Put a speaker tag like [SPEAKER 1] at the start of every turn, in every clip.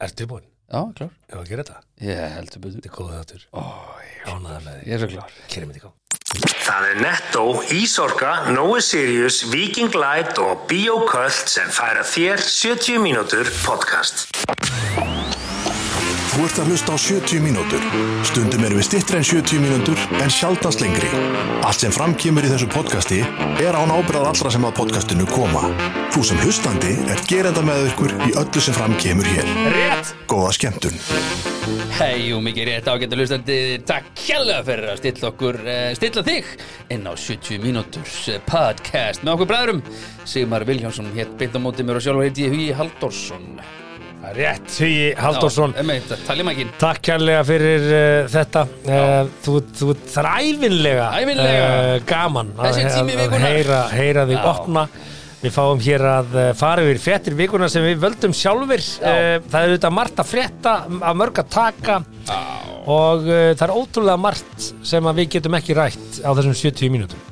[SPEAKER 1] Er tilbúin?
[SPEAKER 2] Já, klár.
[SPEAKER 1] Ég var að gera þetta.
[SPEAKER 2] Ég heldur betur.
[SPEAKER 1] Þetta er góð þáttur.
[SPEAKER 2] Ó,
[SPEAKER 1] Ránaðar með því.
[SPEAKER 2] ég er svo klár.
[SPEAKER 1] Kerið mitt í gang.
[SPEAKER 3] Það er Netto, Ísorka, Nói Sirius, Viking Light og Bioköld sem færa þér 70 mínútur podcast.
[SPEAKER 4] Þú ert að hlusta á 70 mínútur. Stundum erum við stittri en 70 mínútur en sjaldast lengri. Allt sem framkýmur í þessu podcasti er án ábyrðað allra sem að podcastinu koma. Þú sem hlustandi er gerenda með ykkur í öllu sem framkýmur hér. Rétt! Góða skemmtun.
[SPEAKER 2] Hei og mikið rétt ágættu hlustandi Takk kjalla fyrir að stilla okkur uh, Stilla þig inn á 70 mínúturs eh, podcast með okkur bræðurum Sigmar Viljánsson hétt beint á móti mér og sjálfur heiti ég Hugi Halldórsson
[SPEAKER 1] Rétt, Hugi Halldórsson.
[SPEAKER 2] Emeit, taljumækin
[SPEAKER 1] Takk kærlega fyrir uh, þetta. Uh, þú þú það er ævinlega,
[SPEAKER 2] Ævinlega.
[SPEAKER 1] eh, gaman
[SPEAKER 2] Þessi
[SPEAKER 1] að,
[SPEAKER 2] tími
[SPEAKER 1] að
[SPEAKER 2] vikunnar.
[SPEAKER 1] heyra, heyra því
[SPEAKER 2] Já.
[SPEAKER 1] opna. Við fáum hér að eh, fara yfir fréttir vikuna sem við völdum sjálfur. Eh, Það er auðvitað margt að frétta, að mörg að taka og uh, það er ótrúlega margt sem að við getum ekki rætt á þessum 70 mínútum.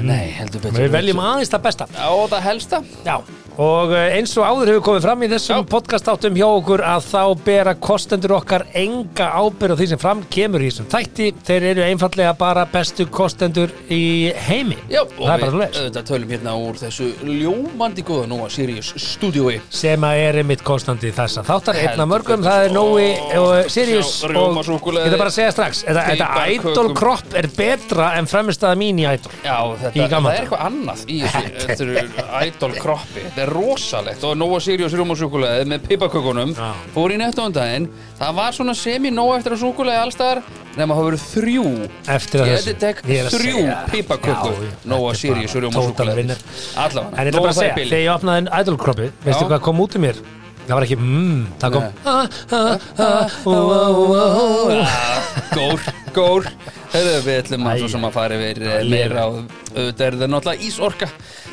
[SPEAKER 2] Nei, heldur betur
[SPEAKER 1] Við veljum aðeins það besta.
[SPEAKER 2] Já, og það helsta
[SPEAKER 1] Já, og eh, eins og áður hefur komið fram í þessum
[SPEAKER 2] Já.
[SPEAKER 1] podcastáttum hjá okkur að þá bera kostendur okkar enga ábyrð á því sem fram kemur í þessum þætti. Þeir eru einfallega bara bestu kostendur í heimi.
[SPEAKER 2] Já, og
[SPEAKER 1] það er bara
[SPEAKER 2] við
[SPEAKER 1] hlust.
[SPEAKER 2] auðvitað tölum hérna úr þessu ljómandi góða Nóa Sirius stúdiói
[SPEAKER 1] Sem að er einmitt kostandi þessa þáttar, einn af
[SPEAKER 2] Heldur
[SPEAKER 1] mörgum,
[SPEAKER 2] betur.
[SPEAKER 1] það er Nói og Sirius
[SPEAKER 2] Sjá,
[SPEAKER 1] og
[SPEAKER 2] rjóma, súkkulaði,
[SPEAKER 1] ég það bara að segja strax, þetta, þetta
[SPEAKER 2] piparkökum.
[SPEAKER 1] idol kropp er betra en framistaða mín í idol.
[SPEAKER 2] Já, þetta,
[SPEAKER 1] Í gamla
[SPEAKER 2] það er
[SPEAKER 1] daga.
[SPEAKER 2] eitthvað annað í þessu, þetta eru idol kroppi Þetta er rosalegt og Nóa Sirius rjómasúkulegaði með pipakökunum
[SPEAKER 1] Já.
[SPEAKER 2] fór í nettóndaginn Það var svona semi nóa eftir að súkulega allstaðar nema það verið þrjú
[SPEAKER 1] Eftir að
[SPEAKER 2] Ég
[SPEAKER 1] þessu.
[SPEAKER 2] ætti tek
[SPEAKER 1] Ég er að
[SPEAKER 2] þrjú
[SPEAKER 1] segja. Já,
[SPEAKER 2] pipakökur
[SPEAKER 1] já, þetta
[SPEAKER 2] Nóa
[SPEAKER 1] er
[SPEAKER 2] Sirius
[SPEAKER 1] bara total
[SPEAKER 2] rjómasúkulegaði
[SPEAKER 1] winner. En
[SPEAKER 2] Allavega,
[SPEAKER 1] ég ætla bara að segja,
[SPEAKER 2] bili.
[SPEAKER 1] þegar ég opnaði en idolkroppi, veistu
[SPEAKER 2] Já.
[SPEAKER 1] hvað kom út í mér? Það var ekki mmm, það kom
[SPEAKER 2] Nei.
[SPEAKER 1] ah, ah, ah, ó, ó, ó, ó.
[SPEAKER 2] Ah, Gór, gór Herðu, við ætlum að svo sem að fara yfir eh, meira og auðvitað er það náttúrulega ísorka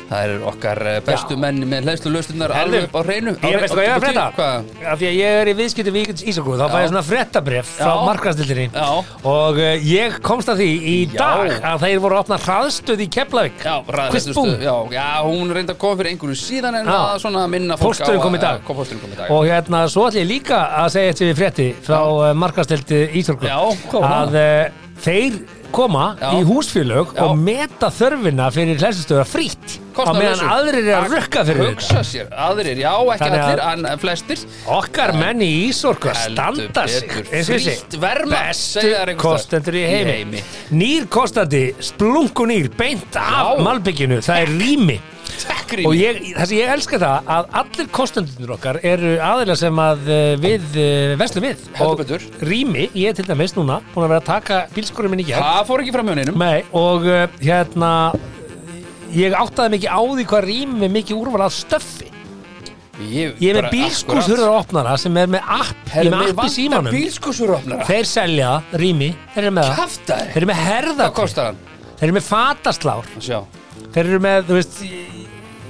[SPEAKER 2] Það eru okkar eh, bestu
[SPEAKER 1] Já.
[SPEAKER 2] menn með hlæslu lösturnar
[SPEAKER 1] Herðu,
[SPEAKER 2] alveg upp á reynu
[SPEAKER 1] Ég veistu hvað ég er að frétta?
[SPEAKER 2] Hvað?
[SPEAKER 1] Af því að ég er í viðskiptum vikins Ísakogu, þá fæ ég
[SPEAKER 2] Já.
[SPEAKER 1] svona fréttabref frá
[SPEAKER 2] Já.
[SPEAKER 1] markastildinni
[SPEAKER 2] Já.
[SPEAKER 1] og eh, ég komst að því í
[SPEAKER 2] Já.
[SPEAKER 1] dag að þeir voru að opna hraðstöð í Keflavík.
[SPEAKER 2] Já, ræðræðstu
[SPEAKER 1] Kvistbúm.
[SPEAKER 2] já, já, hún reyndi að koma fyrir einhverju síðan en
[SPEAKER 1] Já.
[SPEAKER 2] að svona minna fólk
[SPEAKER 1] Pósturinn kom í dag.
[SPEAKER 2] Já, kom Pósturinn kom í dag
[SPEAKER 1] Og hérna, svo ætlum ég líka að segja þetta við frétti frá uh, markastildi Ísorgum
[SPEAKER 2] Já, hvað var
[SPEAKER 1] að uh, þeir koma
[SPEAKER 2] Já.
[SPEAKER 1] í húsfélög
[SPEAKER 2] Já.
[SPEAKER 1] og meta þörfina fyrir hlæstustöða frítt á meðan
[SPEAKER 2] Kostnaðarlausu.
[SPEAKER 1] aðrir eru að rukka fyrir
[SPEAKER 2] Hugsa
[SPEAKER 1] þetta
[SPEAKER 2] sér, aðrir, já, ekki
[SPEAKER 1] Þannig að-
[SPEAKER 2] allir, en flestir
[SPEAKER 1] Okkar menn í Ísorgu að
[SPEAKER 2] Heldur
[SPEAKER 1] standa sig eins
[SPEAKER 2] betur.
[SPEAKER 1] og ég
[SPEAKER 2] Frítt
[SPEAKER 1] segi,
[SPEAKER 2] verma, segja þær
[SPEAKER 1] bestu
[SPEAKER 2] einhvers
[SPEAKER 1] kostendur í
[SPEAKER 2] staðar.
[SPEAKER 1] heimi.
[SPEAKER 2] Í heimi.
[SPEAKER 1] Nýr kostandi, splunkunýr, beint af
[SPEAKER 2] Já.
[SPEAKER 1] malbygginu, það er rými
[SPEAKER 2] Tekkrými
[SPEAKER 1] Og ég, það sem ég elska það að allir kostendunir okkar eru aðila sem að eh, við eh, verslum við
[SPEAKER 2] Heldur
[SPEAKER 1] og
[SPEAKER 2] betur.
[SPEAKER 1] rými, ég er til dæmis núna búin að vera að taka bílskorum minn í gerð
[SPEAKER 2] Það fór ekki fram hjá neinum
[SPEAKER 1] Nei, og eh, hérna ég áttaði mikið á því hvað rými með mikið úrval að stöffi
[SPEAKER 2] Ég
[SPEAKER 1] Ég er
[SPEAKER 2] bara
[SPEAKER 1] með bílskúshurðar opnara sem er með app, ég er með app í símanum
[SPEAKER 2] Bílskúsurofnara
[SPEAKER 1] Þeir selja rými, þeir eru með það Þeir
[SPEAKER 2] Kaftaði
[SPEAKER 1] eru með
[SPEAKER 2] Hvað
[SPEAKER 1] herðatré,
[SPEAKER 2] kostar hann?
[SPEAKER 1] þeir eru með fataslár
[SPEAKER 2] Að Sjá
[SPEAKER 1] Þeir eru með, þú veist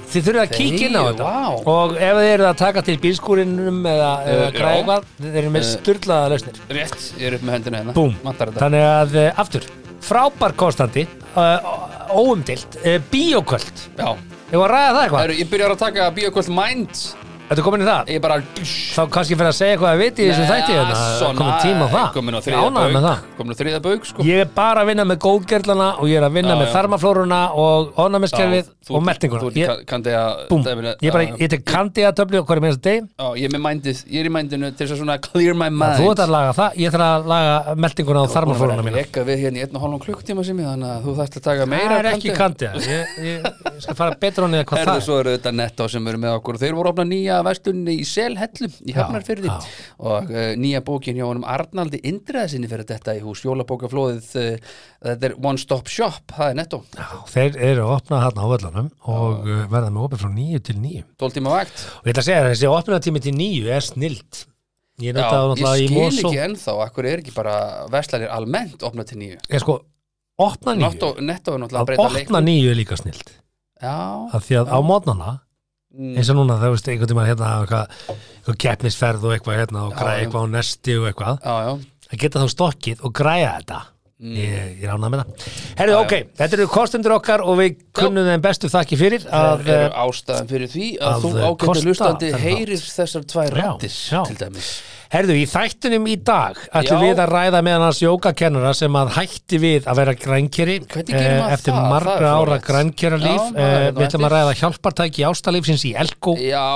[SPEAKER 1] Þið þurfið að kíkja inn á
[SPEAKER 2] Þeir-
[SPEAKER 1] þetta
[SPEAKER 2] vá.
[SPEAKER 1] Og ef þið eru að taka til bílskúrinum eða, eða
[SPEAKER 2] Eh, já.
[SPEAKER 1] græða eitthvað, Þeir eru með styrlaða lausnir
[SPEAKER 2] Rétt Ég er upp með hendina hérna
[SPEAKER 1] Búm,
[SPEAKER 2] Mattar þetta
[SPEAKER 1] þannig að eh, aftur Frábær konstandi uh, Óumdilt, uh, bíoköld
[SPEAKER 2] Já
[SPEAKER 1] Ég var að ræða það
[SPEAKER 2] Það
[SPEAKER 1] eitthvað
[SPEAKER 2] eru Ég byrjar að taka Bíokolt Mind
[SPEAKER 1] Þetta er komin í það
[SPEAKER 2] Ég bara Bísh
[SPEAKER 1] Þá kannski fyrir að segja eitthvað að viti í þessu þætti hérna, Það er komin tíma á það
[SPEAKER 2] Komin á
[SPEAKER 1] Ég er
[SPEAKER 2] þriða
[SPEAKER 1] ánægður með það.
[SPEAKER 2] baug Komin á þriða baug sko
[SPEAKER 1] Ég er bara að vinna með góðgerlana og ég er að vinna
[SPEAKER 2] Já,
[SPEAKER 1] með
[SPEAKER 2] já.
[SPEAKER 1] þarmaflóruna og ónæmiskerfið
[SPEAKER 2] Já, þú-
[SPEAKER 1] og metninguna.
[SPEAKER 2] Þú
[SPEAKER 1] Ég,
[SPEAKER 2] ert kandi að
[SPEAKER 1] búm,
[SPEAKER 2] dæminu-
[SPEAKER 1] ég bara,
[SPEAKER 2] Já,
[SPEAKER 1] ég tek kandiða töflu og hverju minnst deg.
[SPEAKER 2] Já, ég er með mindið Ég er í mindinu til þess að svona clear my mind
[SPEAKER 1] Þú ert að laga það, ég þarf að laga metninguna og þarmaflóruna mína.
[SPEAKER 2] Ekka við hérna í einn og hálfum klukktíma sem ég þannig að þú þarft að taka meira
[SPEAKER 1] Það er ekki
[SPEAKER 2] kandiða.
[SPEAKER 1] kandiða. Ég, ég, ég skal fara betur á niður hvað
[SPEAKER 2] Herðu,
[SPEAKER 1] það er.
[SPEAKER 2] svo eru þetta Netto sem eru með okkur þeir voru að opna nýja vestunni í Selhellum í Hafnarfyrði
[SPEAKER 1] já.
[SPEAKER 2] og uh, nýja bókin hjá honum Arnaldi Indreðasinni fyrir þetta í hús jólabókaflóðið uh, þetta er One Stop Shop, það er Netto
[SPEAKER 1] Já, Þeir eru að opna þarna á völlunum og uh, verða með opið frá nýju til nýju.
[SPEAKER 2] 12 tíma vakt
[SPEAKER 1] Og ég ætla að segja þér, þessi opnatími til nýju er snilt. Ég er
[SPEAKER 2] Já,
[SPEAKER 1] náttúrulega
[SPEAKER 2] ég
[SPEAKER 1] í
[SPEAKER 2] skil
[SPEAKER 1] Mosó.
[SPEAKER 2] ekki ennþá, akkur er ekki bara verslanir almennt opna til nýju
[SPEAKER 1] Ég sko, opna nýju.
[SPEAKER 2] Netto, netto er náttúrulega að
[SPEAKER 1] Að
[SPEAKER 2] breyta
[SPEAKER 1] opna nýju er líka snilt.
[SPEAKER 2] Já,
[SPEAKER 1] Af því að á mótnana
[SPEAKER 2] mm,
[SPEAKER 1] eins og núna það veist einhvern tímann hérna eitthvað, eitthvað keppnisferð og eitthvað hérna og
[SPEAKER 2] Já,
[SPEAKER 1] græja
[SPEAKER 2] já.
[SPEAKER 1] eitthvað á nesti og eitthvað
[SPEAKER 2] já, já
[SPEAKER 1] að geta þá stokkið og græja þetta
[SPEAKER 2] Mm.
[SPEAKER 1] Ég, ég ránaði með það Herðu, ok, þetta eru kostendur okkar og við kunnum þeim bestu þakki fyrir að, eh,
[SPEAKER 2] Það eru ástæðan fyrir því að,
[SPEAKER 1] að,
[SPEAKER 2] þú
[SPEAKER 1] eh,
[SPEAKER 2] ágættu
[SPEAKER 1] kosta
[SPEAKER 2] hlustandi
[SPEAKER 1] þennan
[SPEAKER 2] heyrir þessar tvær
[SPEAKER 1] Já,
[SPEAKER 2] rættir
[SPEAKER 1] já.
[SPEAKER 2] til dæmis
[SPEAKER 1] eh, Herðu, í þættunum í dag ætlum
[SPEAKER 2] Já.
[SPEAKER 1] við að ræða með hans jógakennara sem að hætti við að vera grænkeri eh,
[SPEAKER 2] Hvernig gerir maður
[SPEAKER 1] eftir
[SPEAKER 2] það? Það
[SPEAKER 1] margra
[SPEAKER 2] er
[SPEAKER 1] ára
[SPEAKER 2] fróðlegt.
[SPEAKER 1] grænkera líf
[SPEAKER 2] Já, það er nú
[SPEAKER 1] við ætlum að
[SPEAKER 2] eftir.
[SPEAKER 1] ræða hjálpartæki ástalífsins í Elko
[SPEAKER 2] Já,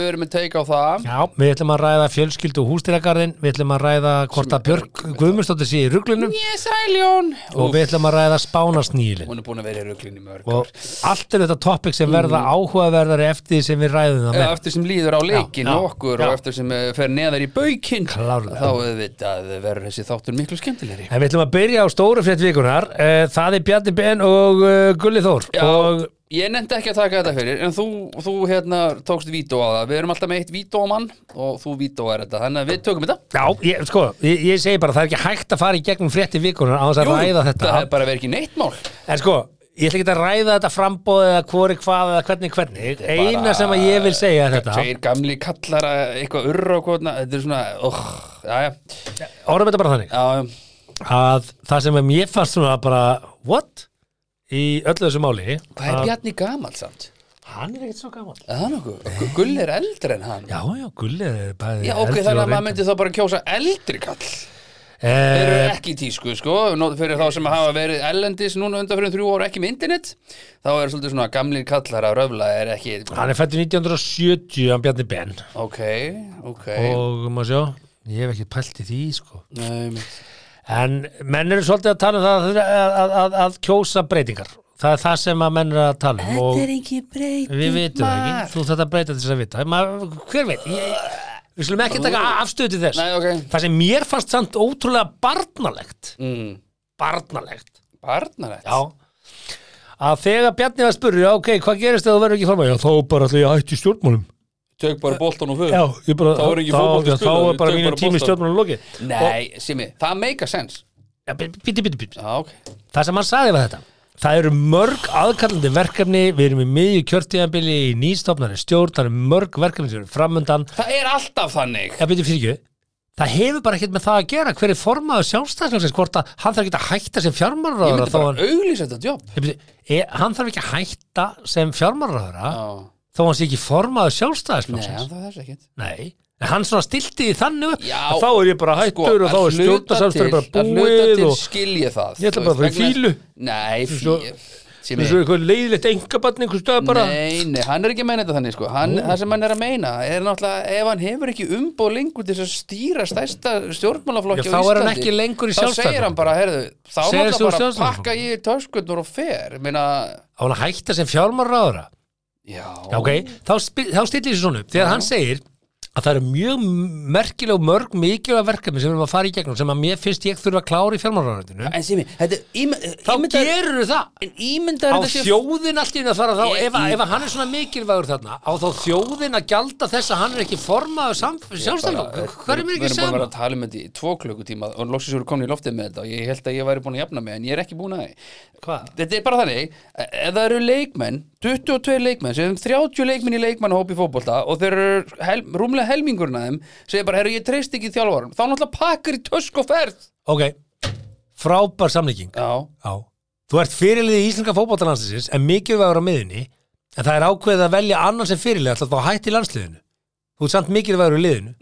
[SPEAKER 2] við erum með teika á það
[SPEAKER 1] Já, við ætlum að ræða fjölskyldu og hústýragarðin við ætlum að ræða hvort að Björk Guðmundsdóttir sé í ruglunum
[SPEAKER 2] Yes, Æljón
[SPEAKER 1] og við ætlum að ræða spánasnýlin
[SPEAKER 2] Hún er búin að vera í ruglinni mörg
[SPEAKER 1] og allt er þetta topic sem verða
[SPEAKER 2] Mm.
[SPEAKER 1] áhugaverðari eftir því sem við ræðum það
[SPEAKER 2] Eða
[SPEAKER 1] með
[SPEAKER 2] Eh, eftir sem líður á leikin
[SPEAKER 1] já,
[SPEAKER 2] og okkur
[SPEAKER 1] já.
[SPEAKER 2] og eftir sem eh, fer neðar í baukinn
[SPEAKER 1] Klárlega.
[SPEAKER 2] þá auðvitað verður þessi þáttur miklu skemmtilegri
[SPEAKER 1] En við ætlum að byrja á stóru frétt vikunar Eh, Það er Bjarni Ben og eh, Gulli Þór
[SPEAKER 2] Já,
[SPEAKER 1] og
[SPEAKER 2] ég nefndi ekki að taka þetta fyrir en þú, þú hérna tókst vító að það við erum alltaf með eitt vítómann og þú vítóar þetta þannig að við tökum þetta
[SPEAKER 1] Já, ég, sko, ég, ég segi bara það er ekki hægt að fara í gegnum frétti vikunar á þess að ræða þetta
[SPEAKER 2] það er bara verið ekki neitt mál
[SPEAKER 1] En sko, ég ætla ekki að ræða þetta framboð eða hvori hvað eða hvernig hvernig Eina sem að ég vil segja er þetta
[SPEAKER 2] Tveir gamli kallar að eitthvað urra og hvona Þetta er svona, óh, já, já,
[SPEAKER 1] Orðum þetta bara þannig
[SPEAKER 2] já
[SPEAKER 1] að það sem ég fannst svona bara what? Í öllu þessu máli
[SPEAKER 2] Hvað er Bjarni gamal samt?
[SPEAKER 1] Hann er ekkert svo gaman
[SPEAKER 2] Er það nokkuð? Gull er eldri en hann
[SPEAKER 1] Já, já, Gulli er bæði
[SPEAKER 2] Já, ok, þannig að maður myndi þá bara kjósa eldri kall Þeir eru
[SPEAKER 1] myndi
[SPEAKER 2] ekki í tísku, sko Nó- Fyrir þá sem hafa verið ellendis núna undanfyrir þrjú ára ekki með internet Þá er svolítið svona gamlir kallar að röfla er ekki
[SPEAKER 1] Hann er fættur 1970, hann Bjarni Ben
[SPEAKER 2] Ok, ok
[SPEAKER 1] og maður sjá, ég hef ekki pælt í því sko.
[SPEAKER 2] Nei, mitt.
[SPEAKER 1] en menn eru svolítið að tala um það að, að, að, að, að kjósa breytingar það er það sem að menn eru að tala um og
[SPEAKER 2] ekki breyting
[SPEAKER 1] við vitum það ekki, þú þetta breyta til þess að vita maður, hver veit, ég, við slum ekki taka afstöðu til þess
[SPEAKER 2] Nei, ok
[SPEAKER 1] það sem mér fannst samt ótrúlega barnalegt
[SPEAKER 2] mm.
[SPEAKER 1] barnalegt
[SPEAKER 2] Barnarætt
[SPEAKER 1] Já að þegar Bjarni var að spurja, ok, hvað gerist ef þú verður ekki fram að, já, þá bara ætla ég að hætti stjórnmálum
[SPEAKER 2] Tök bara boltan og föð
[SPEAKER 1] já, ég bara,
[SPEAKER 2] Þá er ekki fótbolti
[SPEAKER 1] þá, þá
[SPEAKER 2] spilaður,
[SPEAKER 1] er bara
[SPEAKER 2] tök
[SPEAKER 1] mínu
[SPEAKER 2] bara
[SPEAKER 1] tími
[SPEAKER 2] boltann.
[SPEAKER 1] stjórnmálum lokið
[SPEAKER 2] Nei, Simi, það make a sense
[SPEAKER 1] Ja, bíti, bíti, bíti.
[SPEAKER 2] Já, ok
[SPEAKER 1] Það sem hann sagði var þetta Það eru mörg aðkallandi verkefni Við erum í miðju kjörtíðanbili í nýstofnari stjórn Það eru mörg verkefni sem eru framundan
[SPEAKER 2] Það er alltaf þannig
[SPEAKER 1] Já, byrju fyrir ekki Það hefur bara ekkert með það að gera Hver er formaður sjálfstæðsfélagsins Hvort að hann þarf ekki að hætta sem
[SPEAKER 2] Ég
[SPEAKER 1] fjármálaráðara
[SPEAKER 2] myndi
[SPEAKER 1] þó
[SPEAKER 2] bara
[SPEAKER 1] hann,
[SPEAKER 2] auglýsa þetta jobb
[SPEAKER 1] Ég byrju, e, hann þarf ekki að hætta sem fjármálaráðara
[SPEAKER 2] Já
[SPEAKER 1] Þó hann sé ekki formaður
[SPEAKER 2] Nei, hann
[SPEAKER 1] sjálfstæðsfélagsins
[SPEAKER 2] þarf þess ekkert
[SPEAKER 1] Nei, En hann svona stilti því þannig upp
[SPEAKER 2] Já.
[SPEAKER 1] að Þá er ég bara
[SPEAKER 2] Sko,
[SPEAKER 1] hættur og þá er
[SPEAKER 2] að hluta til-
[SPEAKER 1] stjórnarsamstöður bara
[SPEAKER 2] Að hluta
[SPEAKER 1] búið
[SPEAKER 2] til
[SPEAKER 1] og
[SPEAKER 2] skilja það
[SPEAKER 1] Ég ætla
[SPEAKER 2] þú
[SPEAKER 1] bara að fara í
[SPEAKER 2] veist, vegna-
[SPEAKER 1] fílu.
[SPEAKER 2] Nei,
[SPEAKER 1] Svo-
[SPEAKER 2] fílu Simi
[SPEAKER 1] eins og eitthvað leiðilegt engabarn einhvers stöð bara
[SPEAKER 2] Nei, nei, hann er ekki að meina þetta þannig sko hann, Það sem hann er að meina er náttúrulega ef hann hefur ekki umbóð lengur til þess að stýra stærsta stjórnmálaflokki
[SPEAKER 1] Já,
[SPEAKER 2] á
[SPEAKER 1] þá
[SPEAKER 2] Íslandi
[SPEAKER 1] er hann ekki lengur í
[SPEAKER 2] Þá segir hann bara, herðu, þá
[SPEAKER 1] Segir þú
[SPEAKER 2] náttúrulega bara
[SPEAKER 1] Sjálfstæðisflokknum?
[SPEAKER 2] pakka ég töskundur og fer Ég meina,
[SPEAKER 1] á hann að hætta sem fjármálaráðara
[SPEAKER 2] já,
[SPEAKER 1] Já, ok, þá, spi- þá stillir þessu svona upp þegar hann segir að það eru mjög merkileg og mörg mikilvæg verkefni sem við erum að fara í gegnum sem að mér finnst ég þurfa að klára í fjármálaráðinu
[SPEAKER 2] En Simi, þetta ímy-
[SPEAKER 1] þá
[SPEAKER 2] ímyndaðu-
[SPEAKER 1] gerur það
[SPEAKER 2] En ímyndar
[SPEAKER 1] á
[SPEAKER 2] þetta sé
[SPEAKER 1] þjóðin allt í einu að fara þá
[SPEAKER 2] Ég-
[SPEAKER 1] ef, að- ef að hann er svona mikilvægur þarna á þá þjóðin að gjalda þess að hann er ekki formaður sjálfstæðan hvað er mér
[SPEAKER 2] Við
[SPEAKER 1] ekki
[SPEAKER 2] erum búin að
[SPEAKER 1] saman?
[SPEAKER 2] vera að tala um þetta í tvo klukkutíma og loksins eru komin í loftið með þetta og ég held að ég væri búin að jafna mig en ég er ekki búin að því.
[SPEAKER 1] Hvað?
[SPEAKER 2] Þetta er bara þannig, e, ef það eru leikmenn 22 leikmenn, sem 30 leikmenn í leikmannhóp í fótbolta og þeir eru hel, rúmlega helmingurinn að þeim segir bara, herru, ég treyst ekki þjálfarum þá náttúrulega pakkar í tösk og ferð
[SPEAKER 1] Ok, frábær samlíking
[SPEAKER 2] Já,
[SPEAKER 1] Já. Þú ert fyrirlið í Íslenska fótboltalandsliðsins en mikilvægur á miðinni en það er ákveðið að velja annan sem fyrirlið ætlar þá að hætta í landsliðinu. Þú ert samt mikilvægur í liðinu.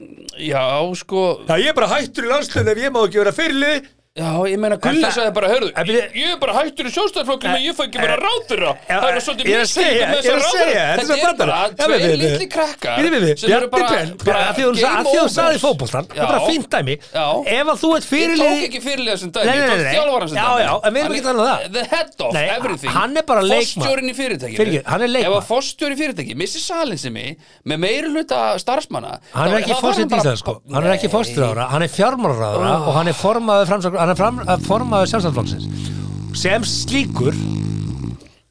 [SPEAKER 2] já, sko
[SPEAKER 1] Já, ég er bara hættur í landsliðinu ef ég má ekki vera fyrirlið.
[SPEAKER 2] Já, ég meina, Gulli
[SPEAKER 1] En það-
[SPEAKER 2] sagði bara, herru,
[SPEAKER 1] En byrju-
[SPEAKER 2] ég er bara hættur í sjóstæðflokkinu og ég fæ ekki vera ráðurra
[SPEAKER 1] Já,
[SPEAKER 2] Það er svolítið
[SPEAKER 1] ég er að segja, ég
[SPEAKER 2] með
[SPEAKER 1] er að
[SPEAKER 2] þessa
[SPEAKER 1] segja,
[SPEAKER 2] ráðherra.
[SPEAKER 1] þetta er svo
[SPEAKER 2] bara
[SPEAKER 1] brandarar. Já, við-
[SPEAKER 2] tveir
[SPEAKER 1] við-
[SPEAKER 2] litli krakkar
[SPEAKER 1] Við, við, við,
[SPEAKER 2] sem eru
[SPEAKER 1] Bjarni
[SPEAKER 2] bara-
[SPEAKER 1] Ben, bara
[SPEAKER 2] bara
[SPEAKER 1] að því að hún sa- að því að hún
[SPEAKER 2] game
[SPEAKER 1] sagði
[SPEAKER 2] over.
[SPEAKER 1] fótboltan, það er bara
[SPEAKER 2] Já.
[SPEAKER 1] fínt dæmi.
[SPEAKER 2] Já.
[SPEAKER 1] Ef að þú ert
[SPEAKER 2] Ég
[SPEAKER 1] fyrirlið
[SPEAKER 2] tók ekki fyrirlega sem dæmi,
[SPEAKER 1] Nei, nei,
[SPEAKER 2] ég
[SPEAKER 1] nei,
[SPEAKER 2] tók
[SPEAKER 1] nei.
[SPEAKER 2] þjálfara sem
[SPEAKER 1] Já,
[SPEAKER 2] dæmi
[SPEAKER 1] já, en við erum ekki að tala um það.
[SPEAKER 2] The head of
[SPEAKER 1] Nei,
[SPEAKER 2] everything
[SPEAKER 1] hann er bara leikmaður.
[SPEAKER 2] Forstjórinn í fyrirtækinu
[SPEAKER 1] Fyrirgefðu, hann er leikmaður.
[SPEAKER 2] Ef að forstjórin í fyrirtæki, missi salin sem ég með meiri hluta starfsmanna
[SPEAKER 1] Hann er ekki fórsitt í það sko, hann er ekki fórsitt ráðra, hann er fjármálaráðra
[SPEAKER 2] Ah.
[SPEAKER 1] og hann er formaður, framsókn- hann er fram, eh, formaður sjálfstæðflokksins. Sem slíkur,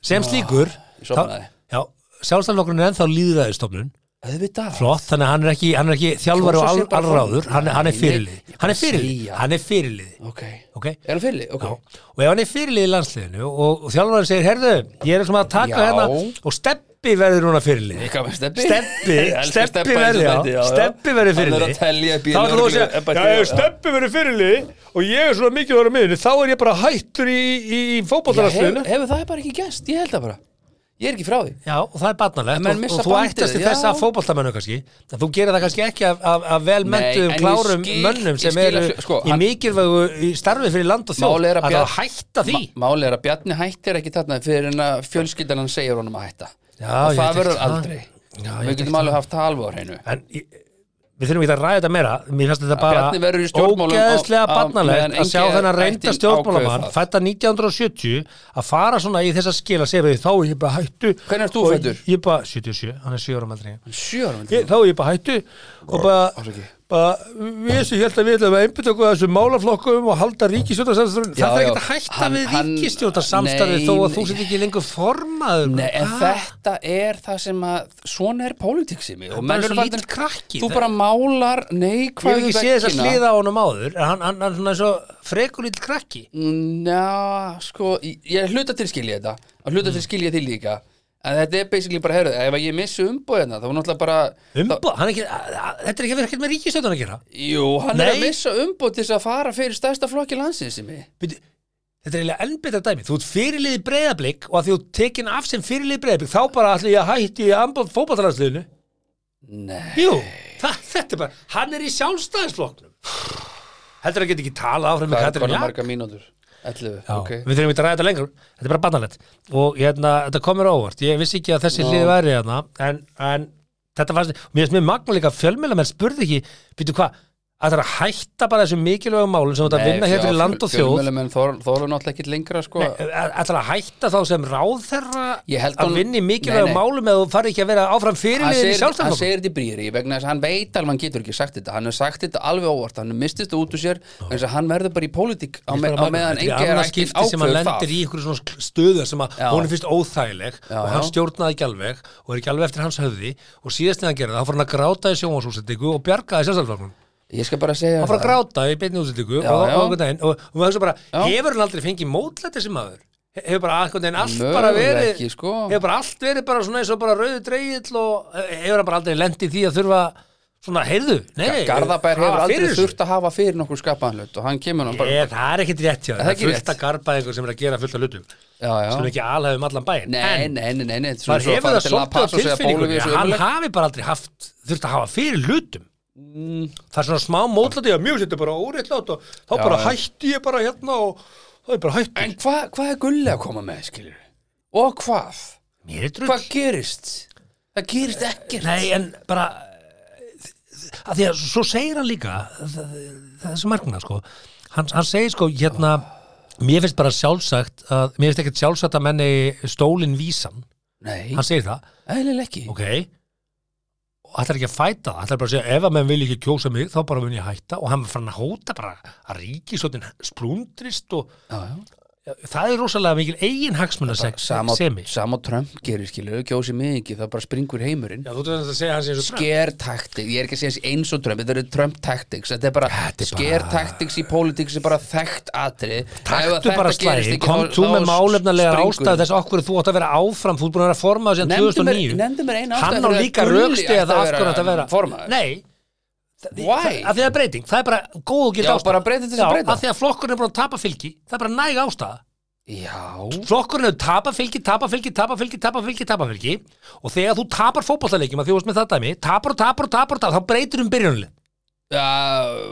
[SPEAKER 1] sem slíkur,
[SPEAKER 2] Ah, ég sofnaði.
[SPEAKER 1] þá- já, sjálfstæðflokkurinn er ennþá líðræðistofnun,
[SPEAKER 2] Auðvitað
[SPEAKER 1] flott, þannig að hann er ekki, hann er ekki þjálfari og
[SPEAKER 2] Kjósa
[SPEAKER 1] al,
[SPEAKER 2] sér bara
[SPEAKER 1] allráður,
[SPEAKER 2] fólk.
[SPEAKER 1] hann, er- hann er
[SPEAKER 2] Nei, nei,
[SPEAKER 1] fyrirlið,
[SPEAKER 2] ég
[SPEAKER 1] hann er
[SPEAKER 2] bara
[SPEAKER 1] fyrirlið,
[SPEAKER 2] segja.
[SPEAKER 1] hann er fyrirlið,
[SPEAKER 2] Ok,
[SPEAKER 1] ok?
[SPEAKER 2] er hann fyrirlega?
[SPEAKER 1] Já,
[SPEAKER 2] Ok
[SPEAKER 1] og ef hann er fyrirlið í landsliðinu og, og þjálfarinn segir, herðu, ég er svona að taka
[SPEAKER 2] Já.
[SPEAKER 1] hérna og stepp Steppi verður núna fyrirlið
[SPEAKER 2] Hvað með steppi?
[SPEAKER 1] Stebbi,
[SPEAKER 2] Ég elska
[SPEAKER 1] Stebbi
[SPEAKER 2] Stebba í
[SPEAKER 1] verður,
[SPEAKER 2] þessu
[SPEAKER 1] já.
[SPEAKER 2] þætti,
[SPEAKER 1] Stebbi verður
[SPEAKER 2] Hann er
[SPEAKER 1] fyrirliði.
[SPEAKER 2] að telja upp í
[SPEAKER 1] Þá er þú að segja,
[SPEAKER 2] lögreglu-
[SPEAKER 1] já, ef Steppi verður fyrirliði og ég er svona mikið ára miðinu, þá er ég bara hættur í, í, í
[SPEAKER 2] Já, hefur
[SPEAKER 1] fótballtararstöðinu.
[SPEAKER 2] hefur það bara ekki gæst, ég held það bara Ég er ekki frá því
[SPEAKER 1] Já, og það er
[SPEAKER 2] En
[SPEAKER 1] barnalegt
[SPEAKER 2] menn
[SPEAKER 1] og,
[SPEAKER 2] missa
[SPEAKER 1] og þú
[SPEAKER 2] bandið,
[SPEAKER 1] ættast í
[SPEAKER 2] já.
[SPEAKER 1] þessa fótballtamennu kannski, en þú gerir það kannski ekki af, af, af velmentuðum
[SPEAKER 2] Nei, en ég
[SPEAKER 1] klárum
[SPEAKER 2] skil-
[SPEAKER 1] mönnum
[SPEAKER 2] ég
[SPEAKER 1] sem
[SPEAKER 2] skil
[SPEAKER 1] eru
[SPEAKER 2] að- sko,
[SPEAKER 1] í
[SPEAKER 2] hann-
[SPEAKER 1] mikilvægu í starfi fyrir land og þjóð
[SPEAKER 2] Málið er að
[SPEAKER 1] að það
[SPEAKER 2] Bjarni-
[SPEAKER 1] hætta því.
[SPEAKER 2] Máli er að Bjarni hættir ekki þarna fyrir en að fjölskyldan hann segir honum að hætta
[SPEAKER 1] Já,
[SPEAKER 2] og
[SPEAKER 1] ég
[SPEAKER 2] það
[SPEAKER 1] veit
[SPEAKER 2] verður
[SPEAKER 1] ekki það.
[SPEAKER 2] aldrei
[SPEAKER 1] Já, ég
[SPEAKER 2] Við
[SPEAKER 1] veit
[SPEAKER 2] getum
[SPEAKER 1] ekki
[SPEAKER 2] alveg haft það alveg á hreinu
[SPEAKER 1] En ég, við þurfum ekki að ræða þetta meira Mér finnst þetta
[SPEAKER 2] Bjarni verður
[SPEAKER 1] bara
[SPEAKER 2] í stjórnmálum á-
[SPEAKER 1] ógeðslega
[SPEAKER 2] á- meðan
[SPEAKER 1] barnalegt að
[SPEAKER 2] engi
[SPEAKER 1] sjá þennan reynda
[SPEAKER 2] ættin
[SPEAKER 1] stjórnmálamann
[SPEAKER 2] ákveður það.
[SPEAKER 1] fætta 1970 að fara svona í þess að skila sér þá er ég bara hættu
[SPEAKER 2] Hvenær ert þú
[SPEAKER 1] og
[SPEAKER 2] fæddur?
[SPEAKER 1] Ég er bara 77, hann er 7 ára meldri
[SPEAKER 2] Sjö ára myndi
[SPEAKER 1] Ég- Þá er ég bara hættu og bara, bara við sem held að við ætlum að einbytta okkur að þessum málaflokkum og halda ríkistjórnarsamstarfinu
[SPEAKER 2] Já,
[SPEAKER 1] Þetta er
[SPEAKER 2] já.
[SPEAKER 1] ekki að hætta
[SPEAKER 2] Hann-
[SPEAKER 1] við
[SPEAKER 2] hann-
[SPEAKER 1] ríkistjórnarsamstarfi
[SPEAKER 2] Nei,
[SPEAKER 1] þó að
[SPEAKER 2] nei.
[SPEAKER 1] þú sett ekki lengur formaður
[SPEAKER 2] Nei, en
[SPEAKER 1] Ah,
[SPEAKER 2] þetta er það sem að svona er pólitíksimi og
[SPEAKER 1] bara
[SPEAKER 2] menn
[SPEAKER 1] svo
[SPEAKER 2] eru bara-
[SPEAKER 1] lítill krakki,
[SPEAKER 2] Þú
[SPEAKER 1] það-
[SPEAKER 2] bara málar
[SPEAKER 1] Ég hef
[SPEAKER 2] neikvæðu
[SPEAKER 1] ekki séð þess að
[SPEAKER 2] veggina.
[SPEAKER 1] sliða á honum áður en hann, hann, hann er svona svo frekulítil krakki
[SPEAKER 2] Ná, sko, ég- ég er hluta til skilja þetta að hluta til
[SPEAKER 1] Mm.
[SPEAKER 2] skilja þig líka en þetta er basically bara, heyrðu, ef ég missi umbóðina þá var náttúrulega bara þá,
[SPEAKER 1] Umboð, hann er ekki, að- að- þetta er ekki verið með ríkistöðun að gera
[SPEAKER 2] Jú, hann er
[SPEAKER 1] Nei.
[SPEAKER 2] að missa umbóð til þess að fara fyrir stærsta flokki landsins í mig
[SPEAKER 1] Bíddu, Þetta er eiginlega enn betra dæmi Þú ert fyrirliði breyðablík og að því þú ert tekin af sem fyrirliði breyðablík þá bara ætla ég að hætti í ambóð fótballtalarsliðinu
[SPEAKER 2] Nei,
[SPEAKER 1] Jú, það, þetta er bara Hann er í sjálfstæðisflokknum Heldur að geta ekki talað áfram með
[SPEAKER 2] hvað er
[SPEAKER 1] Katrin
[SPEAKER 2] konar
[SPEAKER 1] Jak
[SPEAKER 2] marga mínútur? 11,
[SPEAKER 1] Já,
[SPEAKER 2] ok
[SPEAKER 1] Við þurfum ekki að ræða þetta lengur Þetta er bara bannalett og hérna, þetta komur óvart Ég vissi ekki að þessi hlið væri hérna en, en þetta fannst Mér finnst mér magna líka fjölmjöla menn spurði ekki Býtu hvað, að það er að hætta bara þessum mikilvægum málum sem þú ert að vinna
[SPEAKER 2] sko,
[SPEAKER 1] hér fyrir land og þjóð
[SPEAKER 2] Fjölmjölumenn þóru náttúrulega ekkit lengra, sko
[SPEAKER 1] ætlar að hætta þá sem ráðherra
[SPEAKER 2] Ég held
[SPEAKER 1] að
[SPEAKER 2] hún-
[SPEAKER 1] vinni
[SPEAKER 2] Nei,
[SPEAKER 1] mikilvægum
[SPEAKER 2] nei.
[SPEAKER 1] málum eða þú fari ekki að vera áfram
[SPEAKER 2] hann
[SPEAKER 1] fyrirliðin í
[SPEAKER 2] segir, hann
[SPEAKER 1] sjálfstæðanum
[SPEAKER 2] segir þetta í brýri vegna þess að hann veit alveg hann getur ekki sagt þetta hann hefur sagt þetta alveg óvart, hann mistist þetta út úr sér vegna þess að hann verður bara í pólitík á, me á meðan
[SPEAKER 1] Þetta
[SPEAKER 2] engi
[SPEAKER 1] er
[SPEAKER 2] er
[SPEAKER 1] annað
[SPEAKER 2] ekki
[SPEAKER 1] skipti sem hann
[SPEAKER 2] ákveður það
[SPEAKER 1] lendir í ykkur svona stöðu sem að
[SPEAKER 2] Já.
[SPEAKER 1] hún er fyrst óþægileg og hann
[SPEAKER 2] já.
[SPEAKER 1] stjórnaði ekki alveg og er ekki alveg eftir hans höfði og síðast en hann gerði það, hann fór hann að gráta í sjónvarsúsendingu og bjargaði sjálfstæðanum
[SPEAKER 2] ég skal bara segja
[SPEAKER 1] hann fór að gráta í beinni útsendingu
[SPEAKER 2] Já,
[SPEAKER 1] og, og,
[SPEAKER 2] já.
[SPEAKER 1] einhvern veginn, og, og, og bara,
[SPEAKER 2] Já.
[SPEAKER 1] hefur hann aldrei fengið mótlæti sem maður He- hefur bara, einhvern veginn allt
[SPEAKER 2] Mögulega
[SPEAKER 1] bara verið
[SPEAKER 2] ekki, sko.
[SPEAKER 1] hefur bara allt verið bara svona eins og bara rauðu dreigill og eh, hefur hann bara aldrei lent í því að þurfa svona, heyrðu, nei, nei
[SPEAKER 2] Garðabær hefur
[SPEAKER 1] hafa
[SPEAKER 2] aldrei
[SPEAKER 1] fyrir þessu.
[SPEAKER 2] þurft að hafa fyrir nokkur skapaðan hlut og hann kemur hann bara
[SPEAKER 1] Ég, það er ekkit rétt hjá þér. það
[SPEAKER 2] Það er
[SPEAKER 1] er
[SPEAKER 2] ekki rétt.
[SPEAKER 1] fullt að garba einhver sem er að gera fullt af hlutum sem
[SPEAKER 2] já, já.
[SPEAKER 1] er ekki alhæfa um allan bæinn
[SPEAKER 2] Nei,
[SPEAKER 1] en
[SPEAKER 2] nei, nei, nei, nei svona
[SPEAKER 1] maður hefur
[SPEAKER 2] svo að fara
[SPEAKER 1] það svolítið á
[SPEAKER 2] til La Paz og segja Bólivía
[SPEAKER 1] tilfinningunni
[SPEAKER 2] sé
[SPEAKER 1] að hann
[SPEAKER 2] ömurleg.
[SPEAKER 1] hafi bara aldrei haft þurft að hafa fyrir hlutum það er svona smá mótlæti að mjög þetta er bara óréttlátt og þá bara
[SPEAKER 2] Mm. já.
[SPEAKER 1] hætti ég bara hérna og það er bara hætti
[SPEAKER 2] En hvað hva er gulli að koma með, skilur Og hvað?
[SPEAKER 1] mér er
[SPEAKER 2] Hvað
[SPEAKER 1] drull
[SPEAKER 2] gerist? Það gerist ekkert
[SPEAKER 1] nei en bara að því að svo segir hann líka það, það er svo merkna sko hann, hann segir sko hérna mér finnst bara sjálfsagt að, mér finnst ekkert sjálfsagt að menni stólin vísan
[SPEAKER 2] Nei,
[SPEAKER 1] hann segir það
[SPEAKER 2] eðlilega ekki
[SPEAKER 1] ok og ætlar ekki að fæta það, ætlar bara að segja ef að menn vil ekki kjósa mig þá bara mun ég hætta og hann var fann að hóta bara að ríkisóttin splundrist og
[SPEAKER 2] Já, já
[SPEAKER 1] það er rosalega mikil eigin hagsmunna
[SPEAKER 2] Sama,
[SPEAKER 1] semi
[SPEAKER 2] sama og Trump gerir skilur, kjósi mig ekki, það bara springur heimurinn
[SPEAKER 1] Já, þú veist að segja hans eins og
[SPEAKER 2] sker taktik, ég er ekki að segja eins og Trump þetta eru Trump tactics, þetta er bara
[SPEAKER 1] Þetta er
[SPEAKER 2] sker
[SPEAKER 1] bara-
[SPEAKER 2] taktiks í politics er bara þekkt atrið
[SPEAKER 1] Taktu bara slæði, kom þú með málefnalega ástæðu þess okkur þú átt að vera áfram, þú ert búin að vera formaður síðan
[SPEAKER 2] Nefndu mér-
[SPEAKER 1] 2009
[SPEAKER 2] nefndu mér eina ástæðu
[SPEAKER 1] Hann á
[SPEAKER 2] fyrir að
[SPEAKER 1] líka
[SPEAKER 2] Gulli
[SPEAKER 1] rökstið
[SPEAKER 2] ætti
[SPEAKER 1] að
[SPEAKER 2] að
[SPEAKER 1] það
[SPEAKER 2] vera
[SPEAKER 1] akkur að vera
[SPEAKER 2] formaður.
[SPEAKER 1] Nei
[SPEAKER 2] Why?
[SPEAKER 1] Af því það er breyting, það er bara góð og gild
[SPEAKER 2] Já,
[SPEAKER 1] ástæða
[SPEAKER 2] bara breyta til þess að breyta.
[SPEAKER 1] Af því að flokkurinn er búin að tapa fylgi, það er bara næg ástæða
[SPEAKER 2] já,
[SPEAKER 1] flokkurinn hefur tapað fylgi, tapað fylgi, tapað fylgi, tapað fylgi, tapað fylgi og þegar þú tapar fótballaleikjum að því þú varst með það dæmi, tapar og tapar og tapar, og tapar þá breytir um byrjunlið,
[SPEAKER 2] já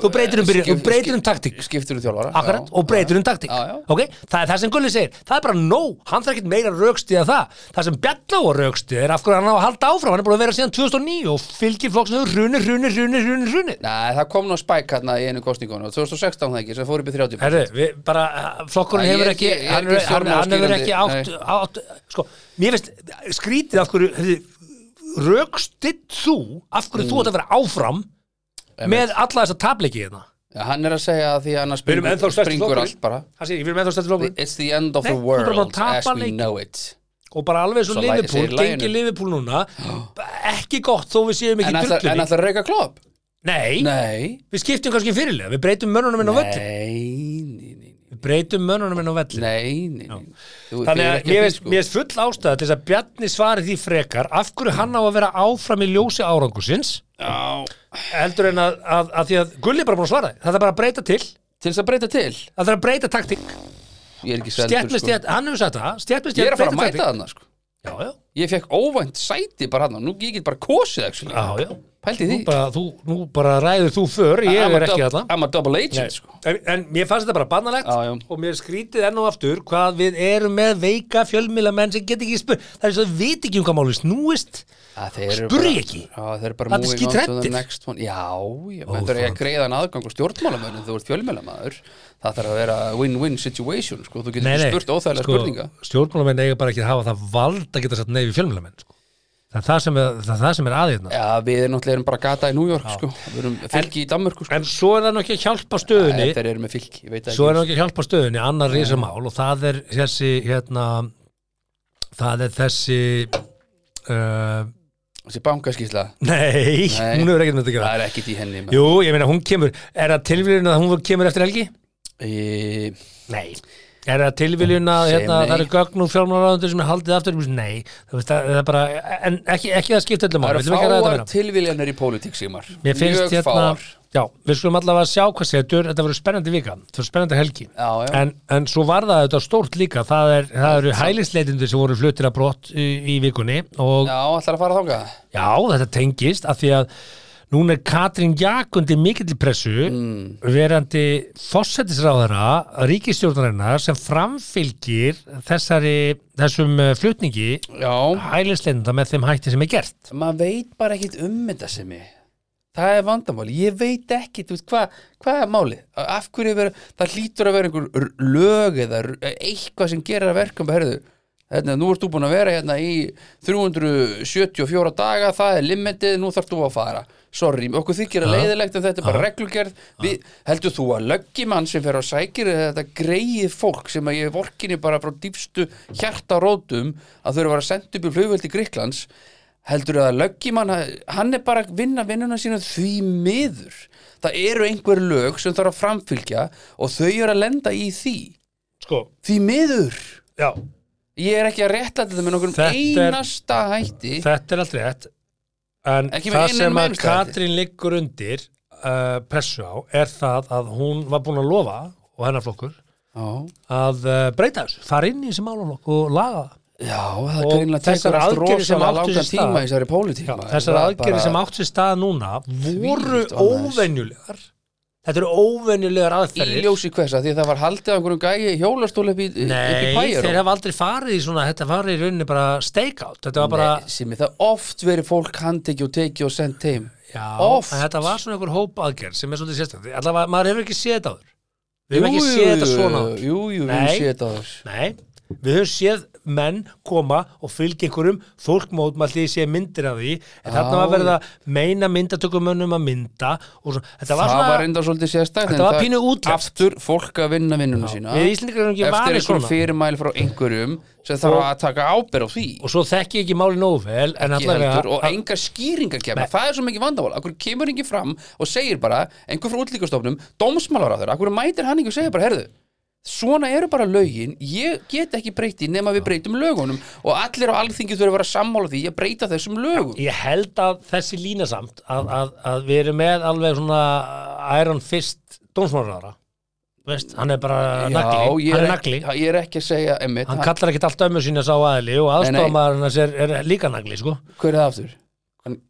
[SPEAKER 1] þú breytir um byrjun, þú breytir um taktík,
[SPEAKER 2] skiptur um þjálfara
[SPEAKER 1] akkurat,
[SPEAKER 2] já,
[SPEAKER 1] og breytir um taktík
[SPEAKER 2] Já, já.
[SPEAKER 1] ok, það er það sem Gulli segir það er bara nóg, hann þarf ekkert meira rökstíða það það sem Bjarná á rökstíða er af hverju hann á að halda áfram, hann er búin að vera síðan 2009 og fylgir flokksinu runni, runni, runni, runni, runni
[SPEAKER 2] Nei, það kom nú spæk hérna í einu kostningunum 2016 það ekki, sem fór upp í 30
[SPEAKER 1] Herru, við bara, uh, flokkurinn
[SPEAKER 2] Nei, ég
[SPEAKER 1] hefur
[SPEAKER 2] er
[SPEAKER 1] ekki,
[SPEAKER 2] ekki- ég er
[SPEAKER 1] hann,
[SPEAKER 2] ekki
[SPEAKER 1] hann, hann hefur
[SPEAKER 2] stjórnmálaskýrandi,
[SPEAKER 1] ekki átt, átt, sko, mér finnst, skrítið af hverju, hefði, rökstitt þú, af hverju
[SPEAKER 2] Mm.
[SPEAKER 1] þú átt að vera áfram með alla þessa tableiki hérna?
[SPEAKER 2] Já, hann er að segja að því að annars springur, springur allt bara
[SPEAKER 1] Hann segir, við erum ennþá stærsti flokkurinn
[SPEAKER 2] It's the end of
[SPEAKER 1] Nei,
[SPEAKER 2] the
[SPEAKER 1] þú ert bara
[SPEAKER 2] world
[SPEAKER 1] búin að
[SPEAKER 2] as
[SPEAKER 1] tapa
[SPEAKER 2] we
[SPEAKER 1] leikinn.
[SPEAKER 2] know it
[SPEAKER 1] og bara alveg svo
[SPEAKER 2] Svo lagi-
[SPEAKER 1] Liverpool,
[SPEAKER 2] segir laginu.
[SPEAKER 1] gengi Liverpool núna, ekki gott þó við séum
[SPEAKER 2] En
[SPEAKER 1] ekki
[SPEAKER 2] ætlar en
[SPEAKER 1] drullum í.
[SPEAKER 2] ætlar að reyka klopp?
[SPEAKER 1] Nei,
[SPEAKER 2] Nei
[SPEAKER 1] við skiptum kannski fyrirlega, við breytum mönnunum inn á völlin.
[SPEAKER 2] Nei, nei, nei, nei.
[SPEAKER 1] Við breytum mönunum inn á vellinu
[SPEAKER 2] Nei, nei, nei.
[SPEAKER 1] Þannig
[SPEAKER 2] Þú Sko, þið
[SPEAKER 1] að
[SPEAKER 2] er ekki
[SPEAKER 1] mér
[SPEAKER 2] því,
[SPEAKER 1] veist, mér veist full ástæða til þess að Bjarni svari því frekar af hverju hann á að vera áfram í ljósi árangusins
[SPEAKER 2] Já,
[SPEAKER 1] heldur en að, að, að því að Gulli er bara búin að svara því það er bara að breyta til,
[SPEAKER 2] til þess að breyta til
[SPEAKER 1] það þarf að breyta taktík
[SPEAKER 2] Ég er ekki seldur,
[SPEAKER 1] stjætt með stjætt, hann hefur sagt það stjætt með
[SPEAKER 2] sko. Ég er
[SPEAKER 1] stjætt,
[SPEAKER 2] að fara að mæta þarna, sko
[SPEAKER 1] já, já,
[SPEAKER 2] Ég fekk óvænt sæti bara hann Nú ég get bara kosið, actually
[SPEAKER 1] já, já.
[SPEAKER 2] Pældi því
[SPEAKER 1] Nú, bara, þú, nú bara ræður þú för ég
[SPEAKER 2] I'm a
[SPEAKER 1] er ekki
[SPEAKER 2] dub-
[SPEAKER 1] allan
[SPEAKER 2] I'm a double
[SPEAKER 1] Nei.
[SPEAKER 2] agent, sko
[SPEAKER 1] En, en mér fannst þetta bara bannalegt
[SPEAKER 2] Já, já.
[SPEAKER 1] og mér skrítið enn og aftur hvað við erum með veika fjölmýlamenn sem get ekki spurt það er svo að vit ekki um hvað máli snúist
[SPEAKER 2] Að Ah, þeir eru
[SPEAKER 1] Spurðu
[SPEAKER 2] bara-
[SPEAKER 1] ekki.
[SPEAKER 2] Já, þeir eru bara
[SPEAKER 1] Þetta er
[SPEAKER 2] moving on to the
[SPEAKER 1] skítrættir.
[SPEAKER 2] next one Já, já, menn þurfa ekki að greiða hann aðgang og stjórnmálamönnum þú ert fjölmjölamæður Það þarf að vera win-win situation, sko Þú getur ekki spurt óþægilega spurninga
[SPEAKER 1] stjórnmálamenn eiga bara ekki að hafa það vald að geta satt nei við fjölmýlamenn sko. það, er það, sem er- það er það sem er hérna. aðeirna
[SPEAKER 2] Já, við erum náttúrulega erum bara gata í New York, sko Við erum fylki í Danmörku, sko
[SPEAKER 1] en svo er það nú ekki að hjálpa stöðunni
[SPEAKER 2] Þeir eru með fylki, ég veit það
[SPEAKER 1] svo er
[SPEAKER 2] ekki
[SPEAKER 1] það ekki að hjálpa stöðunni annar risamál og það er þessi hérna, það er þessi uh,
[SPEAKER 2] Þessi bankaskísla,
[SPEAKER 1] nei,
[SPEAKER 2] Nei.
[SPEAKER 1] hún er ekki með þetta að gera
[SPEAKER 2] það er ekkit í henni maður.
[SPEAKER 1] Jú, ég meina hún kemur, er það tilvíðun að hún kemur eftir helgi?
[SPEAKER 2] Í-
[SPEAKER 1] Nei Er það tilviljun að
[SPEAKER 2] Segjum
[SPEAKER 1] hérna,
[SPEAKER 2] nei.
[SPEAKER 1] það eru gögn úr fjármálaráðundur sem er haldið aftur? Nei, það, veist, það, það er bara, en ekki, ekki það skipta öllum
[SPEAKER 2] Það
[SPEAKER 1] máli,
[SPEAKER 2] eru
[SPEAKER 1] við viljum ekki að ræða þetta
[SPEAKER 2] fáar
[SPEAKER 1] meira.
[SPEAKER 2] tilviljanir í pólitík, Sigmar
[SPEAKER 1] Mér finnst
[SPEAKER 2] Mjög
[SPEAKER 1] hérna,
[SPEAKER 2] fáar
[SPEAKER 1] já, við skulum allavega sjá hvað setur, þetta verður spennandi vika, þetta verður spennandi helgi.
[SPEAKER 2] Já, já.
[SPEAKER 1] En, en svo var það þetta stórt líka, það, er, það eru hælisleitindur sem voru fluttir að brott í, í vikunni og
[SPEAKER 2] Já, ætlar að fara þangað
[SPEAKER 1] Já, þetta tengist af því að núna er Katrín Jakundi mikill í pressu verandi fósettisráðara ríkistjórnarinnar sem framfylgir þessari, þessum eh, flutningi
[SPEAKER 2] Já,
[SPEAKER 1] hælisleitenda með þeim hætti sem er gert.
[SPEAKER 2] maður veit bara ekkit um þetta sem ég Það er vandamáli, ég veit ekki, þú veist, hvað hva er máli? Af hverju vera, það hlýtur að vera einhver r- lög eða r- eitthvað sem gerir að verkum, herðu, hérna, nú ert þú búin að vera hérna í 374 daga, það er limitið, nú þarf þú að fara. Sorry, okkur þykir að leiðilegt en þetta er bara reglugerð. Við, heldur þú að löggimann sem fer á sækir eða þetta greið fólk sem að ég vorkinni bara frá dýfstu hjartarótum að þau eru að vera sendt upp í flugveldi Gríklands heldur að löggimann hann er bara að vinna vinnuna sína því miður það eru einhver lög sem þarf að framfylgja og þau eru að lenda í því
[SPEAKER 1] Sko,
[SPEAKER 2] því miður
[SPEAKER 1] já.
[SPEAKER 2] ég er ekki að rétta þetta með nokkur
[SPEAKER 1] Þetta er-
[SPEAKER 2] einasta hætti
[SPEAKER 1] Þetta er allt rétt. En
[SPEAKER 2] Ekki með
[SPEAKER 1] það
[SPEAKER 2] einum
[SPEAKER 1] sem að
[SPEAKER 2] meinstætti.
[SPEAKER 1] Katrín liggur undir uh, pressu á er það að hún var búin að lofa og hennar flokkur
[SPEAKER 2] já,
[SPEAKER 1] að uh, breyta þessu, fara inn í þessi málaflokk og laga það.
[SPEAKER 2] já, það
[SPEAKER 1] Og
[SPEAKER 2] greinlega
[SPEAKER 1] þessar
[SPEAKER 2] tekur allt
[SPEAKER 1] aðgerðir sem
[SPEAKER 2] rosalega
[SPEAKER 1] áttu sér
[SPEAKER 2] langan
[SPEAKER 1] stað-
[SPEAKER 2] tíma í þessari pólitík
[SPEAKER 1] Já,
[SPEAKER 2] maður.
[SPEAKER 1] þessar
[SPEAKER 2] Það er
[SPEAKER 1] aðgerðir
[SPEAKER 2] bara-
[SPEAKER 1] sem átt sér stað núna voru
[SPEAKER 2] Þvílíkt annars.
[SPEAKER 1] óvenjulegar þetta eru óvenjulegar
[SPEAKER 2] í
[SPEAKER 1] aðferðir
[SPEAKER 2] ljósi hvers að því að það var haldið á einhverjum gæi í hjólastól upp í, upp í
[SPEAKER 1] Nei,
[SPEAKER 2] bæjar
[SPEAKER 1] þeir hafa aldrei farið í svona þetta farið í rauninni bara stakeout þetta var bara,
[SPEAKER 2] sem er það oft verið fólk handtekið og tekið og sendt heim
[SPEAKER 1] já,
[SPEAKER 2] oft.
[SPEAKER 1] en þetta var svona einhver hóp aðgerð sem er svolítið sérstaklega, allavega maður hefur ekki séð þetta áður við
[SPEAKER 2] Jú,
[SPEAKER 1] hefum ekki
[SPEAKER 2] jú,
[SPEAKER 1] séð
[SPEAKER 2] jú,
[SPEAKER 1] þetta svona áður.
[SPEAKER 2] Jú, jú, við
[SPEAKER 1] Nei.
[SPEAKER 2] höfum séð þetta á þess
[SPEAKER 1] Nei, við höfum séð menn koma og fylgja einhverjum fólk mótmælti sé myndir af því en þarna var verið að meina myndatökumönnum að mynda og svona, þetta var
[SPEAKER 2] Það
[SPEAKER 1] svona
[SPEAKER 2] var enda svolítið sérstætt
[SPEAKER 1] Þetta var pínu útlenskt.
[SPEAKER 2] Aftur fólk að vinna vinnuna sína
[SPEAKER 1] við Íslendingar erum ekki
[SPEAKER 2] Eftir
[SPEAKER 1] vanir
[SPEAKER 2] einhverjum
[SPEAKER 1] svona.
[SPEAKER 2] fyrirmæl frá einhverjum sem þarf að taka ábyrð á því
[SPEAKER 1] og svo þekki ég ekki máli nógu vel en
[SPEAKER 2] Ekki heldur,
[SPEAKER 1] allavega
[SPEAKER 2] og engar skýringar kemur það er svo mikið vandamál, akkur kemur engin fram og segir bara, einhver frá útlíkastofnum dómsmálar á þeirra, akkur mætir hann ekki og segir bara herðu, svona eru bara lögin ég get ekki breyti nema við breytum lögunum og allir á alþingi þurfa að vera sammála því að breyta þessum lögum
[SPEAKER 1] Ég held að þessi lína samt að, að, að við erum með alveg svona Iron Fist dómsmálaráðara veist, hann er bara nagli,
[SPEAKER 2] ég
[SPEAKER 1] hann
[SPEAKER 2] er,
[SPEAKER 1] er
[SPEAKER 2] ekki,
[SPEAKER 1] nagli
[SPEAKER 2] ég er ekki að segja einmitt,
[SPEAKER 1] hann kallar ekkit allt ömmu sína sá aðili og
[SPEAKER 2] Nei, nei.
[SPEAKER 1] aðstofamaður hans er, er líka nagli sko.
[SPEAKER 2] hver er það aftur?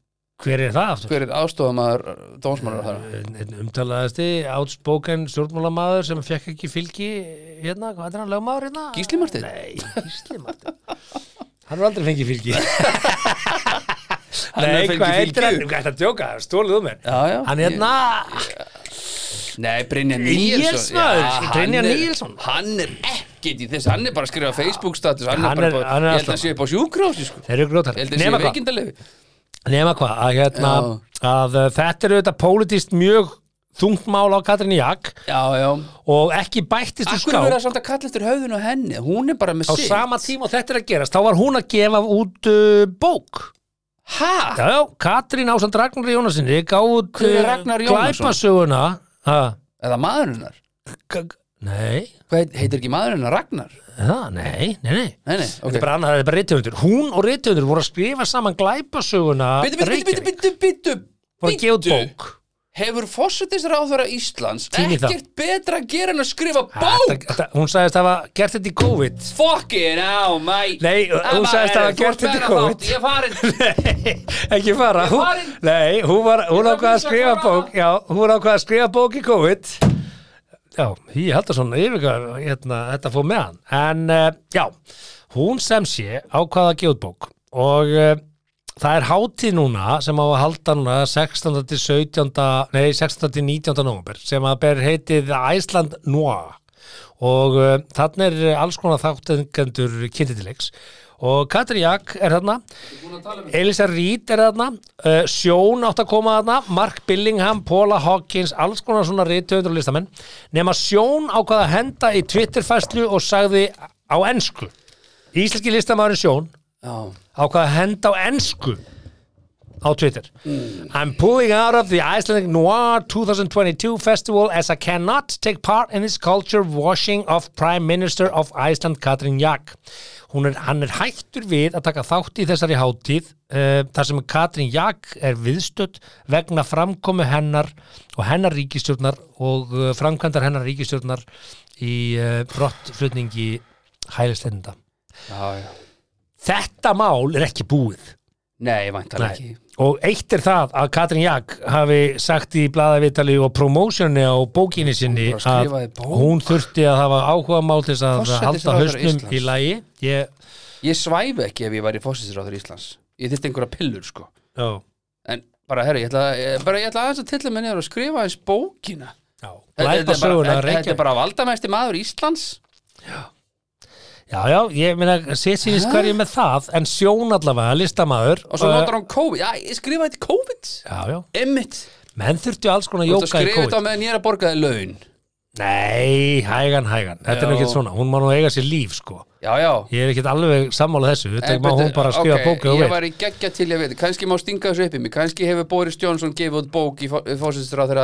[SPEAKER 1] hver er það aftur?
[SPEAKER 2] Hver er uh, aðstofamaður dómsmálar á þeirra?
[SPEAKER 1] Einn umtalaðasti outspoken stjórnmálamaður sem fekk ekki fylgi hérna, hvað er hann, lögmaður hérna?
[SPEAKER 2] Gísli Marteinn?
[SPEAKER 1] Nei, Gísli Martin Hann er aldrei fengið fylgi
[SPEAKER 2] Hann
[SPEAKER 1] Nei, hvað
[SPEAKER 2] hefur fengið
[SPEAKER 1] heitir hann?
[SPEAKER 2] fylgi.
[SPEAKER 1] Hvað er það að djóka? Stólið um mér
[SPEAKER 2] Já, já.
[SPEAKER 1] Hann er hérna
[SPEAKER 2] Nei, Brynja
[SPEAKER 1] Níels
[SPEAKER 2] Níelsson
[SPEAKER 1] maður,
[SPEAKER 2] Já,
[SPEAKER 1] Brynjar
[SPEAKER 2] hann er-
[SPEAKER 1] Níelsson.
[SPEAKER 2] Hann er ekkert í þess, hann er bara að skrifa Facebook status Hann,
[SPEAKER 1] Hann
[SPEAKER 2] er
[SPEAKER 1] er-
[SPEAKER 2] bara,
[SPEAKER 1] hann
[SPEAKER 2] hann
[SPEAKER 1] er
[SPEAKER 2] ég held að
[SPEAKER 1] alltaf-
[SPEAKER 2] hann sé upp á sjúkrós sko.
[SPEAKER 1] Þeir eru
[SPEAKER 2] Ég
[SPEAKER 1] grótar
[SPEAKER 2] held að
[SPEAKER 1] Nema
[SPEAKER 2] hann sé
[SPEAKER 1] hvað,
[SPEAKER 2] veikindalefi
[SPEAKER 1] nema hvað að, hérna, að uh, þetta er auðvitað pólitíst mjög þungt mál á Katrínu Jak
[SPEAKER 2] Já, já
[SPEAKER 1] og ekki bættist úr
[SPEAKER 2] Akkur verður
[SPEAKER 1] ská
[SPEAKER 2] það samt að kalla eftir höfðun og henni Hún er bara með
[SPEAKER 1] á
[SPEAKER 2] sig
[SPEAKER 1] sama tíma og þetta er að gerast þá var hún að gefa út uh, bók
[SPEAKER 2] Ha?
[SPEAKER 1] Já, já, Katrín Ásand Ragnar Jónasinni gáð út
[SPEAKER 2] Hver er Ragnar Jónasson?
[SPEAKER 1] glæpasöguna ha,
[SPEAKER 2] Eða maðurinnar
[SPEAKER 1] k- k- Nei,
[SPEAKER 2] Hvað heitir ekki maðurinn að Ragnar?
[SPEAKER 1] það, nei, nei, nei
[SPEAKER 2] Nei, nei,
[SPEAKER 1] Þetta
[SPEAKER 2] ok.
[SPEAKER 1] er bara annað, þetta er bara reythundur Hún og reythundur voru að skrifa saman glæpasöguna
[SPEAKER 2] Bittu, bittu, bittu,
[SPEAKER 1] Reykjavík.
[SPEAKER 2] bittu, bittu,
[SPEAKER 1] Voru að gefa út bók
[SPEAKER 2] Hefur fósettisráðvara Íslands
[SPEAKER 1] Tími í það.
[SPEAKER 2] ekkert betra að gera en að skrifa
[SPEAKER 1] Þetta-
[SPEAKER 2] bók?
[SPEAKER 1] þetta- Hún sagðist að hafa gert þetta í COVID
[SPEAKER 2] Fucking hell, mate
[SPEAKER 1] Nei, hún sagðist að hafa gert þetta í COVID
[SPEAKER 2] Ég er farin
[SPEAKER 1] Nei, ekki fara
[SPEAKER 2] Ég er
[SPEAKER 1] hún,
[SPEAKER 2] farin.
[SPEAKER 1] Nei, hún, var, hún
[SPEAKER 2] Ég er
[SPEAKER 1] ákvað að
[SPEAKER 2] farin,
[SPEAKER 1] skrifa
[SPEAKER 2] ég er
[SPEAKER 1] bók
[SPEAKER 2] farin.
[SPEAKER 1] Já, hún ákvað að skrifa bók í COVID Já, ég held að svona yfirgar hérna, þetta fór með hann En uh, já, hún sem sé ákvað að gefa út bók og uh, það er hátíð núna sem á að halda núna 16. til 17. nei, 16. til 19. november sem að ber heitið Æsland Noir og uh, þannig er alls konar þáttengendur kynntileiks og Katri Jak er þarna Elisa Reed er þarna uh, Sjón átt að koma þarna Mark Billingham, Paula Hawkins alls konar svona reytöfundur og listamenn nema Sjón ákvað að henda í Twitterfæslu og sagði á ensku Íslenski listamæðurinn Sjón
[SPEAKER 2] Já
[SPEAKER 1] ákvað að henda á ensku á Twitter I'm pulling out of the Icelandic Noir 2022 festival as I cannot take part in this culture washing of Prime Minister of Iceland Katrin Jak Hún er, hann er hættur við að taka þátt í þessari hátíð uh, þar sem Katrin Jak er viðstödd vegna framkomu hennar og hennar ríkistjórnar og uh, framkvæmdar hennar ríkistjórnar í uh, brottflutningi hælislenda
[SPEAKER 2] Já, já.
[SPEAKER 1] Þetta mál er ekki búið
[SPEAKER 2] Nei, væntanlega ekki
[SPEAKER 1] Og eitt er það að Katrin Jak hafi sagt í blaðavitali og promósioni á bókinni sinni
[SPEAKER 2] Hún bara
[SPEAKER 1] að
[SPEAKER 2] skrifaði bók.
[SPEAKER 1] hún þurfti að hafa áhuga mál til þess að halda
[SPEAKER 2] Forsætisráðherra
[SPEAKER 1] hausnum
[SPEAKER 2] Íslands.
[SPEAKER 1] í lagi. Ég,
[SPEAKER 2] Ég svæfi ekki ef ég væri fósettisráðvara Íslands Ég þyrfti einhverja pillur, sko
[SPEAKER 1] já,
[SPEAKER 2] En bara, herri, ég ætla, ég, bara, ég ætla aðeins að tilla mig niður og skrifa eins bókina
[SPEAKER 1] já,
[SPEAKER 2] Þetta
[SPEAKER 1] glæpa
[SPEAKER 2] er bara-
[SPEAKER 1] söguna
[SPEAKER 2] þetta- Þetta
[SPEAKER 1] reykja.
[SPEAKER 2] er bara valdamæsti maður Íslands
[SPEAKER 1] Já, já, ég meina, sér sínist hverju með það, en sjón allavega, listamaður.
[SPEAKER 2] Og svo
[SPEAKER 1] eh,
[SPEAKER 2] notar hann COVID Já, ég skrifa þetta í COVID
[SPEAKER 1] Já, já,
[SPEAKER 2] Emmitt
[SPEAKER 1] menn þurftu alls konar
[SPEAKER 2] Þú ert að
[SPEAKER 1] jóka í
[SPEAKER 2] skrifa
[SPEAKER 1] COVID.
[SPEAKER 2] þetta á meðan ég er að borga þið laun
[SPEAKER 1] Nei, hægan, hægan, þetta er
[SPEAKER 2] Já.
[SPEAKER 1] nú ekkert svona, hún má nú eiga sér líf, sko.
[SPEAKER 2] Já, já
[SPEAKER 1] Ég er ekkert alveg sammála þessu, þetta má hún bara skrifa okay, bókið og
[SPEAKER 2] ég
[SPEAKER 1] veit.
[SPEAKER 2] var í geggja til ég veit kannski má stinga þessu upp í mig, kannski hefur Boris Johnson gefið út bók í fósinstur á þeirra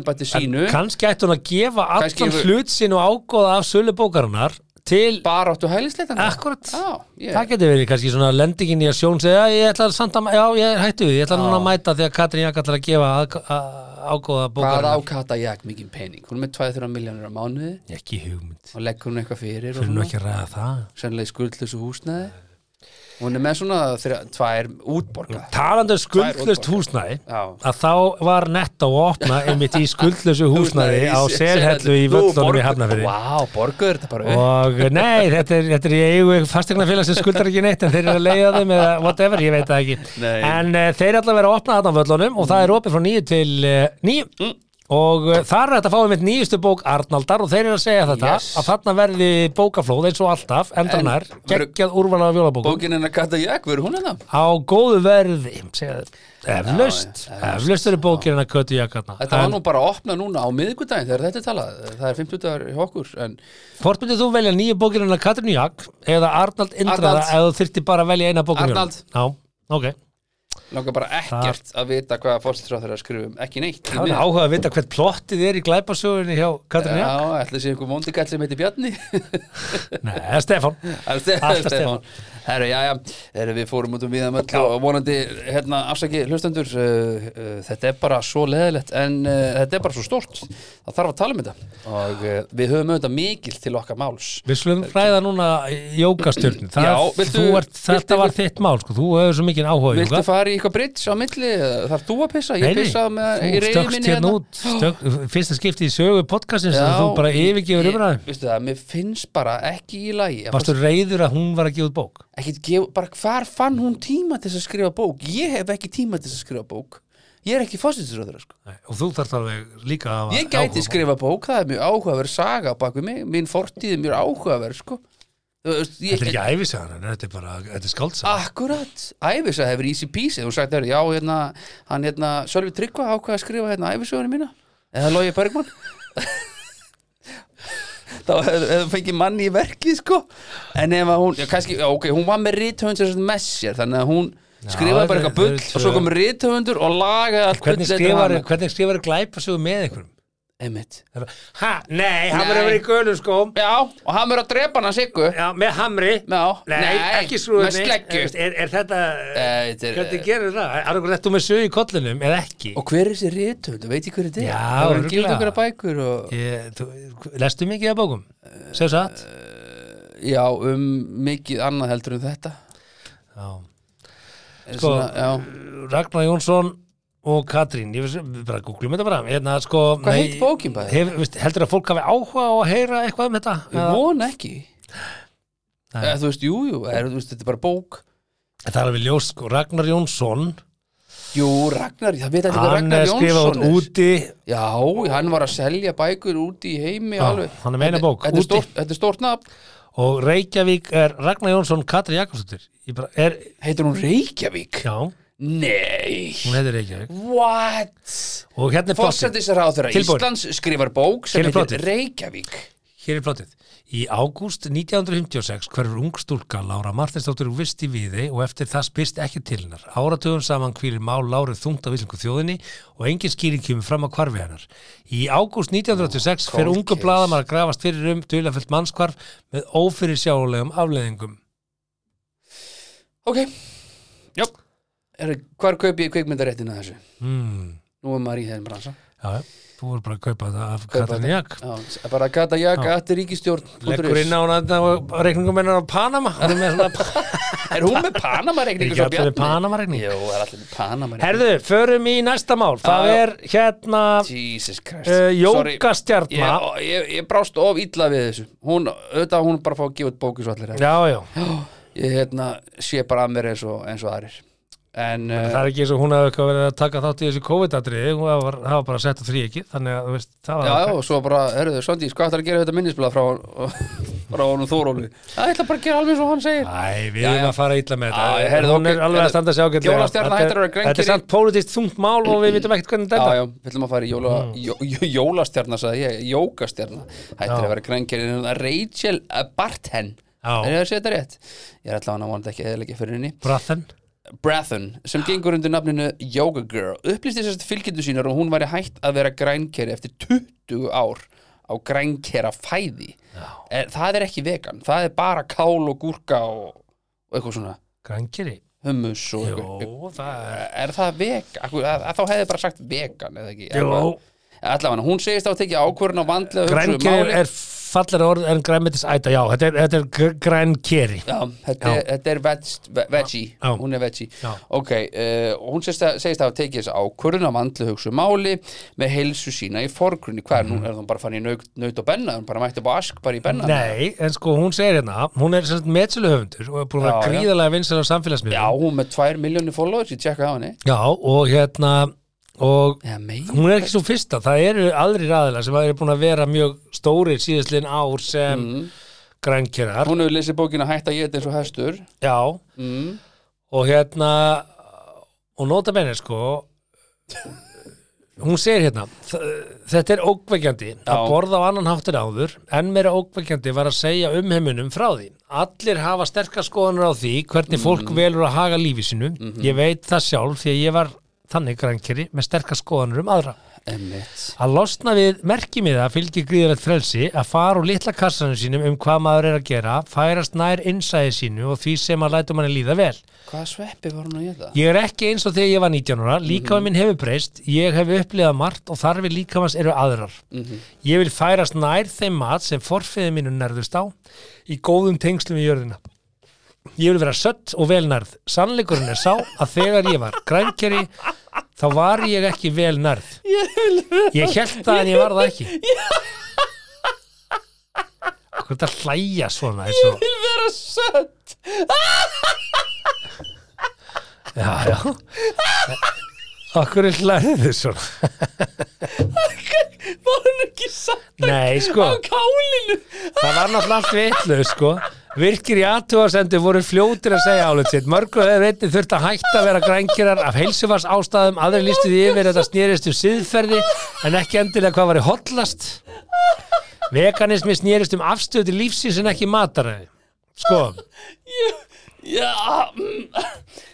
[SPEAKER 2] embætti sínu,
[SPEAKER 1] kannski ætti hún að gefa
[SPEAKER 2] Kannski
[SPEAKER 1] allan
[SPEAKER 2] hefur-
[SPEAKER 1] hlut sinn og ágóða af sölu bókarinnar til
[SPEAKER 2] bara áttu hælisleitan
[SPEAKER 1] akkurat
[SPEAKER 2] Já, ég,
[SPEAKER 1] það getur verið kannski svona lendingin í að sjón segja "Já, ég ætla samt að, já ég er hættu við ég ætla núna að mæta því að Katrín Jakk ætlar að gefa að, að, ágóða
[SPEAKER 2] hvað
[SPEAKER 1] bókarinnar
[SPEAKER 2] ákata ég mikið pening, hún er með 2-3 miljónir á mánuði
[SPEAKER 1] ekki hugmynd,
[SPEAKER 2] og leggur hún eitthvað fyrir og
[SPEAKER 1] fyrir nú
[SPEAKER 2] svona,
[SPEAKER 1] ekki að ræða það
[SPEAKER 2] sennilega skuldlösu húsnæði hún er með svona þeirra, tvær útborga
[SPEAKER 1] talandur skuldlust um húsnæði
[SPEAKER 2] Já.
[SPEAKER 1] að þá var netto að opna einmitt í skuldlusu húsnæði á
[SPEAKER 2] í-
[SPEAKER 1] selhellu í
[SPEAKER 2] Selhellu. Nú,
[SPEAKER 1] völlunum í
[SPEAKER 2] borgu-
[SPEAKER 1] Hafnafyrði
[SPEAKER 2] Vá, borgur þetta bara upp
[SPEAKER 1] og nei, þetta er, þetta er í eigu fastegnafélag sem skuldar ekki neitt en þeir eru að leiða þeim eða whatever, ég veit það ekki
[SPEAKER 2] Nei.
[SPEAKER 1] en uh, þeir allavega vera að opna þarna á völlunum og það er opið frá nýju til uh, nýju
[SPEAKER 2] Mm.
[SPEAKER 1] og uh, þar er þetta að fá einmitt nýjustu bók Arnaldar og þeir eru að segja þetta
[SPEAKER 2] Yes.
[SPEAKER 1] að þarna verði bókaflóð eins og alltaf
[SPEAKER 2] En-
[SPEAKER 1] endranar, geggjað úrvala af jólabókum
[SPEAKER 2] bókin hennar kata ég, verður hún hennar
[SPEAKER 1] á góðu verði segja þeir. eflaust,
[SPEAKER 2] Já, já, eflaust.
[SPEAKER 1] eflaust eru bókirinn að kötu jakkarna
[SPEAKER 2] Þetta var nú bara að opna núna á miðvikudaginn þegar þetta er talað, það er 50 dagar hjá okkur en
[SPEAKER 1] hvort myndið þú velja nýju bókirinn að Katrin Jakk eða Arnald Indraða
[SPEAKER 2] Arnald.
[SPEAKER 1] ef þú þyrfti bara að velja eina bókirinn
[SPEAKER 2] Arnald.
[SPEAKER 1] já, ok
[SPEAKER 2] langar bara ekkert að vita hvað fórstinsráð þeirra skrifum, ekki neitt því
[SPEAKER 1] Það er
[SPEAKER 2] miður.
[SPEAKER 1] áhuga að vita hvert plottið er í glæpasögunni hjá Katrín
[SPEAKER 2] Já,
[SPEAKER 1] Jakk.
[SPEAKER 2] ætli sé einhver móndikall sem heitir Bjarni
[SPEAKER 1] Nei, það er Stefán. Alltaf Stefán.
[SPEAKER 2] Herru, já, já, herru, við fórum út um viðan öll og vonandi, hérna, afsaki hlustendur, uh, uh, þetta er bara svo leðilegt en uh, þetta er bara svo stórt það þarf að tala um þetta og uh, við höfum auðvitað mikil til okkar máls
[SPEAKER 1] Við slum fræða núna jókastjörn. Það,
[SPEAKER 2] Já, viltu-
[SPEAKER 1] þú ert,
[SPEAKER 2] viltu-
[SPEAKER 1] þetta var þitt mál, sko. Þú hefur svo mikinn áhuga sko. í
[SPEAKER 2] Viltu
[SPEAKER 1] jóka.
[SPEAKER 2] fara í eitthvað bridge á milli? Þarf þú að pissa? Ég pissa með í
[SPEAKER 1] þú
[SPEAKER 2] reyði
[SPEAKER 1] stökkst
[SPEAKER 2] minni
[SPEAKER 1] hérna út. Stök, fyrsta skipti í sögu podcastins að þú bara yfirgefur umræðum.
[SPEAKER 2] Vistu það, mér finnst bara ekki í lagi að
[SPEAKER 1] Varstu reyður að hún var að gefa út bók?
[SPEAKER 2] ekkit gef, bara hvar fann hún tíma til þess að skrifa bók ég hef ekki tíma til þess að skrifa bók ég er ekki fósinsröður sko.
[SPEAKER 1] Nei, og þú þarft alveg líka að hafa
[SPEAKER 2] ég gæti
[SPEAKER 1] áhugamál.
[SPEAKER 2] skrifa bók, það er mjög áhugaverð saga á bak við mig, minn fortíð er mjög áhugaverð sko. Þú veist, ég,
[SPEAKER 1] Þetta er ekki æfisagan, en þetta er bara, þetta er skáldsag.
[SPEAKER 2] Akkurat, æfisa hefur easy peasy Þú sagt þér, já, hérna, hann hérna Sölvi Tryggva ákvað að skrifa hérna æfisögunni mína Eða Lógi Bergmann Þá hefur hef fengið manni í verkið, sko En ef að hún, já, kannski, já, ok, hún var með rithöfund sem sagt með sér Þannig að hún skrifaði bara
[SPEAKER 1] þetta-
[SPEAKER 2] eitthvað bull
[SPEAKER 1] þetta er
[SPEAKER 2] Og svo kom rithöfundur og lagaði allt
[SPEAKER 1] Hvernig
[SPEAKER 2] bullið eftir
[SPEAKER 1] skrifar,
[SPEAKER 2] hana.
[SPEAKER 1] hvernig skrifar glæpasögu með einhverjum?
[SPEAKER 2] einmitt
[SPEAKER 1] Ha, nei, hann verður að vera í
[SPEAKER 2] Nei.
[SPEAKER 1] gölum skóm
[SPEAKER 2] Já, og hann verður að drepa hana Siggu
[SPEAKER 1] Já, með hamri
[SPEAKER 2] Já,
[SPEAKER 1] Nei,
[SPEAKER 2] nei,
[SPEAKER 1] ekki skrúðinni
[SPEAKER 2] með sleggju.
[SPEAKER 1] er, er þetta,
[SPEAKER 2] Eh, þetta er-
[SPEAKER 1] hvernig gerir það? Er það þetta með sög í kollinum eða ekki?
[SPEAKER 2] Og hver er þessi rithöfund, veit ég hver þetta er?
[SPEAKER 1] Já,
[SPEAKER 2] það voru
[SPEAKER 1] örugglega.
[SPEAKER 2] gild okkur að bækur og
[SPEAKER 1] Ég, þú, lestu mikið af bókum? Sem satt?
[SPEAKER 2] Já, um mikið annað heldur en þetta
[SPEAKER 1] Já.
[SPEAKER 2] Sko,
[SPEAKER 1] Sko,
[SPEAKER 2] Svona, já.
[SPEAKER 1] Ragnar Jónsson og Katrín, ég veist, við bara googlum þetta bara hérna, sko,
[SPEAKER 2] Hvað heitir bókin bara?
[SPEAKER 1] hef, veist, heldur að fólk hafi áhuga á að heyra eitthvað um þetta?
[SPEAKER 2] Ég vona ekki
[SPEAKER 1] Nei.
[SPEAKER 2] Eða, Þú veist, jú, jú, er, þú veist, þetta er bara bók
[SPEAKER 1] Það er alveg ljós, sko, Ragnar Jónsson
[SPEAKER 2] Jú, Ragnar, það veit allir hvað
[SPEAKER 1] hann
[SPEAKER 2] Ragnar
[SPEAKER 1] er skrifað
[SPEAKER 2] Jónsson
[SPEAKER 1] út úti
[SPEAKER 2] Já, hann var að selja bækur úti í heimi
[SPEAKER 1] Já,
[SPEAKER 2] alveg.
[SPEAKER 1] hann er með eina
[SPEAKER 2] Þetta-
[SPEAKER 1] bók,
[SPEAKER 2] Þetta er
[SPEAKER 1] úti.
[SPEAKER 2] stórt, þetta er stórt nafn
[SPEAKER 1] og Reykjavík er Ragnar Jónsson Katrín Jakobsdóttir Ég bara, er,
[SPEAKER 2] Heitir hún Reykjavík?
[SPEAKER 1] já, hún
[SPEAKER 2] Nei
[SPEAKER 1] heitir Reykjavík
[SPEAKER 2] What?
[SPEAKER 1] og hérna er plottið,
[SPEAKER 2] Fossetisráðurra
[SPEAKER 1] Tilbúin.
[SPEAKER 2] Íslands skrifar bók sem
[SPEAKER 1] Hér er
[SPEAKER 2] heitir
[SPEAKER 1] plottið.
[SPEAKER 2] Reykjavík
[SPEAKER 1] hér er plottið Í ágúst 1956 hverfur ungstúlka Lára Martinsdóttir úr vist í viði og eftir það spyrst ekki til hennar. Áratugum saman hvílir mál Láru þungt á íslengu þjóðinni og engin skýring kemur fram á hvarfi hennar. Í ágúst 1986 fer
[SPEAKER 2] cold
[SPEAKER 1] ungu
[SPEAKER 2] case.
[SPEAKER 1] bladamar að grafast fyrir um duðlafullt mannskvarf með ófyrir sjáulegum afleðingum.
[SPEAKER 2] Ok Jáp Hvar kaup ég kveikmyndaréttina þessu?
[SPEAKER 1] Hmm.
[SPEAKER 2] Nú er maður í þeim bransa
[SPEAKER 1] Já, já. þú voru bara að kaupa þetta af
[SPEAKER 2] Kaupa
[SPEAKER 1] Katrin
[SPEAKER 2] þetta.
[SPEAKER 1] Jak.
[SPEAKER 2] Já, bara Kata Jak,
[SPEAKER 1] Já.
[SPEAKER 2] Atti Ríkistjórn
[SPEAKER 1] Leggur inn á hana þetta á reikningum hennar á Panama. Hún er með svona
[SPEAKER 2] Er hún með Panama-reikningu
[SPEAKER 1] ekki allir með Panama-reikning.
[SPEAKER 2] Jú, er allir með Panama-reikningu
[SPEAKER 1] Herðu, förum í næsta mál. Það
[SPEAKER 2] Já, já.
[SPEAKER 1] er hérna...
[SPEAKER 2] Jesus Christ
[SPEAKER 1] Uh,
[SPEAKER 2] Sorry. ég,
[SPEAKER 1] Jókastjarnar
[SPEAKER 2] ég, ég brást of illa við þessu Hún, auðvitað hún bara fá að gefa út bóki svo allir
[SPEAKER 1] Já, já,
[SPEAKER 2] Ég hérna, sé bara að mér eins og, eins og aðrir En uh,
[SPEAKER 1] það er ekki eins og hún hafði eitthvað verið að taka þátt í þessu COVID-atriði, hún var, það var bara sett á þrý ekki, þannig að þú veist, það var
[SPEAKER 2] Já, já, og svo bara, herruðu, Sondís, hvað ætlar að gera þetta minnisblad frá, frá honum Þórólu? Það ætla bara að gera alveg eins og hann segir.
[SPEAKER 1] Æ, við
[SPEAKER 2] Já,
[SPEAKER 1] erum
[SPEAKER 2] já.
[SPEAKER 1] að fara illa með þetta,
[SPEAKER 2] Já, já, heyrðu,
[SPEAKER 1] hún er
[SPEAKER 2] ok,
[SPEAKER 1] alveg að
[SPEAKER 2] heyrðu,
[SPEAKER 1] standa sig ágætlega
[SPEAKER 2] Jólastjarna
[SPEAKER 1] Þetta er-
[SPEAKER 2] hættir að vera grænkeri.
[SPEAKER 1] Þetta er samt pólitískt þungt mál og við vitum ekkert hvernig
[SPEAKER 2] Já,
[SPEAKER 1] þetta
[SPEAKER 2] já, við ætlum að fara í jóla,
[SPEAKER 1] Mm.
[SPEAKER 2] jó, jó- jólastjarna, sagði ég, jókastjarna. Hættir
[SPEAKER 1] Já.
[SPEAKER 2] að vera grængerinn en það Rachel eh, Barthen.
[SPEAKER 1] Já.
[SPEAKER 2] Er ég að segja þetta rétt? Ég er allavega að vona ekki eðilegja fyrir henni.
[SPEAKER 1] Brathen,
[SPEAKER 2] Brathon, sem gengur undir nafninu Yoga Girl, upplýsti þessast fylgjendur sínar og hún væri hægt að vera grænkeri eftir 20 ár á grænkera fæði. Er, það er ekki vegan, það er bara kál og gúrka og, og eitthvað svona
[SPEAKER 1] grænkeri
[SPEAKER 2] hummus og eitthvað.
[SPEAKER 1] Jó, það er
[SPEAKER 2] Eh, Er það vegan? Akkur, að, að þá hefði bara sagt vegan eða ekki.
[SPEAKER 1] Jó,
[SPEAKER 2] Allavega, hún segist á að tekja ákvörðun á vandlega hugsuðu
[SPEAKER 1] grænkeri
[SPEAKER 2] máli.
[SPEAKER 1] er fallara orð en grænmetis æta, já, þetta er, þetta er gr- grænkeri
[SPEAKER 2] Já, þetta,
[SPEAKER 1] Já.
[SPEAKER 2] Er, þetta er veg, veggie,
[SPEAKER 1] Já.
[SPEAKER 2] hún er veggie
[SPEAKER 1] Já.
[SPEAKER 2] Ok, uh, og hún segist að, segist að hafa tekið þess ákvörðun af vandlu hugsu máli með heilsu sína í forgrunni Hvað er, nú er hún bara fann í naut, naut og benna, hún bara mætti upp á ask bara í benna
[SPEAKER 1] Mhm. Nei, en sko hún segir hérna, hún er metsöluhöfundur og er búin að
[SPEAKER 2] Já, já.
[SPEAKER 1] gríðalega vinsæla samfélagsmiðlum
[SPEAKER 2] Já, hún með tvær miljónir followers, ég tjekka á henni
[SPEAKER 1] Já, og hérna og
[SPEAKER 2] Já, mei
[SPEAKER 1] hún er ekki svo fyrsta, það eru aðrir aðilar sem eru búin að vera mjög stórir síðastliðin ár sem mm.
[SPEAKER 2] Mhm.
[SPEAKER 1] grænkerar,
[SPEAKER 2] Hún hefur lesið bókina Hætt að geta eins og hestur
[SPEAKER 1] já
[SPEAKER 2] mm.
[SPEAKER 1] og hérna og nota benni sko hún segir hérna "Þ- þetta er ókveikjandi að borða á annan háttir áður en meira ókveikjandi var að segja umheiminum frá því allir hafa sterkar skoðanur á því hvernig fólk velur að haga lífi sínu ég veit það sjálf því að ég var þannig grænkeri með sterkar skoðanur um aðra
[SPEAKER 2] Emmitt
[SPEAKER 1] Að losna við merkimiða fylgir gríðalegt frelsi að fara úr litla kassanum sínum um hvað maður er að gera, færast nær innsæði sínu og því sem að lætur manni líða vel.
[SPEAKER 2] Hvaða sveppi var hún að geta?
[SPEAKER 1] Ég er ekki eins og þegar ég var 19 ára, líkamann minn hefur breyst, ég hef upplifað margt og þarfir líkamans eru aðrar. Ég vil færast nær þeim mat sem forfiði mínu nærðust á í góðum tengslum í jörðina. Ég vil vera sött og velnærð. Sannleikurinn er sá að þegar ég var grænkeri, þá var ég ekki velnærð. Ég held það en ég var það ekki. Hvað er þetta að hlæja svona? eins og-
[SPEAKER 2] Ég vil vera sött
[SPEAKER 1] Já, já. Okkur er hlæðið svona.
[SPEAKER 2] Var hún ekki sött
[SPEAKER 1] Nei, sko.
[SPEAKER 2] á kálinu?
[SPEAKER 1] Það var náttúrulega allt vitlu, sko. Virkir í aðtúarsendu voru fljótir að segja álut sitt. Mörgur hefur einnig þurft að hætta að vera grænkirar af heilsufars ástæðum. Aðri listu því yfir þetta snerist um siðferði en ekki endilega hvað var í hotlast. Veganismi snerist um afstöðu til lífsins en ekki mataræði. Sko,
[SPEAKER 2] Ég, Já, mm,